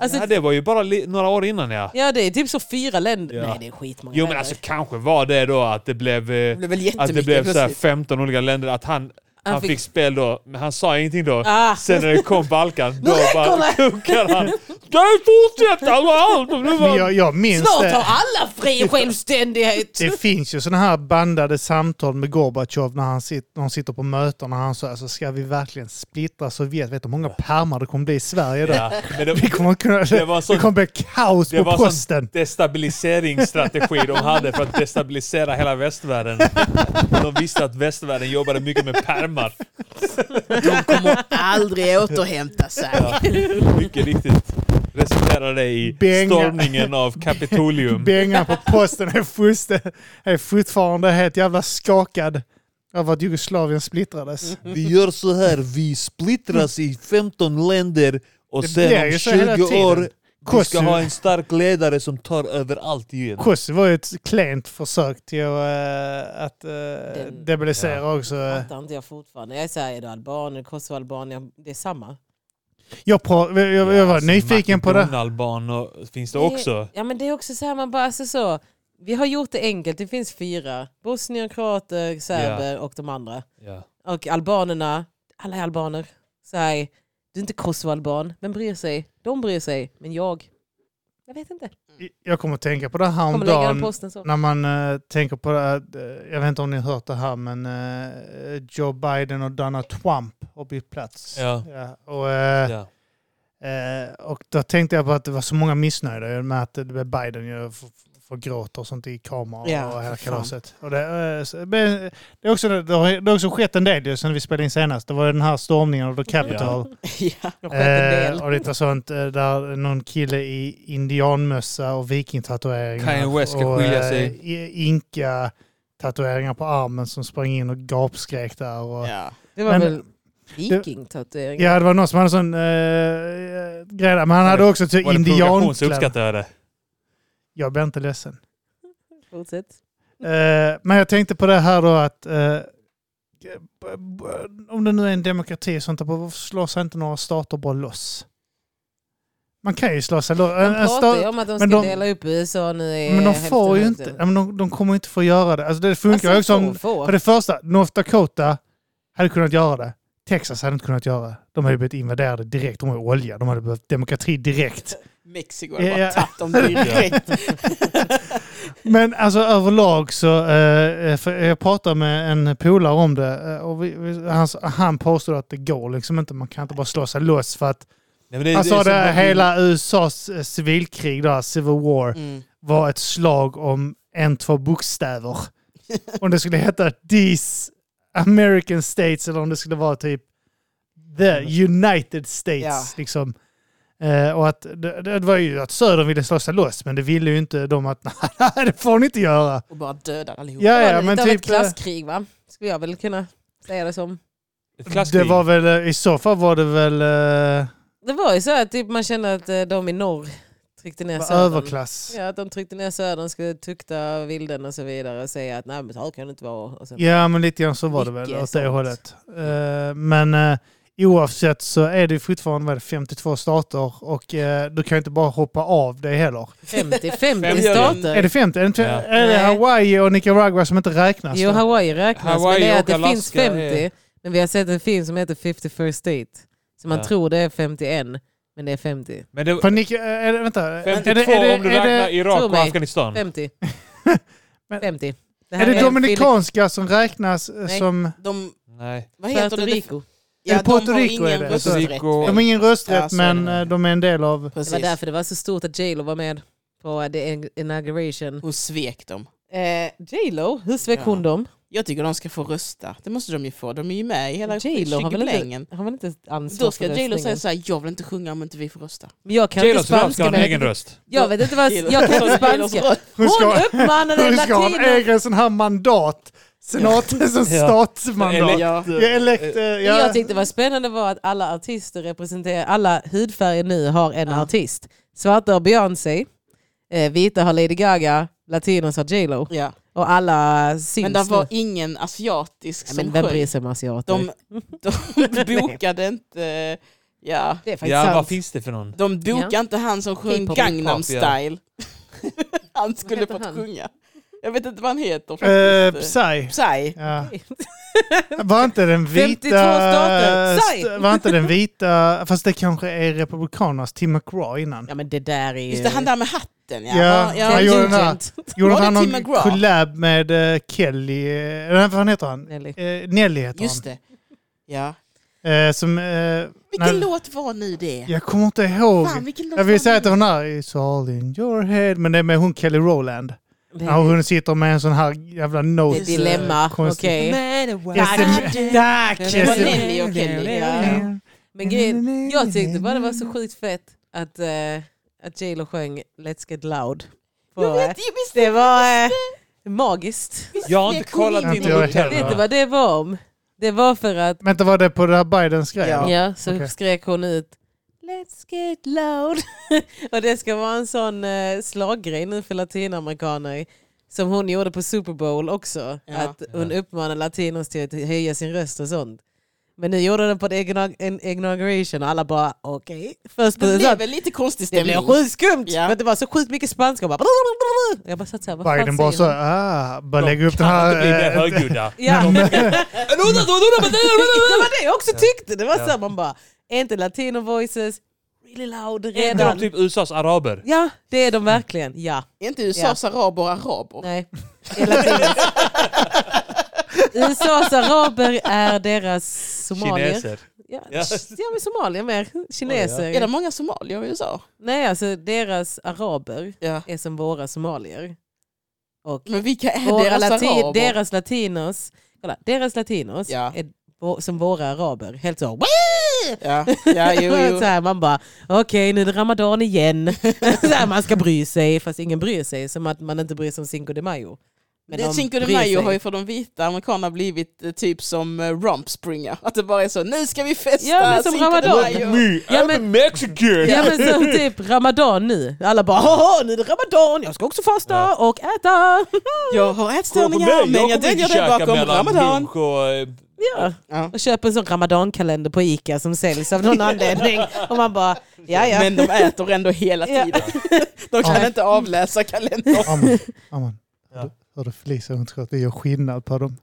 Speaker 3: Alltså-
Speaker 1: ja, det var ju bara li- några år innan ja.
Speaker 3: Ja det är typ så fyra länder.
Speaker 1: Ja.
Speaker 3: Nej det är skitmånga
Speaker 1: Jo men
Speaker 3: länder.
Speaker 1: alltså kanske var det då att det blev... eh,
Speaker 4: Det blev
Speaker 1: Att
Speaker 4: väl
Speaker 1: det
Speaker 4: jättemycket
Speaker 1: blev så här
Speaker 4: plötsligt.
Speaker 1: 15 olika länder, att han, han,
Speaker 3: Han
Speaker 1: fick...
Speaker 3: fick-
Speaker 1: spel då, men han sa ingenting då.
Speaker 3: Ah.
Speaker 1: Sen när det kom Balkan, då
Speaker 3: räcker
Speaker 1: bara
Speaker 3: det!
Speaker 1: kokade han. Ska vi fortsätta med allt? Och nu
Speaker 2: Men
Speaker 1: var-
Speaker 2: jag, jag minns
Speaker 3: Snart har
Speaker 2: det.
Speaker 3: alla fri självständighet!
Speaker 2: Det finns ju sådana här bandade samtal med Gorbatjov när han sitter, när han sitter på möten och han sa alltså, ska vi verkligen splittra Sovjet? Vet du hur många pärmar det kommer bli i Sverige då?
Speaker 1: Ja, men det,
Speaker 2: Vi kommer kunna,
Speaker 1: Det var så-
Speaker 2: det kommer bli kaos
Speaker 1: det
Speaker 2: på
Speaker 1: var sån
Speaker 2: posten.
Speaker 1: destabiliseringsstrategi de hade för att destabilisera hela västvärlden. De visste att västvärlden jobbade mycket med pärmar.
Speaker 4: De kommer aldrig återhämta sig.
Speaker 1: Ja, mycket riktigt resulterade det i
Speaker 2: Benga.
Speaker 1: stormningen av Kapitolium.
Speaker 2: Bengan på posten är, fullstän- är fortfarande helt jävla skakad över att Jugoslavien splittrades.
Speaker 1: Vi gör så här, vi splittras i 15 länder och
Speaker 2: Det blir ju så hela tiden.
Speaker 1: vi
Speaker 2: Kosovo.
Speaker 1: en stark ledare som tar över allt igen.
Speaker 2: Kosovo var ju ett klent försök till att, eh, att eh, demobilisera också.
Speaker 3: Jag fattar inte jag fortfarande. Jag är såhär, är du alban eller kosovoalban? Det är samma.
Speaker 2: Jag, pra- jag, jag, jag var
Speaker 1: alltså,
Speaker 2: nyfiken på det.
Speaker 1: Makedonalbaner finns det också.
Speaker 3: Ja men det är också så här, man bara, alltså så. Vi har gjort det enkelt, det finns fyra. Bosnier, kroater, serber och de andra.
Speaker 1: Ja.
Speaker 3: Och albanerna, alla är albaner. Så här, du är inte kosovoalban, vem bryr sig? De bryr sig, men jag? Jag vet inte.
Speaker 2: Jag kommer att tänka på det här om
Speaker 3: Kommer lägga den
Speaker 2: dagen.
Speaker 3: posten så.
Speaker 2: När man eh, tänker på det, här, eh, jag vet inte om ni har hört det här, men eh, Joe Biden och Donald Trump har bytt plats.
Speaker 1: Ja.
Speaker 2: och, eh,
Speaker 1: Ja.
Speaker 2: Eh, och då tänkte jag på att det var så många missnöjda med att det blev Biden ju får får gråta och sånt i kameror
Speaker 3: Ja,
Speaker 2: och hela
Speaker 3: för fan.
Speaker 2: kalaset. Och det, eh, så- men det, är också, det, har, det har också skett en del ju sen vi spelade in senast. Det var ju den här stormningen av The Capitol.
Speaker 4: Ja.
Speaker 3: Jag sköt en del.
Speaker 2: eh, och lite sånt eh, där någon kille i indianmössa och vikingtatueringar.
Speaker 1: Kanye West ska
Speaker 2: och,
Speaker 1: skilja
Speaker 2: eh,
Speaker 1: sig.
Speaker 2: i- Inka tatueringar på armen som sprang in och gapskrek där. Och,
Speaker 4: Ja.
Speaker 3: Det var
Speaker 2: Men-
Speaker 3: väl Vikingtatuering.
Speaker 2: Ja, det var någon som hade en sån eh, grej där. Men han hade också typ
Speaker 1: Var det provokation så
Speaker 2: indiankläder.
Speaker 1: uppskattar jag det.
Speaker 2: Jag blir inte ledsen.
Speaker 3: Fortsätt.
Speaker 2: Eh, men jag tänkte på det här då att eh, b- b- om det nu är en demokrati och sånt, där, varför slår sig inte några stater bara loss? Man kan ju slå sig loss. En-
Speaker 3: De
Speaker 2: en
Speaker 3: pratar
Speaker 2: sta-
Speaker 3: ju om att de ska
Speaker 2: men de-
Speaker 3: dela upp USA nu i
Speaker 2: men de
Speaker 3: hälften
Speaker 2: får ju
Speaker 3: hälften.
Speaker 2: inte, ja, men de, de kommer inte få göra det. Alltså det funkar ju
Speaker 3: Alltså,
Speaker 2: som,
Speaker 3: de får.
Speaker 2: för det första, North Dakota hade kunnat göra det. Texas hade inte kunnat göra det. De hade ju blivit invaderade direkt. De har ju olja. De hade behövt demokrati direkt.
Speaker 4: Mexiko hade
Speaker 2: Ja, ja.
Speaker 4: bara tagit dem direkt.
Speaker 2: Men alltså överlag så, eh, för jag pratade med en polare om det eh, och vi, vi, han, han påstod att det går liksom inte, man kan inte bara slå sig loss för att
Speaker 1: Nej, men det,
Speaker 2: han sa
Speaker 1: är så-
Speaker 2: Alltså, det hela USAs eh, civilkrig, där, Civil War,
Speaker 4: Mm.
Speaker 2: var ett slag om en, två bokstäver. Om det skulle heta These American States eller om det skulle vara typ The United States.
Speaker 4: Ja.
Speaker 2: Liksom. Eh, och att det, det var ju att södern ville slå sig loss, men det ville ju inte de att nej, det får ni inte göra.
Speaker 4: Och bara dödade allihop.
Speaker 2: Ja,
Speaker 3: det var
Speaker 2: ja, men
Speaker 3: lite av
Speaker 2: typ,
Speaker 3: ett klasskrig va? Skulle jag väl kunna säga det som.
Speaker 1: Ett
Speaker 2: eh, det
Speaker 1: klasskrig.
Speaker 2: var väl, eh, i så fall var det väl eh,
Speaker 3: Det var ju så att typ, man kände att eh, de i norr tryckte ner
Speaker 2: var
Speaker 3: södern.
Speaker 2: överklass.
Speaker 3: Ja, att de tryckte ner södern, skulle tukta vilden och så vidare och säga att nej men så här kan det inte vara. Och sen,
Speaker 2: Ja, men lite grann så var det
Speaker 3: Mycket
Speaker 2: väl åt det
Speaker 3: sånt.
Speaker 2: hållet. Eh, men eh, oavsett så är det ju fortfarande vad är det, 52 stater och eh, du kan ju inte bara hoppa av det heller.
Speaker 3: 50, 50
Speaker 1: gör det.
Speaker 2: Är
Speaker 3: stater.
Speaker 2: det 50? Är det, inte,
Speaker 1: Ja.
Speaker 2: är det
Speaker 3: Nej.
Speaker 2: Hawaii och Nicaragua som inte räknas?
Speaker 3: Jo,
Speaker 2: då?
Speaker 3: Hawaii räknas,
Speaker 1: Hawaii
Speaker 3: men det är
Speaker 1: och
Speaker 3: att det
Speaker 1: Alaska
Speaker 3: finns 50.
Speaker 1: är-
Speaker 3: Men vi har sett en film som heter 51st State. Så man
Speaker 1: Ja.
Speaker 3: tror det är 51, men det är 50.
Speaker 1: Men det,
Speaker 2: För Nic- eh, är det, vänta,
Speaker 1: 52
Speaker 2: är det, är det,
Speaker 1: om du
Speaker 2: är
Speaker 1: räknar
Speaker 2: det,
Speaker 1: Irak
Speaker 3: Tror
Speaker 1: och
Speaker 3: mig.
Speaker 1: Afghanistan.
Speaker 3: 50.
Speaker 2: Men-
Speaker 3: 50. Det
Speaker 2: är
Speaker 3: här
Speaker 2: det
Speaker 3: en
Speaker 2: dominikanska som räknas eh,
Speaker 3: Nej.
Speaker 2: som...
Speaker 4: De,
Speaker 1: Nej.
Speaker 4: vad
Speaker 3: Filip-
Speaker 4: heter
Speaker 3: Puerto
Speaker 4: det?
Speaker 3: Rico.
Speaker 2: Är det Puerto Rico
Speaker 4: de har
Speaker 2: är
Speaker 4: ingen
Speaker 2: det?
Speaker 1: Puerto
Speaker 4: rösträtt.
Speaker 1: Rico.
Speaker 2: De har ingen rösträtt
Speaker 4: Ja, så är det.
Speaker 2: men eh, de är en del av...
Speaker 3: Det
Speaker 4: Precis.
Speaker 3: var därför det var så stort att J.Lo var med på the inauguration.
Speaker 4: Hon svek dem.
Speaker 3: Eh, J.Lo, hur svek
Speaker 4: Ja.
Speaker 3: hon dem?
Speaker 4: Jag tycker de ska få rösta. Det måste de ju få. De är ju med i hela
Speaker 3: J.Lo har väl
Speaker 4: tjugolängen.
Speaker 3: inte, har väl inte ansvar
Speaker 4: Då ska
Speaker 3: för
Speaker 4: J.Lo säga
Speaker 3: röstningen?
Speaker 4: så här, jag vill inte sjunga om inte vi får rösta.
Speaker 3: Men jag kan
Speaker 1: J.Lo
Speaker 3: inte
Speaker 1: ska
Speaker 3: spanska.
Speaker 1: ha en
Speaker 3: men jag
Speaker 1: egen
Speaker 3: vet-
Speaker 1: röst.
Speaker 3: Jag vet inte vad... Alltså, Jag kan inte spanska.
Speaker 2: Hon
Speaker 3: Hon
Speaker 2: ska,
Speaker 3: uppmanade
Speaker 2: hon ska ha en
Speaker 3: latiner...
Speaker 2: egen sån här mandat. Senat, ja. statsmandat.
Speaker 4: Ja.
Speaker 2: Ja, elekt, eh,
Speaker 3: Det
Speaker 2: ja.
Speaker 3: jag tyckte var spännande var att alla artister representerar, alla hudfärger nu har en
Speaker 4: Ja.
Speaker 3: artist. Svarta har Beyoncé, eh, vita har Lady Gaga, latinos har J.Lo.
Speaker 4: Ja.
Speaker 3: Och alla syns
Speaker 4: Men det
Speaker 3: nu.
Speaker 4: var ingen asiatisk
Speaker 3: Ja,
Speaker 4: som
Speaker 3: men vem bryr
Speaker 4: sjöng.
Speaker 3: sig om asiater?
Speaker 4: De, de bokade inte... Ja.
Speaker 3: det är faktiskt
Speaker 1: Ja, vad
Speaker 3: sant.
Speaker 1: finns det för någon?
Speaker 4: De bokade inte han som sjöng
Speaker 3: K-pop.
Speaker 4: Gangnam
Speaker 1: K-pop, ja.
Speaker 4: style. han skulle
Speaker 3: heter
Speaker 4: fått
Speaker 3: han?
Speaker 4: sjunga. Jag vet inte vad han heter.
Speaker 2: Eh,
Speaker 4: faktiskt.
Speaker 2: Psy. Eh,
Speaker 4: Psy.
Speaker 2: Ja. Var inte den
Speaker 3: 52
Speaker 2: vita...
Speaker 3: stater, Psy.
Speaker 2: st- Var inte den vita... Fast det kanske är Republikanernas Tim McGraw innan.
Speaker 3: Ja men det där är ju...
Speaker 4: Just det, han där med hatten. Ja.
Speaker 2: Ja,
Speaker 4: ja,
Speaker 2: han gjorde den där.
Speaker 4: Nugent.
Speaker 2: Gjorde
Speaker 4: Var
Speaker 2: inte han
Speaker 4: det
Speaker 2: någon
Speaker 4: Tim McGraw?
Speaker 2: collab med eh, Kelly... eh, Nej, vad heter han?
Speaker 3: Nelly.
Speaker 2: Eh, Nelly heter
Speaker 4: Just det. Ja.
Speaker 2: han. Eh, som... Eh,
Speaker 4: Vilken
Speaker 2: när-
Speaker 4: låt var nu det?
Speaker 2: Jag kommer inte ihåg.
Speaker 4: Fan, vilken låt
Speaker 2: jag
Speaker 4: var
Speaker 2: vill säga att
Speaker 4: nu?
Speaker 2: det var den här It's all in your head. Men det är med hon Kelly Rowland.
Speaker 3: Det
Speaker 2: Ja, hon sitter med en sån här jävla
Speaker 3: är
Speaker 2: notes.
Speaker 3: ett dilemma,
Speaker 2: eh, konstigt.
Speaker 3: okej.
Speaker 2: SM Tack!
Speaker 4: Det var
Speaker 2: SM
Speaker 4: Nelly och Kelly.
Speaker 3: Ja. Men grejen, jag tyckte bara det var så sjukt fett att, eh, att J.Lo sjöng Let's Get Loud. På,
Speaker 4: Jag vet,
Speaker 3: eh,
Speaker 4: jag visste
Speaker 3: det var eh, magiskt.
Speaker 1: Jag har inte
Speaker 4: Det är cool.
Speaker 1: kollat in
Speaker 2: Inte jag
Speaker 1: något
Speaker 2: heller.
Speaker 3: Vet du
Speaker 1: heller.
Speaker 3: vad det var om? Det var för att,
Speaker 2: Vänta, var det på det här Bidens grej?
Speaker 4: Ja.
Speaker 2: eller?
Speaker 3: ja, så
Speaker 2: okej.
Speaker 3: skrek hon ut Let's get loud. och det ska vara en sån eh, slaggrej nu för latinamerikaner. Som hon gjorde på Super Bowl också.
Speaker 4: Ja.
Speaker 3: Att hon uppmanade latinos till att höja sin röst och sånt. Men nu gjorde hon det på det igna- en inauguration och alla bara okej. Först på
Speaker 4: Det
Speaker 3: så
Speaker 4: blev
Speaker 3: att,
Speaker 4: väl lite konstig
Speaker 3: det
Speaker 4: stämning.
Speaker 3: blev sjukt skumt.
Speaker 4: Ja.
Speaker 3: Men det var så sjukt mycket spanska. Och bara, jag bara satt såhär, vad
Speaker 2: Biden
Speaker 3: fan
Speaker 2: bara så,
Speaker 3: säger hon?
Speaker 2: ah, bara lägga upp den
Speaker 1: Kan
Speaker 2: här...
Speaker 1: inte bli mer
Speaker 2: eh,
Speaker 1: högljudda.
Speaker 3: Ja.
Speaker 1: Men
Speaker 3: det var det jag också tyckte. Det var
Speaker 1: Ja.
Speaker 3: så här, man bara, är inte latino voices really loud
Speaker 1: De är
Speaker 3: redan?
Speaker 1: typ USAs araber.
Speaker 3: Ja, det är de verkligen. Ja,
Speaker 4: Är inte USAs araber araber?
Speaker 3: nej. Det är latinos. USAs araber är deras somalier.
Speaker 1: Kineser.
Speaker 3: Ja,
Speaker 1: Ja.
Speaker 3: ja men somalier mer. Kineser.
Speaker 4: Är det många somalier i USA?
Speaker 3: Nej, alltså deras araber
Speaker 4: Ja.
Speaker 3: är som våra somalier. Och
Speaker 4: Men vilka är
Speaker 3: våra
Speaker 4: deras
Speaker 3: lati-
Speaker 4: araber?
Speaker 3: Eh, deras latinos, kolla, deras latinos
Speaker 4: Ja.
Speaker 3: är vå- som våra araber. Helt så.
Speaker 4: Ja, ja jo, jo.
Speaker 3: så här, man bara, okej nu är det ramadan igen. så här, man ska bry sig, fast ingen bryr sig. Som att man inte bryr sig om Cinco de Mayo. Men
Speaker 4: det
Speaker 3: de
Speaker 4: Cinco de
Speaker 3: bryr
Speaker 4: Mayo
Speaker 3: sig.
Speaker 4: har ju för de vita amerikanerna blivit eh, typ som eh, rumpspringa. Att det bara är så, nu ska vi festa
Speaker 3: Ja, men som
Speaker 4: Cinco de
Speaker 3: Ramadan.
Speaker 4: Mayo."
Speaker 1: Me,
Speaker 3: Ja,
Speaker 1: I'm
Speaker 3: men-
Speaker 1: a mexican!
Speaker 3: Ja men som typ Ramadan nu. Alla bara "Haha, nu är det Ramadan, jag ska också fasta och äta.
Speaker 4: Jag
Speaker 1: Kolla
Speaker 4: har
Speaker 1: på mig,
Speaker 4: ätstörningar men jag
Speaker 1: kommer inte
Speaker 4: döljer det
Speaker 1: käka
Speaker 4: bakom
Speaker 1: mellan
Speaker 4: Ramadan.
Speaker 1: lunch och, eh,
Speaker 3: Ja.
Speaker 4: Ja.
Speaker 3: Och köper en sån Ramadankalender på Ica som säljs av någon anledning. Och man bara, ja ja.
Speaker 4: Men de äter ändå hela
Speaker 3: Ja.
Speaker 4: tiden. De kan
Speaker 2: Ja.
Speaker 4: inte avläsa kalendern.
Speaker 2: eh, Aman, aman.
Speaker 1: Ja.
Speaker 2: Hör- Hör du Felicia, hon tror att vi gör skillnad på dem.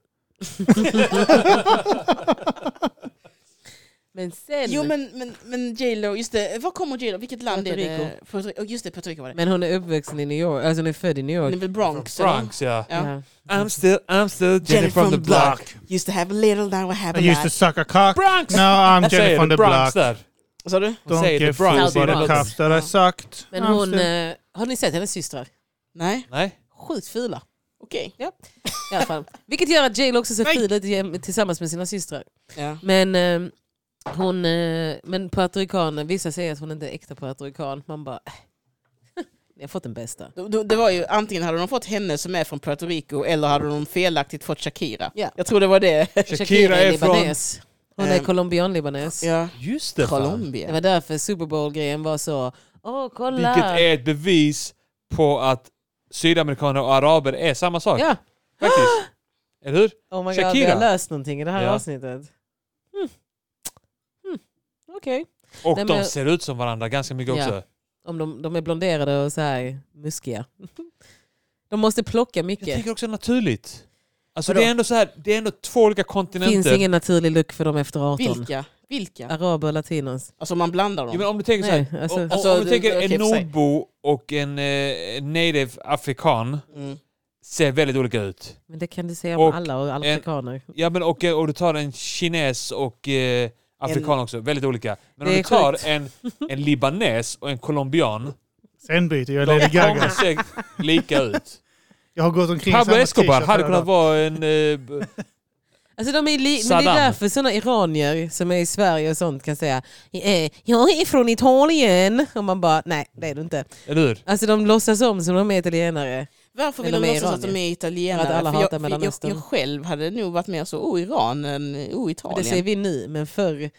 Speaker 3: Men sen.
Speaker 4: Jo men, men, men J.Lo, just det, var kommer J.Lo? Vilket land är
Speaker 3: Puerto
Speaker 4: det? Puerto Rico. Just det, Puerto Rico var det.
Speaker 3: Men hon är uppvuxen i New York, alltså hon är född i New
Speaker 4: Det är
Speaker 3: York.
Speaker 4: väl Bronx? eller?
Speaker 1: Bronx, ja.
Speaker 4: Ja.
Speaker 3: Ja.
Speaker 1: I'm still, I'm still Jenny from the block.
Speaker 4: Used to have a little, now I have a
Speaker 2: I used to
Speaker 4: lot.
Speaker 2: suck a cock.
Speaker 1: Bronx!
Speaker 2: No, I'm Jenny
Speaker 1: Säger
Speaker 2: from
Speaker 1: du
Speaker 2: the
Speaker 1: Bronx
Speaker 2: block.
Speaker 1: där?
Speaker 4: Sa du?
Speaker 1: Hon säger
Speaker 2: Don't
Speaker 1: det
Speaker 2: give
Speaker 1: Bronx.
Speaker 2: a fuck
Speaker 3: Ja,
Speaker 2: about the
Speaker 3: det är
Speaker 2: cock that I sucked.
Speaker 3: Men
Speaker 2: I'm
Speaker 3: hon,
Speaker 2: still-
Speaker 3: eh, har ni sett hennes systrar?
Speaker 4: Nej.
Speaker 1: Nej.
Speaker 3: Sjukt fula.
Speaker 4: Okej.
Speaker 3: I alla fall. Vilket gör att J.Lo också ser
Speaker 4: Nej.
Speaker 3: ful ut jäm- tillsammans med sina systrar.
Speaker 4: Ja.
Speaker 3: Men, eh, hon, eh, men puertoricaner, vissa säger att hon inte är äkta puertorican. Man bara, eh, ni har fått den bästa.
Speaker 4: Då- då- Det var ju antingen hade de fått henne som är från Puerto Rico eller hade de felaktigt fått Shakira.
Speaker 3: Ja.
Speaker 4: Jag tror det var det.
Speaker 1: Shakira är från...
Speaker 3: libanes. Hon är
Speaker 4: Ehm,
Speaker 3: colombian-libanes.
Speaker 4: Ja.
Speaker 1: Just det fan.
Speaker 3: Det
Speaker 4: Colombia.
Speaker 3: var därför Super Bowl-grejen var så, åh kolla!
Speaker 1: Vilket är ett bevis på att sydamerikaner och araber är samma sak.
Speaker 3: ja.
Speaker 1: Faktiskt. Eller hur?
Speaker 3: Oh my god, vi
Speaker 1: Shakira.
Speaker 3: har löst någonting i det här
Speaker 1: Ja.
Speaker 3: avsnittet. Hmm. Hmm. Okej.
Speaker 1: Och
Speaker 3: Nej,
Speaker 1: de
Speaker 3: men-
Speaker 1: ser ut som varandra ganska mycket
Speaker 3: Ja.
Speaker 1: också.
Speaker 3: Om de, de är blonderade och så här muskiga. De måste plocka
Speaker 1: Jag
Speaker 3: mycket.
Speaker 1: tycker också naturligt. Alltså
Speaker 3: Vadå?
Speaker 1: det är ändå så här, det är ändå två olika
Speaker 3: Det finns
Speaker 1: kontinenter.
Speaker 3: ingen naturlig look för dem efter 18.
Speaker 4: Vilka? Vilka?
Speaker 3: Araber och latinos.
Speaker 4: Alltså om man blandar dem.
Speaker 1: Jo, men om du tänker
Speaker 3: Nej,
Speaker 1: så här,
Speaker 3: alltså-
Speaker 1: om,
Speaker 4: Alltså,
Speaker 1: om du
Speaker 4: det-
Speaker 1: tänker
Speaker 4: okej,
Speaker 1: en
Speaker 3: typ
Speaker 4: för sig.
Speaker 1: nordbo och en eh, native afrikan
Speaker 4: Mm.
Speaker 1: ser väldigt olika ut.
Speaker 3: Men det kan du säga om
Speaker 1: Och
Speaker 3: alla och alla
Speaker 1: en-
Speaker 3: afrikaner.
Speaker 1: Ja, men och, eh, och du tar en kines och eh, afrikan också, väldigt olika. Men om
Speaker 3: Det
Speaker 1: du
Speaker 3: är
Speaker 1: tar
Speaker 3: sjukt.
Speaker 1: en, en libanes och en colombian,
Speaker 2: Sen byter jag
Speaker 1: de
Speaker 2: Lady Gaga.
Speaker 1: kommer se lika ut.
Speaker 2: Jag har gått omkring i
Speaker 1: Pablo
Speaker 2: samma
Speaker 1: Escobar
Speaker 2: t-shirt
Speaker 1: hade
Speaker 2: hela
Speaker 1: kunnat
Speaker 2: dagen.
Speaker 1: vara en... Eh, b-
Speaker 3: Alltså de är li- men det
Speaker 1: Saddam.
Speaker 3: är därför sådana iranier som är i Sverige och sånt kan säga "Eh, jag är från Italien. Och man bara nej det är du inte.
Speaker 1: eller hur?
Speaker 3: Alltså de låtsas om som de är italienare.
Speaker 4: Varför vill
Speaker 3: Men
Speaker 4: de
Speaker 3: de är
Speaker 4: låtsas att de är italienare?
Speaker 3: För att alla
Speaker 4: För jag,
Speaker 3: hatar
Speaker 4: för jag,
Speaker 3: Mellanöstern.
Speaker 4: jag själv hade nog varit mer så, oh Iran än oh
Speaker 3: Men det
Speaker 4: Italien.
Speaker 3: säger vi nu men förr.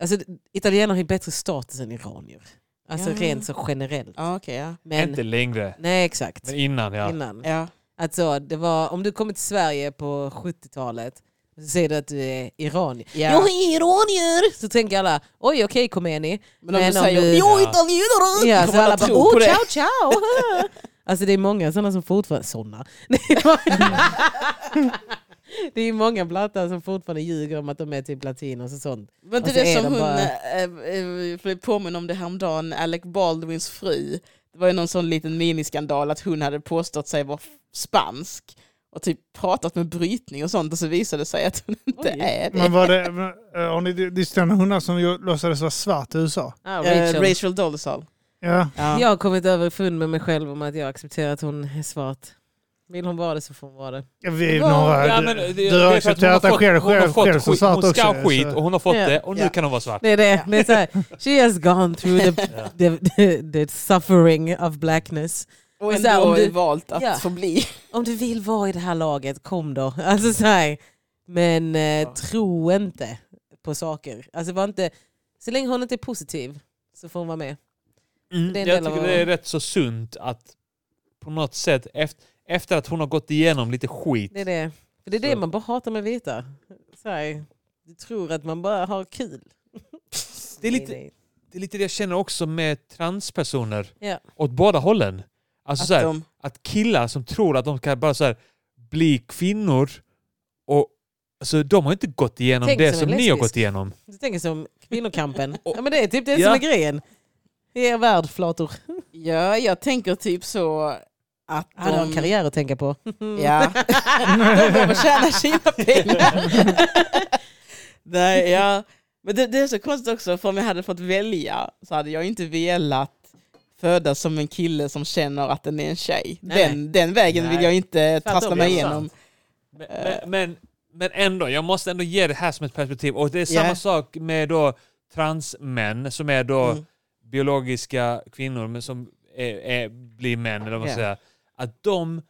Speaker 3: Alltså italienare har ju bättre status än iranier. Alltså
Speaker 4: Ja.
Speaker 3: rent så generellt.
Speaker 4: Ja, okej, ja.
Speaker 3: Men,
Speaker 1: Inte längre.
Speaker 3: nej exakt.
Speaker 1: Men innan ja.
Speaker 3: Innan.
Speaker 4: ja.
Speaker 3: Alltså, det var, om du kommer till Sverige på 70-talet och så säger du att du är iranier.
Speaker 4: Ja.
Speaker 3: Jag är iranier! Så tänker alla, oj okej Khomeini.
Speaker 4: Men om
Speaker 3: Men
Speaker 4: du
Speaker 3: om
Speaker 4: säger
Speaker 3: du-
Speaker 4: jag är
Speaker 1: Ja.
Speaker 4: italienare!
Speaker 3: Ja,
Speaker 4: kommer
Speaker 3: så alla bara,
Speaker 4: tro på
Speaker 3: oh
Speaker 4: det.
Speaker 3: ciao ciao! alltså det är många sådana som fortfarande... Sådana? det är många blattar som fortfarande ljuger om att de är typ latinos och sånt.
Speaker 4: Var inte
Speaker 3: Och så
Speaker 4: det
Speaker 3: är
Speaker 4: som
Speaker 3: de
Speaker 4: hon
Speaker 3: bara-
Speaker 4: eh, eh, blev påminn om det häromdagen, Alec Baldwins fru. Det var ju någon sån liten miniskandal att hon hade påstått sig vara spansk och typ pratat med brytning och sånt och så visade det sig att hon inte
Speaker 3: Oj.
Speaker 4: är det.
Speaker 2: Men var det, men, eh, har ni distan hundar som ju låtsades vara svart i USA?
Speaker 3: Ah,
Speaker 4: Eh,
Speaker 3: Rachel.
Speaker 4: Rachel Dolezal.
Speaker 2: Ja.
Speaker 4: Ja.
Speaker 3: Jag har kommit över fund med mig själv om att jag accepterar att hon är svart. Vill hon vara det så får hon vara det.
Speaker 2: Ja, Vi är
Speaker 4: Ja,
Speaker 2: några,
Speaker 1: Ja, men det- det är för
Speaker 2: du har
Speaker 1: att hon
Speaker 2: accepterat dig
Speaker 1: fått-
Speaker 2: själv,
Speaker 1: hon har
Speaker 2: själv,
Speaker 1: fått
Speaker 2: själv som
Speaker 1: skit-
Speaker 2: svart
Speaker 1: Hon ska
Speaker 2: också.
Speaker 1: skit
Speaker 2: så-
Speaker 1: och hon har fått
Speaker 3: Ja.
Speaker 1: det och nu
Speaker 4: Ja.
Speaker 1: kan hon vara svart.
Speaker 3: Det är det. det är så här, she has gone through the, the, the, the suffering of blackness.
Speaker 4: Och
Speaker 3: Men så här,
Speaker 4: ändå
Speaker 3: om du-
Speaker 4: valt att
Speaker 3: Ja.
Speaker 4: förbli.
Speaker 3: Om du vill vara i det här laget, kom då. Alltså så här. Men eh, tro inte på saker. Alltså var inte, så länge hon inte är positiv så får hon vara med.
Speaker 1: Mm,
Speaker 3: Det är en
Speaker 1: jag
Speaker 3: del av
Speaker 1: tycker
Speaker 3: vad-
Speaker 1: det är rätt så sunt att på något sätt efter, efter att hon har gått igenom lite skit.
Speaker 3: Det är det, För det, är det
Speaker 1: Så.
Speaker 3: man bara hatar med vita. Så här, du tror att man bara har kul.
Speaker 1: Det är lite-
Speaker 3: Nej, nej.
Speaker 1: Det är lite det jag känner också med transpersoner.
Speaker 3: Ja.
Speaker 1: Åt båda hållen. Alltså att, så
Speaker 4: Att
Speaker 1: här,
Speaker 4: de,
Speaker 1: att killar som tror att de kan bara så här, bli kvinnor och alltså, de har inte gått igenom
Speaker 3: Tänk
Speaker 1: det
Speaker 3: som
Speaker 1: som
Speaker 3: en
Speaker 1: ni har
Speaker 3: lesbisk.
Speaker 1: gått igenom.
Speaker 3: Du tänker som kvinnokampen.
Speaker 1: Och-
Speaker 3: ja, men det är typ det
Speaker 1: Ja.
Speaker 3: som är grejen. Ge er värld, flator.
Speaker 4: ja, jag tänker typ så att
Speaker 3: Han har en
Speaker 4: de-
Speaker 3: karriär att tänka på.
Speaker 4: Ja. Mm. De behöver tjäna sina pengar. Nej, ja. Men det, det är så konstigt också, för om jag hade fått välja så hade jag inte velat födas som en kille som känner att den är en tjej.
Speaker 3: Nej,
Speaker 4: Den, den vägen
Speaker 1: Nej.
Speaker 4: vill jag inte
Speaker 3: Tvärtom,
Speaker 4: trassla mig
Speaker 1: ja,
Speaker 4: igenom.
Speaker 1: Men, men, men, men ändå, jag måste ändå ge det här som ett perspektiv. Och det är samma
Speaker 4: Ja.
Speaker 1: sak med då transmän som är då
Speaker 4: Mm.
Speaker 1: biologiska kvinnor men som är, är, blir män, eller vad man
Speaker 4: Ja.
Speaker 1: säger. Att de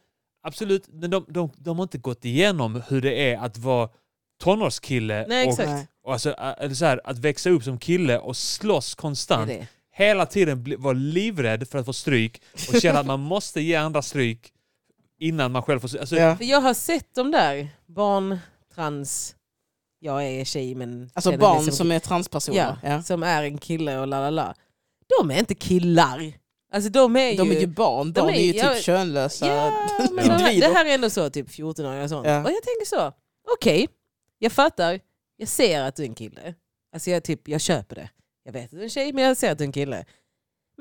Speaker 1: absolut, men de, de, de har inte gått igenom hur det är att vara tonårskille
Speaker 3: Nej,
Speaker 1: och,
Speaker 3: exakt.
Speaker 4: Nej.
Speaker 1: och alltså, ä- eller så här, att växa upp som kille och slåss
Speaker 3: Det är
Speaker 1: konstant.
Speaker 3: det.
Speaker 1: Hela tiden bli- vara livrädd för att få stryk och känna att man måste ge andra stryk innan man själv får stryk. Alltså,
Speaker 4: Ja.
Speaker 3: För jag har sett de där barn, trans, jag är tjej men...
Speaker 4: Alltså
Speaker 3: känner mig
Speaker 4: barn som är transpersoner.
Speaker 3: ja,
Speaker 4: Ja.
Speaker 3: som är en kille och la la la. De är inte killar. Alltså de är ju...
Speaker 4: De är ju barn,
Speaker 3: De
Speaker 4: barn
Speaker 3: är-
Speaker 4: är, ju
Speaker 3: ja,
Speaker 4: typ könlösa
Speaker 3: ja, men de här,
Speaker 4: individer.
Speaker 3: det här är ändå så, typ 14-åringar och sånt.
Speaker 4: Ja.
Speaker 3: Och jag tänker så, okej, jag fattar, jag ser att du är en kille. Alltså jag, typ, jag köper det. Jag vet att du är en tjej men jag ser att du är en kille.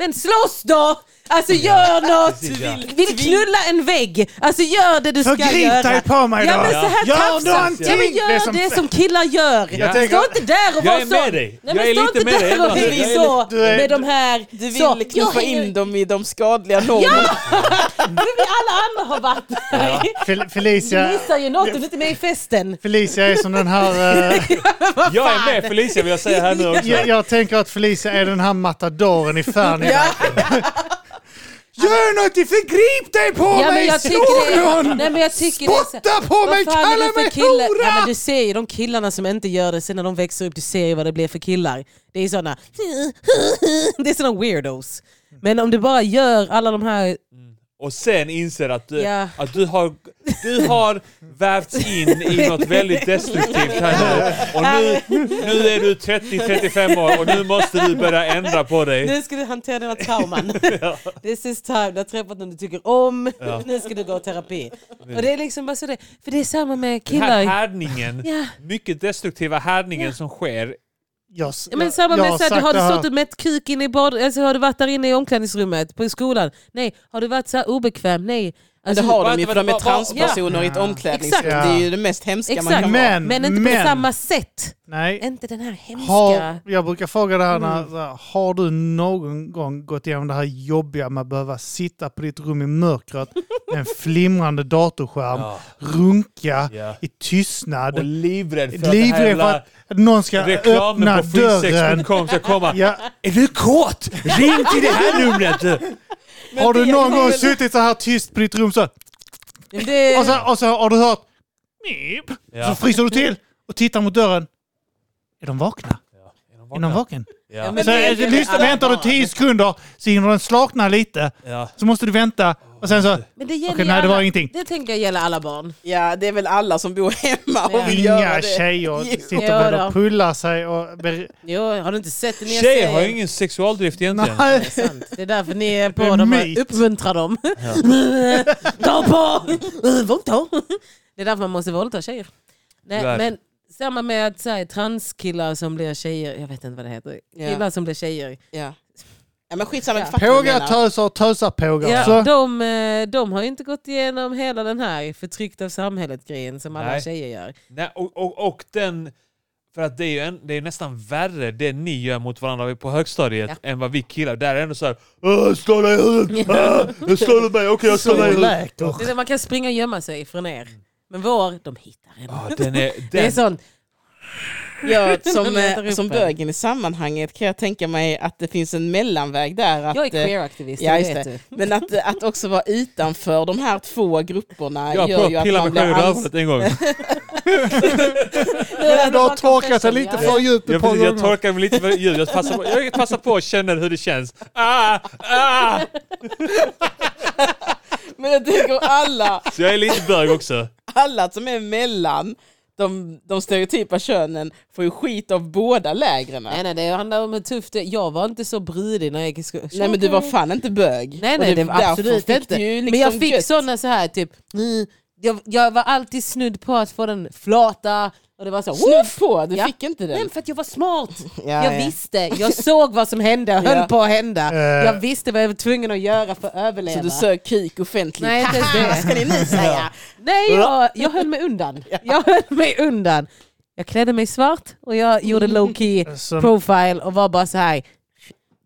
Speaker 3: Men slåss då! Alltså gör något!
Speaker 1: precis, ja.
Speaker 3: Vill knulla en vägg! Alltså gör det du ska göra!
Speaker 2: Förgrip dig på mig då!
Speaker 3: Ja men så här
Speaker 2: Gör
Speaker 3: tafsa!
Speaker 2: någonting!
Speaker 3: Ja, men gör det, som, killar gör!
Speaker 1: Jag
Speaker 2: tänker-
Speaker 3: Stå inte där och
Speaker 1: Jag
Speaker 3: var
Speaker 1: är
Speaker 3: sån!
Speaker 1: med dig.
Speaker 3: Nej,
Speaker 1: Jag
Speaker 3: men
Speaker 1: är
Speaker 3: stå
Speaker 1: lite
Speaker 3: inte
Speaker 1: med dig,
Speaker 3: där och
Speaker 1: Edvard.
Speaker 3: bli
Speaker 1: Jag är
Speaker 3: så!
Speaker 2: lite- du är-
Speaker 3: med de här...
Speaker 4: Du
Speaker 3: så,
Speaker 4: vill
Speaker 3: jag
Speaker 4: knuffa
Speaker 3: hänger-
Speaker 4: in dem i de skadliga normerna.
Speaker 3: Det blir alla andra har varit där.
Speaker 2: Fel-
Speaker 3: Du
Speaker 2: Felicia,
Speaker 3: missar ju något om du inte är med i festen.
Speaker 2: Felicia är som den här... eh,
Speaker 1: Jag är med Felicia vill jag säga här nu också.
Speaker 2: jag, jag tänker att Felicia är den här matadoren i Färnebo. Gör något! Förgrip dig på
Speaker 3: Ja, men
Speaker 2: mig!
Speaker 3: jag tycker
Speaker 2: Slå
Speaker 3: det,
Speaker 2: någon!
Speaker 3: nej, men jag tycker det
Speaker 2: Spotta på mig! Kalla mig hora!
Speaker 3: Ja, men du ser ju de killarna som inte gör det sen när de växer upp, du ser ju vad det blir för killar. Det är sådana det är såna weirdos. Men om du bara gör alla de här...
Speaker 1: Och sen inser att du,
Speaker 3: Ja.
Speaker 1: att du har, du har vävts in i något väldigt destruktivt här nu. Och nu, nu är du 30-35 år och nu måste du börja ändra på dig.
Speaker 3: Nu ska du hantera dina trauman. This is time, du har träffat någon du tycker om,
Speaker 1: Ja.
Speaker 3: nu ska du gå i terapi. Och det är liksom bara så det, för det är samma med
Speaker 1: Den här
Speaker 3: killar.
Speaker 1: härdningen,
Speaker 3: Ja.
Speaker 1: mycket destruktiva härdningen som sker.
Speaker 2: Jag,
Speaker 3: Ja, men samma
Speaker 2: jag
Speaker 3: med så här, du har
Speaker 2: sagt
Speaker 3: du
Speaker 2: det
Speaker 3: stått och mätt kuk inne i bad, alltså, har du varit där inne i omklädningsrummet på skolan? Nej. Har du varit så här obekväm? Nej.
Speaker 4: Det
Speaker 3: Alltså,
Speaker 4: har
Speaker 1: Vänta,
Speaker 4: de ju för
Speaker 1: vänta,
Speaker 4: de är
Speaker 1: vad- vad-
Speaker 4: transpersoner i ett
Speaker 2: Ja.
Speaker 4: omklädningsrum.
Speaker 3: Exakt.
Speaker 4: Det är ju det mest hemska man
Speaker 3: Exakt.
Speaker 4: kan
Speaker 2: Men-
Speaker 4: vara.
Speaker 3: men inte
Speaker 2: men-
Speaker 3: på samma sätt.
Speaker 2: Nej.
Speaker 3: Inte den här hemska.
Speaker 2: Har, jag brukar fråga det här, när, så
Speaker 3: Mm.
Speaker 2: här, har du någon gång gått igenom det här jobbiga med att behöva sitta på ditt rum i mörkret med en flimrande datorskärm,
Speaker 1: Ja.
Speaker 2: runka
Speaker 1: Ja.
Speaker 2: i tystnad,
Speaker 1: Och livrädd för att det här
Speaker 2: livrädd för
Speaker 1: jävla
Speaker 2: att någon ska öppna
Speaker 1: reklamen på
Speaker 2: dörren.
Speaker 1: freesex.com ska komma.
Speaker 2: Ja.
Speaker 1: Är du kåt? Ring till det här numret! du.
Speaker 2: Har du
Speaker 4: det
Speaker 2: någon
Speaker 4: är
Speaker 2: gång
Speaker 4: väl-
Speaker 2: suttit så här tyst på ditt rum så,
Speaker 1: Eh.
Speaker 3: Men det,
Speaker 2: och, så, och så har du hört "Mip",
Speaker 1: Ja.
Speaker 2: så fryser du till och tittar mot dörren. Är de vakna? Är någon vaken?
Speaker 1: Ja.
Speaker 3: men
Speaker 2: Så,
Speaker 3: det är
Speaker 2: eh,
Speaker 3: ju
Speaker 2: lyssna,
Speaker 3: alla
Speaker 2: väntar du
Speaker 3: barn.
Speaker 2: tio sekunder så hinner den slakna lite.
Speaker 1: Ja.
Speaker 2: Så måste du vänta och sen så...
Speaker 3: men det gäller
Speaker 2: Okej,
Speaker 3: ju
Speaker 2: nej det
Speaker 3: alla,
Speaker 2: var ingenting.
Speaker 3: det tänker jag gäller alla barn.
Speaker 4: Ja, det är väl alla som bor hemma
Speaker 3: Ja.
Speaker 4: och vill göra
Speaker 2: Inga
Speaker 4: det.
Speaker 2: tjejer
Speaker 4: Jo.
Speaker 2: sitter med
Speaker 3: Jo
Speaker 2: och
Speaker 3: då.
Speaker 2: pullar sig och... ber-
Speaker 3: Jo, har du inte sett det nya
Speaker 1: Tjejer har ju ingen sexualdrift egentligen.
Speaker 3: Det är
Speaker 2: Nej.
Speaker 3: sant. Det är därför ni är på
Speaker 2: Det är
Speaker 3: dem
Speaker 2: myt.
Speaker 3: och uppmuntrar dem. Ta på! Våldta! Det är därför man måste våldta tjejer.
Speaker 1: Tyvärr.
Speaker 3: Nej, men samma med att så här, transkillar som blir tjejer, jag vet inte vad det heter,
Speaker 4: Ja.
Speaker 3: killar som blir tjejer.
Speaker 4: Ja. ja, men skitsamma.
Speaker 3: Ja.
Speaker 4: jag fattar vad du
Speaker 2: Pågar
Speaker 4: menar.
Speaker 2: töser och tösar pågar.
Speaker 3: Ja,
Speaker 2: Så,
Speaker 3: de, eh, de har ju inte gått igenom hela den här förtryckt av samhället-grejen som alla
Speaker 1: Nej.
Speaker 3: tjejer gör.
Speaker 1: Nej, och, och, och den... För att det är ju en, det är nästan värre det ni gör mot varandra på högstadiet än vad vi killar. Där är det ändå såhär "Åh, slå dig i huvudet! Åh, Jag slår dig mig! Okej, jag slår dig i huvudet!
Speaker 2: läker.
Speaker 3: Det är så man kan springa och gömma sig från er. Men vår, de hittar en.
Speaker 1: Ja, Ah, den är,
Speaker 3: det är
Speaker 1: den,
Speaker 3: sånt.
Speaker 4: Ja, som,
Speaker 3: letar
Speaker 4: eh,
Speaker 3: upp
Speaker 4: som
Speaker 3: en.
Speaker 4: bögen i sammanhanget kan jag tänka mig att det finns en mellanväg där. Att,
Speaker 3: Jag är
Speaker 4: eh,
Speaker 3: queer-aktivist,
Speaker 4: Ja,
Speaker 3: det
Speaker 4: just
Speaker 3: vet
Speaker 4: det.
Speaker 3: du.
Speaker 4: Men att, eh, att också vara utanför de här två grupperna
Speaker 1: jag
Speaker 4: gör ju
Speaker 1: har
Speaker 4: att
Speaker 1: pillat mig
Speaker 4: man blir
Speaker 1: själv i
Speaker 4: ans-
Speaker 1: röven en gång.
Speaker 2: Du har torkat dig lite för djupt
Speaker 1: Jag,
Speaker 2: ett par
Speaker 1: precis, jag
Speaker 2: gånger.
Speaker 1: torkar mig lite för ljud. Jag passar på, jag passar på och känner hur det känns. Ah, ah.
Speaker 4: Men jag tänker alla,
Speaker 1: Så jag är lite bög också.
Speaker 4: alla som är mellan de, de stereotypa könen får ju skit av båda lägren.
Speaker 3: Nej, nej, det handlar om hur tufft det Jag var inte så brydig när jag gick i skolan.
Speaker 4: Nej men du var fan inte bög.
Speaker 3: Nej,
Speaker 4: Och
Speaker 3: nej, det
Speaker 4: därför
Speaker 3: var absolut
Speaker 4: fick
Speaker 3: inte.
Speaker 4: du ju liksom
Speaker 3: men jag fick
Speaker 4: gött.
Speaker 3: sådana så här typ... Mm, jag, jag var alltid snudd på att få den flata. Och det var så... "Woo!"
Speaker 4: Snudd på, du
Speaker 3: Ja.
Speaker 4: fick inte den.
Speaker 3: Nej, för att jag var smart.
Speaker 4: Ja,
Speaker 3: jag
Speaker 4: ja.
Speaker 3: visste, jag såg vad som hände, höll
Speaker 4: Ja.
Speaker 3: på att hända.
Speaker 2: Eh.
Speaker 3: Jag visste vad jag var tvungen att göra för att överleva.
Speaker 4: Så du sög kuk offentligt.
Speaker 3: Nej, inte ens
Speaker 4: Vad ska
Speaker 3: det.
Speaker 4: ni nu säga?
Speaker 3: Nej, jag, jag höll mig undan. Jag höll mig undan. Jag klädde mig svart och jag gjorde
Speaker 4: Mm.
Speaker 3: low key
Speaker 4: Alltså.
Speaker 2: Som-
Speaker 3: profile och var bara så här,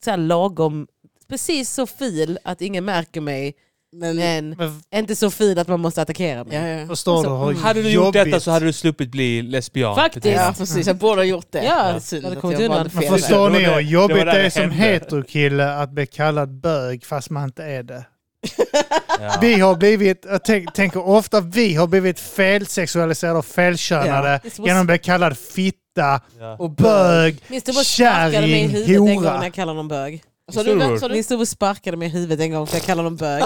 Speaker 3: så här lagom, precis så fil att ingen märker mig,
Speaker 4: Men,
Speaker 3: men
Speaker 2: Men
Speaker 3: inte så fil att man måste attackera mig.
Speaker 4: ja, ja.
Speaker 2: Förstår du?
Speaker 3: Alltså,
Speaker 2: Har
Speaker 1: Hade du gjort
Speaker 2: jobbigt.
Speaker 1: detta så hade du sluppit bli lesbian.
Speaker 3: Faktiskt.
Speaker 4: ja precis, jag borde ha gjort det.
Speaker 3: Ja,
Speaker 4: det är synd
Speaker 3: jag hade
Speaker 4: att
Speaker 3: kommit
Speaker 4: jag
Speaker 3: undan.
Speaker 4: valde
Speaker 2: Men
Speaker 4: fel
Speaker 1: Fel.
Speaker 2: förstår
Speaker 1: Det var
Speaker 2: ni
Speaker 1: det-
Speaker 2: hur
Speaker 1: det
Speaker 2: jobbigt
Speaker 1: var
Speaker 2: det
Speaker 1: där
Speaker 2: är
Speaker 1: det
Speaker 2: som
Speaker 1: hände.
Speaker 2: heterokille att bli kallad bög fast man inte är det?
Speaker 1: Ja.
Speaker 2: Vi har blivit, jag tänk, tänker ofta, vi har blivit felsexualiserade och felkönade
Speaker 3: Ja.
Speaker 2: genom att bli kallad fitta
Speaker 1: Ja.
Speaker 2: och bög.
Speaker 3: Min storebror sparkade mig
Speaker 2: Kärring,
Speaker 3: i huvudet en gång
Speaker 2: hora.
Speaker 3: när jag kallade honom bög.
Speaker 4: Så du,
Speaker 1: Stor.
Speaker 4: så du,
Speaker 3: Min storebror sparkade mig i huvudet en gång för jag kallade honom bög.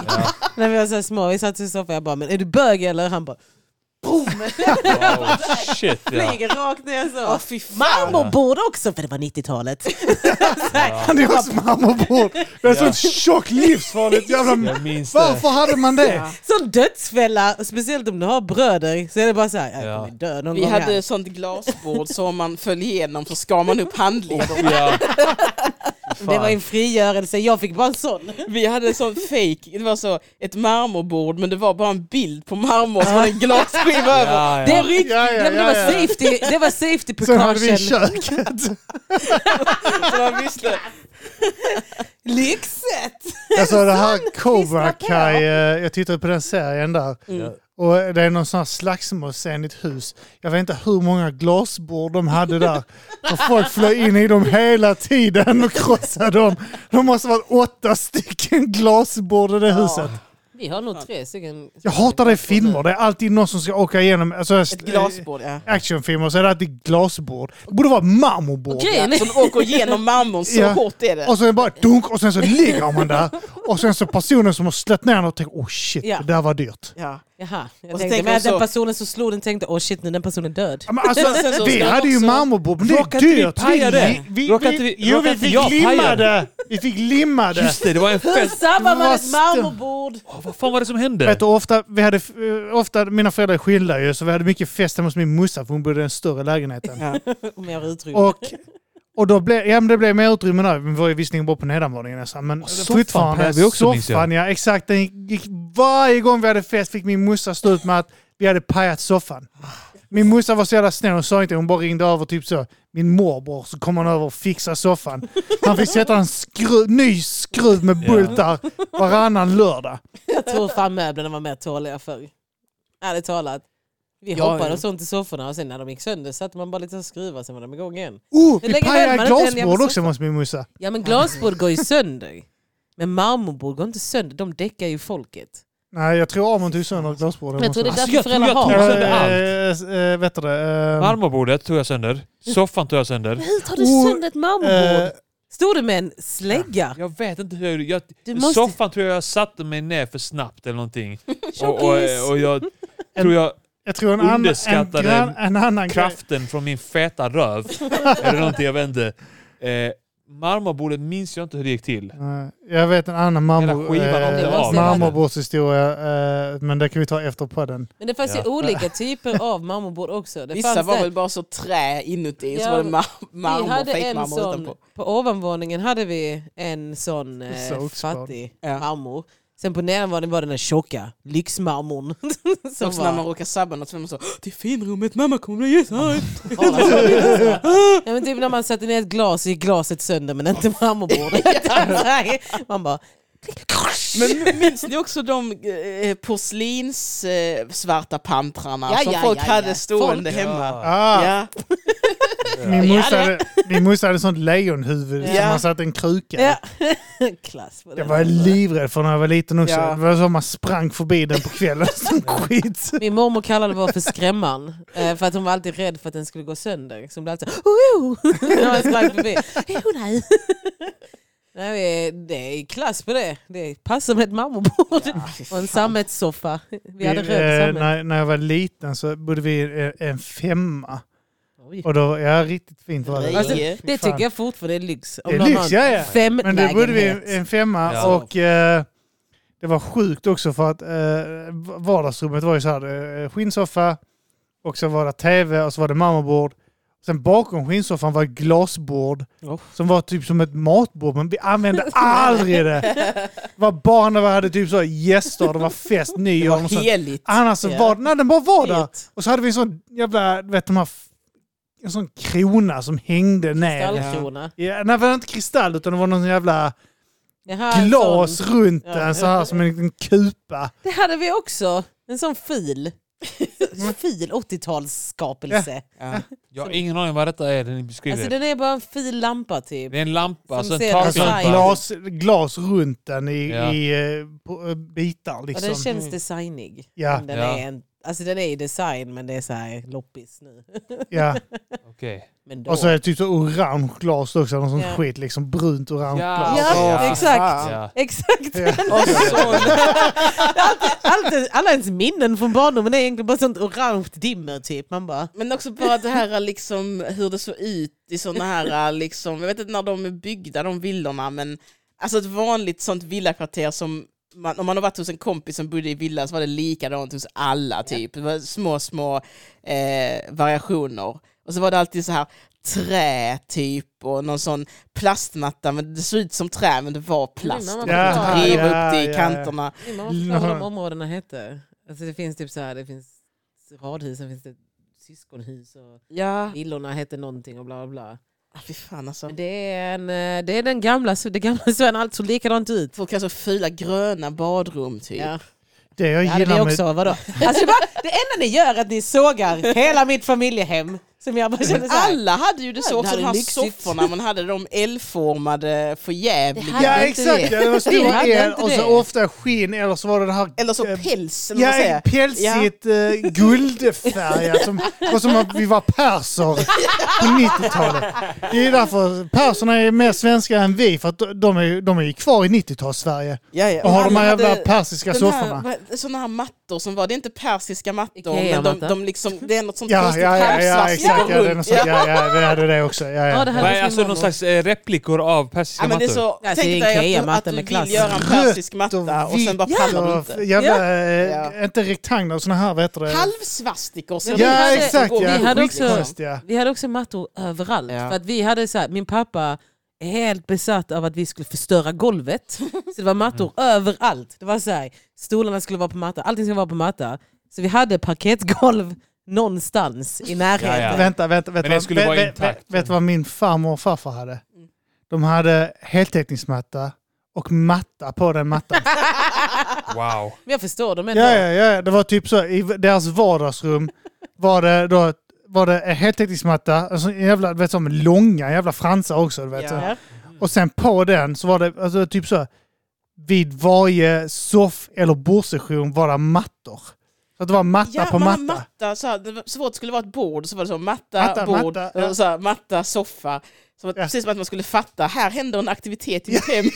Speaker 3: När vi var så här små, vi satt i soffan och jag bara “men är du bög eller?” Han bara
Speaker 1: Wow, Oh, shit ja.
Speaker 3: flyger rakt ner så.
Speaker 4: Åh, fy fan.
Speaker 3: Mammor borde också, för det var 90-talet.
Speaker 2: Han är också marmorbror. Det
Speaker 1: Ja.
Speaker 2: är sånt tjockt livsfarligt jävla...
Speaker 1: Jag minns det.
Speaker 2: Varför hade man det?
Speaker 4: Ja.
Speaker 3: Så dödsfälla, och speciellt om du har bröder så är det bara så här,
Speaker 1: Ja.
Speaker 3: jag kommer dö någon
Speaker 4: Vi
Speaker 3: gång
Speaker 4: hade
Speaker 3: här.
Speaker 4: ett sånt glasbord som om man föll igenom så skar man upp handleden.
Speaker 1: Ja. Fan.
Speaker 3: Det var en frigörelse, jag fick bara en sån.
Speaker 4: Vi hade en sån fake, det var så ett marmorbord men det var bara en bild på marmor som hade en glasskiva över.
Speaker 1: Ja, ja.
Speaker 3: Det, var rikt-
Speaker 2: Ja, ja,
Speaker 3: Nej, men det,
Speaker 2: ja,
Speaker 3: var
Speaker 2: ja.
Speaker 3: safety, det var safety
Speaker 2: Sen hade vi i
Speaker 3: precaution.
Speaker 2: köket.
Speaker 4: Så man visste.
Speaker 3: Lyxet!
Speaker 2: Alltså det här Cobra
Speaker 3: på.
Speaker 2: Kai, eh, jag tittade på den serien där. Och det är någon sån här slagsmålscen i ett hus. Jag vet inte hur många glasbord de hade där. Och folk flög in i dem hela tiden och krossade dem. De måste ha varit åtta stycken glasbord i det huset.
Speaker 3: Vi har nog tre stycken.
Speaker 2: Jag hatar det i filmer. Det är alltid någon som ska åka igenom alltså,
Speaker 4: Ett glasbord ja.
Speaker 2: actionfilmer så är det alltid glasbord. Det borde vara marmorbord.
Speaker 3: Grejen är-
Speaker 4: Som åker igenom marmorn, så
Speaker 2: Ja.
Speaker 4: hårt är det.
Speaker 2: Och sen bara dunk och sen så ligger man där. Och sen så personen som har slött ner den och tänker oh shit,
Speaker 3: Ja.
Speaker 2: det där var dyrt.
Speaker 4: Ja.
Speaker 3: Jaha, jag
Speaker 4: Och så
Speaker 3: tänkte
Speaker 4: tänker
Speaker 3: men
Speaker 4: de
Speaker 3: att den
Speaker 4: så-
Speaker 3: personen som slog den tänkte åh shit nu är den personen död.
Speaker 2: Ja, Men alltså,
Speaker 4: Men sen så
Speaker 2: vi
Speaker 4: ska jag
Speaker 2: hade ju
Speaker 4: också-
Speaker 2: marmorbord, men det är
Speaker 1: Råkade inte vi
Speaker 2: dyrt.
Speaker 1: paja det?
Speaker 2: vi,
Speaker 1: Råkade inte vi-
Speaker 2: jo,
Speaker 1: råkade
Speaker 2: vi
Speaker 1: inte
Speaker 2: fick
Speaker 1: jag paja
Speaker 2: limma
Speaker 1: det?
Speaker 2: det. Vi fick limma det.
Speaker 1: Just det, det var en
Speaker 3: Hur
Speaker 1: fest.
Speaker 3: sabbar man ett
Speaker 2: Måste-
Speaker 3: marmorbord?
Speaker 1: Åh, vad fan var det som hände?
Speaker 2: Vet du, ofta, vi hade, eh, ofta, mina föräldrar är skilda ju, så vi hade mycket fest hemma hos min morsa för hon bodde i den större lägenheten.
Speaker 4: Ja.
Speaker 3: Om jag har utrymme.
Speaker 2: Och, och då blev, ja, men det blev mer utrymme där. Vi var ju visserligen bara på nedanvåningen nästan, men
Speaker 1: soffan
Speaker 2: fortfarande.
Speaker 1: pajade vi också, minns jag.
Speaker 2: soffan, ja exakt. Den gick, varje gång vi hade fest fick min morsa stå ut med att vi hade pajat soffan. Min morsa var så jävla snäll, hon sa inte, hon bara ringde över typ så. Min morbror, så kom han över och fixade soffan. Han fick sätta en skru, ny skruv med
Speaker 1: Ja.
Speaker 2: bultar varannan lördag.
Speaker 3: Jag tror fan möblerna var mer tåliga förr. Ärligt talat. Vi
Speaker 4: Ja,
Speaker 3: hoppade
Speaker 4: ja.
Speaker 3: och sånt i sofforna och sen när de gick sönder satte man bara lite skruvar sen var de igång igen.
Speaker 2: Oh,
Speaker 3: Hur
Speaker 2: vi
Speaker 3: länge höll man
Speaker 2: pajade
Speaker 3: inte en jävla
Speaker 2: glasbord också
Speaker 3: soffa?
Speaker 2: hos min morsa.
Speaker 3: Ja men glasbord går ju sönder. Men marmorbord går inte sönder, de däckar ju folket.
Speaker 2: Nej, jag tror Amon tog sönder glasbordet.
Speaker 3: Men jag tror det är
Speaker 1: Alltså,
Speaker 3: därför
Speaker 1: jag tror
Speaker 3: föräldrar
Speaker 1: jag
Speaker 3: har.
Speaker 1: tog-
Speaker 3: dem.
Speaker 1: sönder
Speaker 2: Äh, äh, vet du det? eh,
Speaker 1: Marmorbordet tog jag sönder. Soffan tog jag sönder.
Speaker 3: Hur tar du
Speaker 2: Och,
Speaker 3: sönder ett
Speaker 2: eh,
Speaker 3: marmorbord? Stod du med en slägga?
Speaker 1: Jag vet inte hur jag, jag
Speaker 3: Du måste-
Speaker 1: Soffan tror jag jag satte mig ner för snabbt eller någonting. och,
Speaker 3: Tjockis.
Speaker 1: och, och jag tror jag
Speaker 2: Jag tror en, annan en,
Speaker 1: Underskattade
Speaker 2: gran, en annan grej.
Speaker 1: kraften från min feta röv eller någonting, jag vet inte. Eh, marmorbordet minns jag inte hur det gick till.
Speaker 2: Eh, Jag vet en annan
Speaker 1: Hela
Speaker 2: marmor,
Speaker 1: skivan
Speaker 2: eh,
Speaker 1: åkte
Speaker 3: av.
Speaker 2: marmorbordshistoria, eh, men det kan vi ta efter podden.
Speaker 3: Men det fanns ju
Speaker 1: Ja.
Speaker 3: olika typer av marmorbord också. Det
Speaker 4: Vissa
Speaker 3: fanns
Speaker 4: var
Speaker 3: det-
Speaker 4: väl bara så trä inuti och så
Speaker 3: Ja,
Speaker 4: var det mar
Speaker 3: vi
Speaker 4: marmor,
Speaker 3: hade en
Speaker 4: fejkmarmor
Speaker 3: sån,
Speaker 4: utanpå.
Speaker 3: på ovanvåningen hade vi en sån eh,
Speaker 2: Sågspad.
Speaker 3: fattig
Speaker 4: Ja.
Speaker 3: marmor. Sen på nedanvåningen var den där tjocka lyxmarmorn.
Speaker 4: Så
Speaker 3: som
Speaker 4: också när man
Speaker 3: var-
Speaker 4: råkar sabba något så är man så Det är finrummet, mamma kommer bli jättearg.
Speaker 3: ja, men typ när man satte ner ett glas så gick glaset sönder men inte marmorbordet. Nej, man bara...
Speaker 4: Men minns ni också de eh, porslins eh, svarta pantrarna
Speaker 3: Ja,
Speaker 4: som
Speaker 3: ja,
Speaker 4: folk
Speaker 3: ja,
Speaker 4: hade
Speaker 3: ja.
Speaker 4: stående
Speaker 1: Folk-
Speaker 4: hemma?
Speaker 2: Ah,
Speaker 4: Ja.
Speaker 2: Min
Speaker 4: Ja,
Speaker 2: morsa
Speaker 4: det-
Speaker 2: hade, min morsa hade sånt lejonhuvud
Speaker 4: Ja.
Speaker 2: som man satte en kruka i.
Speaker 3: Ja. Klass på
Speaker 2: Jag
Speaker 3: den.
Speaker 2: var livrädd för när jag var liten också.
Speaker 4: Ja.
Speaker 2: Det var så man sprang förbi den på kvällen som skit.
Speaker 3: Min mormor kallade vår för skrämman. eh, För att hon var alltid rädd för att den skulle gå sönder. Så hon blev alltid så oh, oh. När man sprang förbi. Oh, nej. nej, vi- det är klass på det. Det passar med ett marmorbord. Och en sammetssoffa. Vi hade röd
Speaker 2: Eh,
Speaker 3: sammet.
Speaker 2: när, när jag var liten så bodde vi i en- en femma.
Speaker 3: Oj.
Speaker 2: Och då, ja riktigt fint var det.
Speaker 4: Alltså,
Speaker 2: Fy
Speaker 3: Det
Speaker 2: fan.
Speaker 3: tycker jag fortfarande är lyx. Om
Speaker 2: Det är
Speaker 3: någon
Speaker 2: lyx,
Speaker 3: har en
Speaker 2: ja, ja.
Speaker 3: Fem
Speaker 2: Men då bodde vi i en-
Speaker 3: lägenhet.
Speaker 2: en femma
Speaker 1: Ja.
Speaker 2: och eh, det var sjukt också för att eh, vardagsrummet var ju så här eh, skinnsoffa och så var det tv och så var det marmorbord. Sen bakom skinnsoffan var ett glasbord
Speaker 3: Oh.
Speaker 2: som var typ som ett matbord men vi använde aldrig det. Det var bara när vi hade typ så här gäster, det var fest,
Speaker 4: Det
Speaker 2: nyår och
Speaker 4: var
Speaker 2: sånt.
Speaker 4: heligt.
Speaker 2: Annars så
Speaker 3: Ja.
Speaker 2: var nej, den bara var där.
Speaker 3: Fet.
Speaker 2: Och så hade vi en sån jävla, du vet de här, f- en sån krona som hängde ner.
Speaker 3: Stallkrona.
Speaker 2: Ja, nej, det var inte kristall utan det var någon jävla
Speaker 3: Jaha, en
Speaker 2: glas
Speaker 3: sån.
Speaker 2: runt
Speaker 3: Alltså, Ja.
Speaker 2: den så här som en liten kupa.
Speaker 3: Det hade vi också. En sån fil.
Speaker 2: Mm.
Speaker 3: fil 80-talsskapelse.
Speaker 4: Ja.
Speaker 1: Jag har ingen aning vad detta är det ni beskriver.
Speaker 3: Alltså den är bara en fil lampa typ.
Speaker 1: det är en lampa,
Speaker 3: Som
Speaker 1: alltså en
Speaker 3: ser
Speaker 2: Alltså
Speaker 3: design.
Speaker 1: taklampa.
Speaker 2: glas, glas runt den i,
Speaker 1: Ja.
Speaker 2: i eh, på, eh, bitar
Speaker 3: Och
Speaker 2: liksom.
Speaker 3: den känns designig.
Speaker 2: Ja.
Speaker 3: Men Den,
Speaker 1: Ja.
Speaker 3: är en, alltså den är i design men det är så här loppis nu.
Speaker 2: ja.
Speaker 1: Okej.
Speaker 3: Men då.
Speaker 2: Och så är det typ så orange glas också, någon sån
Speaker 3: Ja.
Speaker 2: skit liksom. Brunt orange
Speaker 1: Ja.
Speaker 2: glas.
Speaker 3: ja,
Speaker 1: Ja.
Speaker 3: exakt.
Speaker 1: Ja.
Speaker 3: Exakt.
Speaker 2: Ja.
Speaker 3: Allt, alla ens minnen från barndomen är egentligen bara sånt orange dimmer typ. Man bara...
Speaker 4: Men också bara det här liksom, hur det såg ut i sådana här, liksom, jag vet inte när de är byggda de villorna, men alltså ett vanligt sånt villakvarter som man, om man har varit hos en kompis som bodde i villa så var det likadant hos alla typ. Det var små, små eh, variationer. Och så var det alltid så här trä typ och någon sån plastmatta, men det såg ut som trä men det var plast.
Speaker 3: mamma
Speaker 4: Man
Speaker 2: förklarade.
Speaker 4: kunde riva upp
Speaker 2: Ja,
Speaker 4: det i
Speaker 2: ja,
Speaker 4: kanterna.
Speaker 3: Min mamma förklarar vad de områdena hette. Alltså det finns typ så här, det finns radhus, sen finns det syskonhus och
Speaker 4: Ja,
Speaker 3: villorna hette någonting och bla bla bla.
Speaker 4: ah, fy fan alltså.
Speaker 3: Men det är, en, eh, det är den gamla, så- det gamla Sven, allt såg likadant ut.
Speaker 4: Folk har så fula gröna badrum typ.
Speaker 3: Ja.
Speaker 2: Det jag
Speaker 3: Jag hade
Speaker 2: gillar
Speaker 3: det
Speaker 2: med...
Speaker 3: också, vadå? Alltså det, bara, det enda ni gör är att ni sågar hela mitt familjehem. Som jag bara känner
Speaker 4: Men
Speaker 3: såhär,
Speaker 4: alla hade ju det
Speaker 3: Ja,
Speaker 4: så,
Speaker 3: det
Speaker 4: också de
Speaker 3: hade
Speaker 4: här
Speaker 3: lyxigt.
Speaker 4: sofforna, man hade de L-formade förjävliga.
Speaker 2: Ja
Speaker 3: hade inte
Speaker 2: exakt,
Speaker 3: det.
Speaker 2: ja, det var
Speaker 3: Vi
Speaker 2: stor
Speaker 3: hade
Speaker 2: el
Speaker 3: inte
Speaker 2: och
Speaker 3: det.
Speaker 2: så ofta skinn eller så var det det här
Speaker 4: Eller så
Speaker 2: eh,
Speaker 4: päls, eller vad man
Speaker 2: Ja,
Speaker 4: säger.
Speaker 2: pälsigt eh, guldfärgat. Som, och som att vi var perser på 90-talet. Det är därför perserna är mer svenska än vi, för att de är, de är ju kvar i 90-tals-Sverige.
Speaker 4: Ja, ja.
Speaker 2: Och har de
Speaker 4: alla
Speaker 2: här
Speaker 4: hade
Speaker 2: jävla persiska
Speaker 4: den här-
Speaker 2: sofforna.
Speaker 4: vad- Såna här mattor som var, det är inte persiska mattor, men de,
Speaker 3: Ikea-matta.
Speaker 4: de liksom, det är något sånt
Speaker 2: Ja,
Speaker 4: konstigt
Speaker 2: ja, ja, ja,
Speaker 4: halvsvart som
Speaker 2: exakt.
Speaker 4: går
Speaker 2: Ja, det är
Speaker 4: runt.
Speaker 2: något sånt. Ja, ja, vi hade det också. Ja,
Speaker 3: Ja, det
Speaker 2: ja.
Speaker 3: här-
Speaker 1: Vad är
Speaker 3: ska
Speaker 1: alltså någon
Speaker 3: vara någon-
Speaker 1: slags eh, replikor av persiska
Speaker 4: Ja, men det är
Speaker 1: mattor?
Speaker 4: så,
Speaker 3: Alltså, det är
Speaker 4: tänk dig att,
Speaker 3: Ikea-matta
Speaker 4: att du
Speaker 3: med
Speaker 4: vill
Speaker 3: klass.
Speaker 4: göra en persisk matta och sen bara pallar du
Speaker 2: och
Speaker 4: inte.
Speaker 2: jävla, eh,
Speaker 4: Ja.
Speaker 2: inte rektanglar, sådana här, vad heter det?
Speaker 4: Halvsvastikor ser
Speaker 3: Men
Speaker 4: det
Speaker 3: vi
Speaker 4: ut
Speaker 2: Ja,
Speaker 4: som
Speaker 3: hade-
Speaker 2: exakt.
Speaker 4: går
Speaker 2: Ja.
Speaker 3: vi hade också-
Speaker 4: liksom.
Speaker 2: Skitkonstiga.
Speaker 3: vi hade också mattor överallt.
Speaker 4: Ja.
Speaker 3: För att vi hade så här, min pappa är helt besatt av att vi skulle förstöra golvet. Så det var mattor
Speaker 2: Mm.
Speaker 3: överallt. Det var så här, stolarna skulle vara på matta, allting skulle vara på matta. Så vi hade parkettgolv någonstans i närheten.
Speaker 1: Ja, ja.
Speaker 2: Vänta, vänta, vänta.
Speaker 1: Men det skulle
Speaker 2: Vä-
Speaker 1: vara
Speaker 2: vä-
Speaker 1: intakt.
Speaker 2: vä- Vet du vad min farmor och farfar hade? De hade heltäckningsmatta och matta på den mattan.
Speaker 1: Wow.
Speaker 3: Men jag förstår dem ändå.
Speaker 2: ja, ja, ja, det var typ så. I deras vardagsrum var det då var det en heltäckningsmatta, alltså en jävla, du vet, som långa jävla fransar också. Du vet, så.
Speaker 4: Ja.
Speaker 2: Och sen på den så var det alltså, typ så vid varje soff eller bordssektion var det mattor. Så att det var matta
Speaker 4: Ja,
Speaker 2: på
Speaker 4: man har
Speaker 2: matta.
Speaker 4: matta så, här, det var så fort det skulle vara ett bord så var det så matta,
Speaker 2: Matta,
Speaker 4: bord,
Speaker 2: matta,
Speaker 4: och
Speaker 2: ja.
Speaker 4: så här, matta, soffa. Så att,
Speaker 2: Ja.
Speaker 4: Precis som att man skulle fatta, här händer en aktivitet i mitt hem.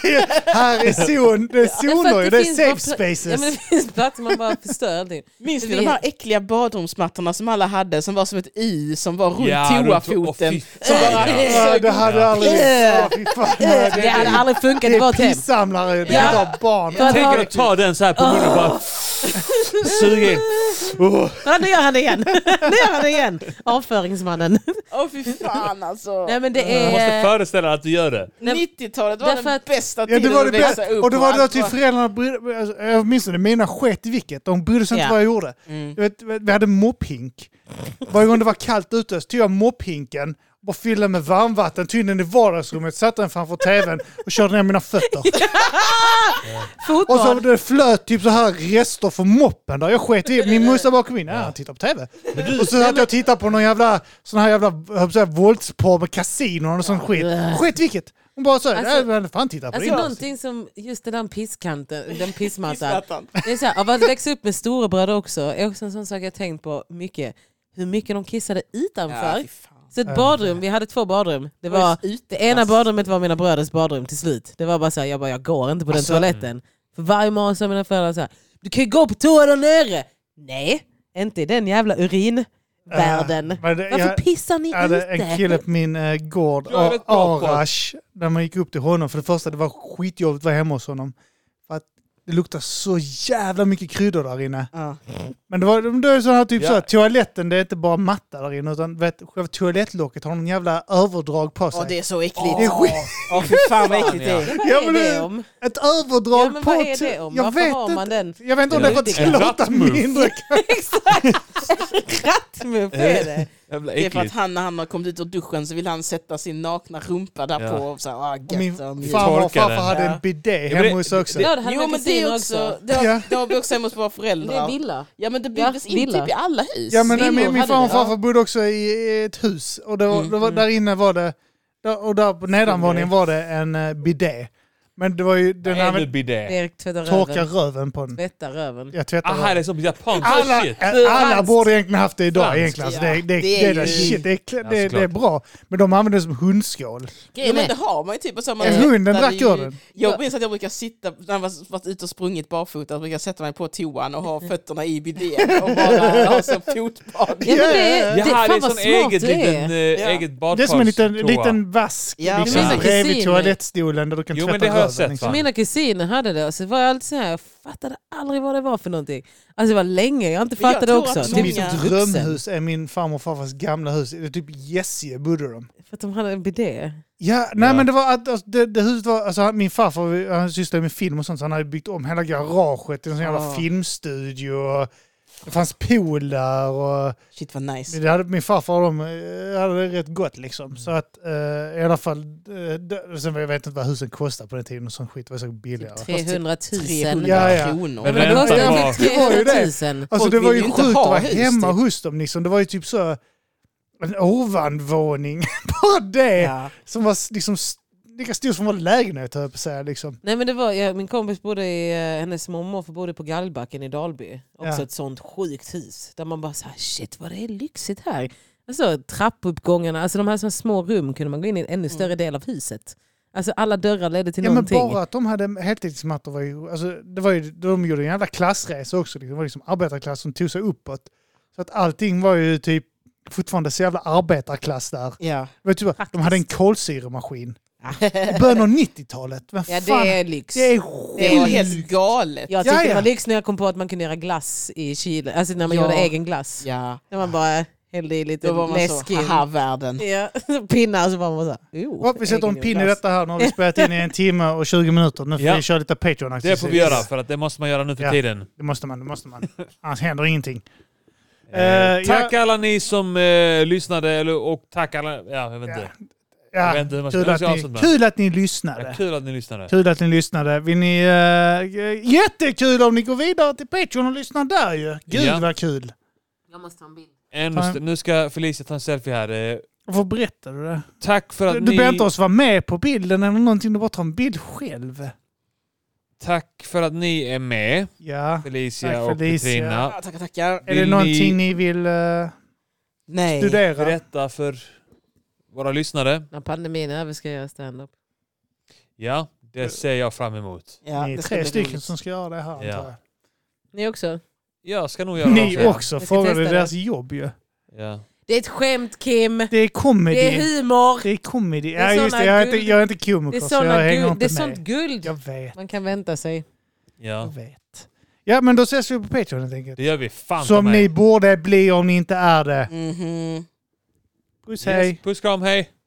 Speaker 2: Här är zon, det är
Speaker 3: för att
Speaker 2: zoner, ju, det är
Speaker 3: finns bara
Speaker 2: safe
Speaker 3: pla- Ja, men
Speaker 2: spaces.
Speaker 3: det finns platser man bara förstör allting.
Speaker 4: Minns ni
Speaker 3: Vi-
Speaker 4: de här äckliga badrumsmattorna som alla hade som var som ett i som var runt toafoten?
Speaker 1: åh, fy
Speaker 4: som
Speaker 1: fan,
Speaker 4: bara,
Speaker 1: ja.
Speaker 2: Ja, det hade aldrig...
Speaker 3: Äh.
Speaker 2: Åh, fy fan, det är-
Speaker 3: Det hade aldrig funkat,
Speaker 2: Det
Speaker 3: det var
Speaker 2: är
Speaker 3: ett hem.
Speaker 2: pissamlare, det
Speaker 3: Ja.
Speaker 2: är inte barn.
Speaker 3: För att
Speaker 1: Tänk
Speaker 3: ha-
Speaker 1: dig att ta den så här på munnen och bara suga in.
Speaker 3: Ja, nu gör han det igen! Nu gör han det igen! Avföringsmannen.
Speaker 4: Åh fy fan alltså.
Speaker 3: Nej men det
Speaker 1: Du måste
Speaker 3: är... eh,
Speaker 1: föreställa dig att du gör det.
Speaker 4: 90-talet var
Speaker 3: Därför
Speaker 4: den
Speaker 3: att-
Speaker 4: bästa
Speaker 2: Ja,
Speaker 4: tiden
Speaker 2: det var det
Speaker 4: att växa
Speaker 2: bästa.
Speaker 4: upp.
Speaker 2: Och det typ var då
Speaker 4: allt
Speaker 2: till föräldrarna brydde, alltså, åtminstone mina sket i vilket. De brydde sig
Speaker 3: Ja. Mm.
Speaker 2: inte vad jag gjorde. Du vet, vi hade mopphink. Varje gång det var kallt ute så tog jag mopphinken och fyllde med varmvatten, tog in den i vardagsrummet, satte den framför tvn och körde ner mina fötter. Och så
Speaker 3: Fotboll.
Speaker 2: det flöt typ så här rester från moppen där. Jag sket i min morsa bakom min. Ja, han tittar på tv. och så satt jag och tittade på någon jävla sån här jävla jag höll på att säga, våldsporr med kasinon och sån skit. Sket vilket. Hon bara så,
Speaker 3: Alltså-
Speaker 2: alltså, men fan titta på
Speaker 3: Alltså
Speaker 2: det.
Speaker 3: någonting som, just den där pisskanten, den pissmattan.
Speaker 4: Pissmattan.
Speaker 3: Det är så här, av att växa upp med storebröder också, är också en sån sak jag tänkt på mycket. Hur mycket de kissade utanför.
Speaker 4: Ja, fy fan.
Speaker 3: Så
Speaker 2: Äh.
Speaker 3: ett badrum, vi hade två badrum. Det, var, det ena badrummet var mina bröders badrum till slut. Det var bara så här, jag bara jag går inte på den
Speaker 2: Alltså,
Speaker 3: toaletten. För varje morgon sa mina föräldrar så här, du kan ju gå på toa där nere. Nej, inte i den jävla urinvärlden.
Speaker 2: Äh, men det-
Speaker 3: Varför
Speaker 2: jag-
Speaker 3: pissar ni
Speaker 2: Jag hade
Speaker 3: ute?
Speaker 2: en kille på min eh, gård,
Speaker 1: Jag är rätt bra på-
Speaker 2: Arash, när man gick upp till honom. För det första, det var skitjobbigt att vara hemma hos honom. För att det luktar så jävla mycket kryddor där inne.
Speaker 4: Ja.
Speaker 2: Men det var, det är sån här typ
Speaker 1: Ja.
Speaker 2: så, här, toaletten det är inte bara matta där inne utan vet, själva toalettlocket har någon jävla överdrag på sig.
Speaker 4: Åh, det är så äckligt.
Speaker 2: Det är skit.
Speaker 4: Åh, fy fan vad äckligt det är.
Speaker 3: Vad
Speaker 2: Ja,
Speaker 3: är
Speaker 2: men
Speaker 3: det
Speaker 2: det-
Speaker 3: om?
Speaker 2: Ett överdrag
Speaker 3: Ja, men
Speaker 2: på
Speaker 3: vad är
Speaker 2: to-
Speaker 3: det om?
Speaker 2: Jag
Speaker 3: Varför
Speaker 2: vet
Speaker 3: har man
Speaker 2: inte.
Speaker 3: den?
Speaker 2: Jag vet inte om
Speaker 1: Det
Speaker 2: det
Speaker 1: är
Speaker 2: var
Speaker 1: en
Speaker 2: tillåta
Speaker 1: rattmuff.
Speaker 2: mindre.
Speaker 3: Exakt! Rattmuff är det.
Speaker 1: Jävla
Speaker 4: Det är för att
Speaker 1: äckligt.
Speaker 4: han när han har kommit ut ur duschen så vill han sätta sin nakna rumpa där
Speaker 1: Ja.
Speaker 4: på. Och så här, ah,
Speaker 2: Och Min
Speaker 4: gött, ah, mjukt.
Speaker 2: farmor och
Speaker 1: Torka
Speaker 2: farfar
Speaker 1: den.
Speaker 2: hade
Speaker 4: Ja.
Speaker 2: en bidé
Speaker 1: men det-
Speaker 2: hemma hos också.
Speaker 1: det-
Speaker 3: liksom. Ja, det hade
Speaker 4: Jo
Speaker 3: med
Speaker 4: men det
Speaker 3: kusiner
Speaker 4: är
Speaker 3: också.
Speaker 4: också, det har,
Speaker 2: Ja.
Speaker 4: det har vi också hemma hos våra
Speaker 3: Det är
Speaker 4: föräldrar.
Speaker 3: villa.
Speaker 4: Ja men det byggdes
Speaker 3: Ja,
Speaker 4: in
Speaker 3: villa.
Speaker 4: typ i alla hus.
Speaker 2: Ja, men nej,
Speaker 3: Villor
Speaker 2: min, min
Speaker 3: hade
Speaker 2: farmor
Speaker 3: det,
Speaker 2: och
Speaker 3: ja.
Speaker 2: farfar bodde också i ett hus och det var,
Speaker 4: Mm.
Speaker 2: det var, där inne var det, där, och där på nedanvåningen var det en eh, bidé. Men det var ju, den
Speaker 1: Vad är nu
Speaker 2: använde,
Speaker 1: bidé?
Speaker 3: Erik tvättar
Speaker 2: torka
Speaker 3: röven.
Speaker 2: röven på den.
Speaker 3: Tvätta röven.
Speaker 2: Jag tvättar
Speaker 1: Aha,
Speaker 2: röven.
Speaker 1: det är som japanskt
Speaker 2: Alla,
Speaker 1: shit.
Speaker 2: eh, alla
Speaker 4: Franskt.
Speaker 2: borde egentligen haft det idag
Speaker 1: Franskt,
Speaker 2: egentligen. Alltså,
Speaker 4: ja.
Speaker 2: det, det,
Speaker 4: Det
Speaker 2: det,
Speaker 4: är
Speaker 2: är där
Speaker 4: ju-
Speaker 2: shit, det, är, klä-
Speaker 1: Ja,
Speaker 2: det, det är
Speaker 1: såklart.
Speaker 2: bra. Men de använder det som hundskål.
Speaker 4: Ja, men det har man ju typ. Och så har man
Speaker 2: En
Speaker 4: tvättat
Speaker 2: hund, den drack
Speaker 4: i-
Speaker 2: ur den.
Speaker 4: Jag minns att jag brukar sitta, när jag var- varit ute och sprungit barfota, så brukar jag sätta mig på toan och ha fötterna i bidén och bara ha som fotbad.
Speaker 3: Ja, men det,
Speaker 2: Ja,
Speaker 1: Jaha,
Speaker 3: det,
Speaker 1: det är
Speaker 3: fan vad
Speaker 1: sån
Speaker 3: smart
Speaker 1: eget,
Speaker 3: du är.
Speaker 1: liten, eh,
Speaker 4: Ja.
Speaker 1: eget badkars.
Speaker 2: Det är som en liten,
Speaker 1: toa.
Speaker 2: liten vask
Speaker 4: Ja, men
Speaker 2: liksom,
Speaker 1: mina
Speaker 2: bredvid
Speaker 3: kusiner-
Speaker 2: toalettstolen där du kan
Speaker 1: Jo, men
Speaker 2: tvätta
Speaker 1: det har jag
Speaker 2: röven.
Speaker 1: sett,
Speaker 2: liksom.
Speaker 1: va?
Speaker 3: Mina kusiner hade det och så var jag alltid så här, jag fattade aldrig vad det var för någonting. Alltså det var länge jag inte
Speaker 4: Men jag
Speaker 3: fattade
Speaker 4: tror
Speaker 3: också.
Speaker 4: att
Speaker 3: De
Speaker 4: många-
Speaker 2: Mitt
Speaker 3: är
Speaker 4: Mina-
Speaker 2: drömhus är min farmor och farfars gamla hus. Det är typ Gässie bodde de.
Speaker 3: För att de hade en bidé.
Speaker 2: Ja, nej
Speaker 1: Ja.
Speaker 2: men det var att alltså, det, det huset var, alltså han- min farfar, han sysslade med film och sånt så han hade byggt om hela garaget till en sån jävla
Speaker 4: Ah.
Speaker 2: filmstudio. Och det fanns pool där och
Speaker 4: Shit vad nice.
Speaker 2: det hade, min farfar och de eh, hade det rätt gott
Speaker 4: Mm.
Speaker 2: liksom. Så att eh, i alla fall, eh, det, sen jag vet inte vad husen kostade på den tiden och sån skit det var
Speaker 4: Typ
Speaker 2: säkert billigare.
Speaker 3: 300 000.
Speaker 4: 300
Speaker 2: Ja, ja.
Speaker 4: kronor.
Speaker 1: Men
Speaker 3: Men det
Speaker 1: Vänta
Speaker 3: kostade
Speaker 1: bara.
Speaker 3: väl
Speaker 2: Det var ju det.
Speaker 3: 300 000.
Speaker 2: Alltså
Speaker 4: Folk
Speaker 2: det var
Speaker 4: vill
Speaker 2: ju
Speaker 4: ju inte
Speaker 2: sjukt att
Speaker 4: ha
Speaker 2: vara
Speaker 4: hus,
Speaker 2: hemma
Speaker 4: typ.
Speaker 2: hos dem liksom. Det var ju typ så en ovanvåning, bara det,
Speaker 4: Ja.
Speaker 2: som var s- liksom s- lika stor som vår lägenhet höll jag på att säga liksom.
Speaker 3: Nej men det var, ja, min kompis bodde i, eh, hennes mormor bodde på Gallbacken i Dalby. Också
Speaker 2: Ja.
Speaker 3: ett sånt sjukt hus. Där man bara såhär, shit vad det är lyxigt här. Alltså trappuppgångarna, alltså de här såna små rum kunde man gå in i en ännu större del av huset. Alltså alla dörrar ledde till
Speaker 2: Mm. Ja men
Speaker 3: någonting.
Speaker 2: bara att de hade heltidsmattor var ju, alltså, det var ju, de gjorde en jävla klassresa också. Liksom. Det var liksom arbetarklass som tog sig uppåt. Så att allting var ju typ fortfarande så jävla arbetarklass där.
Speaker 4: Ja.
Speaker 2: Det var typ, bara- de
Speaker 3: Faktiskt.
Speaker 2: hade en kolsyremaskin. I början av 90-talet. Vad
Speaker 3: Ja
Speaker 2: fan?
Speaker 3: det är lyx.
Speaker 2: det är
Speaker 4: Det var
Speaker 2: sjukt.
Speaker 4: helt galet.
Speaker 3: Jag tyckte
Speaker 2: Ja, ja.
Speaker 3: det var lyx när jag kom på att man kunde göra glass i kylen. Alltså när man
Speaker 4: Ja.
Speaker 3: gjorde egen glass.
Speaker 4: Ja.
Speaker 3: När man bara hällde i lite
Speaker 4: Då var man
Speaker 3: läsk
Speaker 4: så,
Speaker 3: in.
Speaker 4: haha världen.
Speaker 3: Ja, pinnar så var man såhär, oh,
Speaker 2: Hopp, vi sätter en
Speaker 3: egen
Speaker 2: pinne i
Speaker 3: glass.
Speaker 2: detta här. Nu har vi spelat in i en timme och 20 minuter. Nu får
Speaker 1: Ja.
Speaker 2: vi köra lite patreon
Speaker 1: Det får vi göra, för att det måste man göra nu för
Speaker 2: Ja.
Speaker 1: tiden.
Speaker 2: Det måste man, det måste man. Annars händer ingenting.
Speaker 1: Eh,
Speaker 2: Eh,
Speaker 1: tack alla ni som eh, lyssnade, eller, och tack alla... Ja, jag vet inte. Jag vet
Speaker 2: Ja,
Speaker 1: inte hur man ska-
Speaker 2: kul,
Speaker 1: hur
Speaker 2: att
Speaker 1: ska jag
Speaker 2: ni,
Speaker 1: avsluta?
Speaker 2: kul att ni
Speaker 1: Ja,
Speaker 2: lyssnade.
Speaker 1: kul att ni lyssnade.
Speaker 2: Kul att ni lyssnade. Vill ni, eh, jättekul om ni går vidare till Patreon och lyssnar där ju. Gud
Speaker 1: Ja.
Speaker 2: vad kul.
Speaker 3: Jag måste ta en bild.
Speaker 1: Ännu
Speaker 2: Ta en-
Speaker 1: st- nu ska Felicia ta en selfie här. Eh,
Speaker 2: Varför berättar du det?
Speaker 1: tack för att
Speaker 2: Du
Speaker 1: ni...
Speaker 2: behöver inte ens vara med på bilden eller någonting. Du bara tar en bild själv.
Speaker 1: Tack för att ni är med,
Speaker 2: Ja.
Speaker 1: Felicia
Speaker 2: Tack,
Speaker 1: och
Speaker 2: Felicia.
Speaker 1: Petrina.
Speaker 4: Ja, Tackar, tackar.
Speaker 2: Är det
Speaker 1: Vill
Speaker 2: någonting ni vill eh,
Speaker 4: Nej.
Speaker 2: studera?
Speaker 1: berätta för våra lyssnare?
Speaker 3: När pandemin är över ska jag göra standup.
Speaker 1: Ja,
Speaker 2: Eh.
Speaker 1: det ser jag fram emot.
Speaker 4: Ja,
Speaker 2: ni är
Speaker 4: det ska
Speaker 2: tre
Speaker 4: bli
Speaker 2: stycken
Speaker 4: roligt.
Speaker 2: som ska göra det här antar
Speaker 1: Ja.
Speaker 2: jag.
Speaker 3: Ni också?
Speaker 1: Jag ska nog göra det
Speaker 2: Ni
Speaker 1: också.
Speaker 2: också
Speaker 3: Jag ska
Speaker 2: frågade
Speaker 3: testa
Speaker 2: deras
Speaker 3: det.
Speaker 2: jobb ju.
Speaker 1: Ja.
Speaker 3: Det är ett skämt Kim!
Speaker 2: Det är comedy.
Speaker 3: Det är humor!
Speaker 2: Det är comedy.
Speaker 3: Det är
Speaker 2: Ja, just
Speaker 3: såna
Speaker 2: det. Jag är inte,
Speaker 3: guld-
Speaker 2: jag är inte komiker
Speaker 3: Det är,
Speaker 2: så jag
Speaker 3: såna
Speaker 2: hänger
Speaker 3: guld, det är
Speaker 2: inte med.
Speaker 3: sånt guld
Speaker 2: Jag vet,
Speaker 3: man kan vänta sig.
Speaker 1: ja,
Speaker 2: jag vet. Ja men då ses vi på Patreon helt enkelt.
Speaker 1: det gör vi fan ta
Speaker 2: Som
Speaker 1: mig.
Speaker 2: ni borde bli om ni inte är det.
Speaker 4: Mhm.
Speaker 2: Puss hej!
Speaker 1: Yes, puss kram, hej!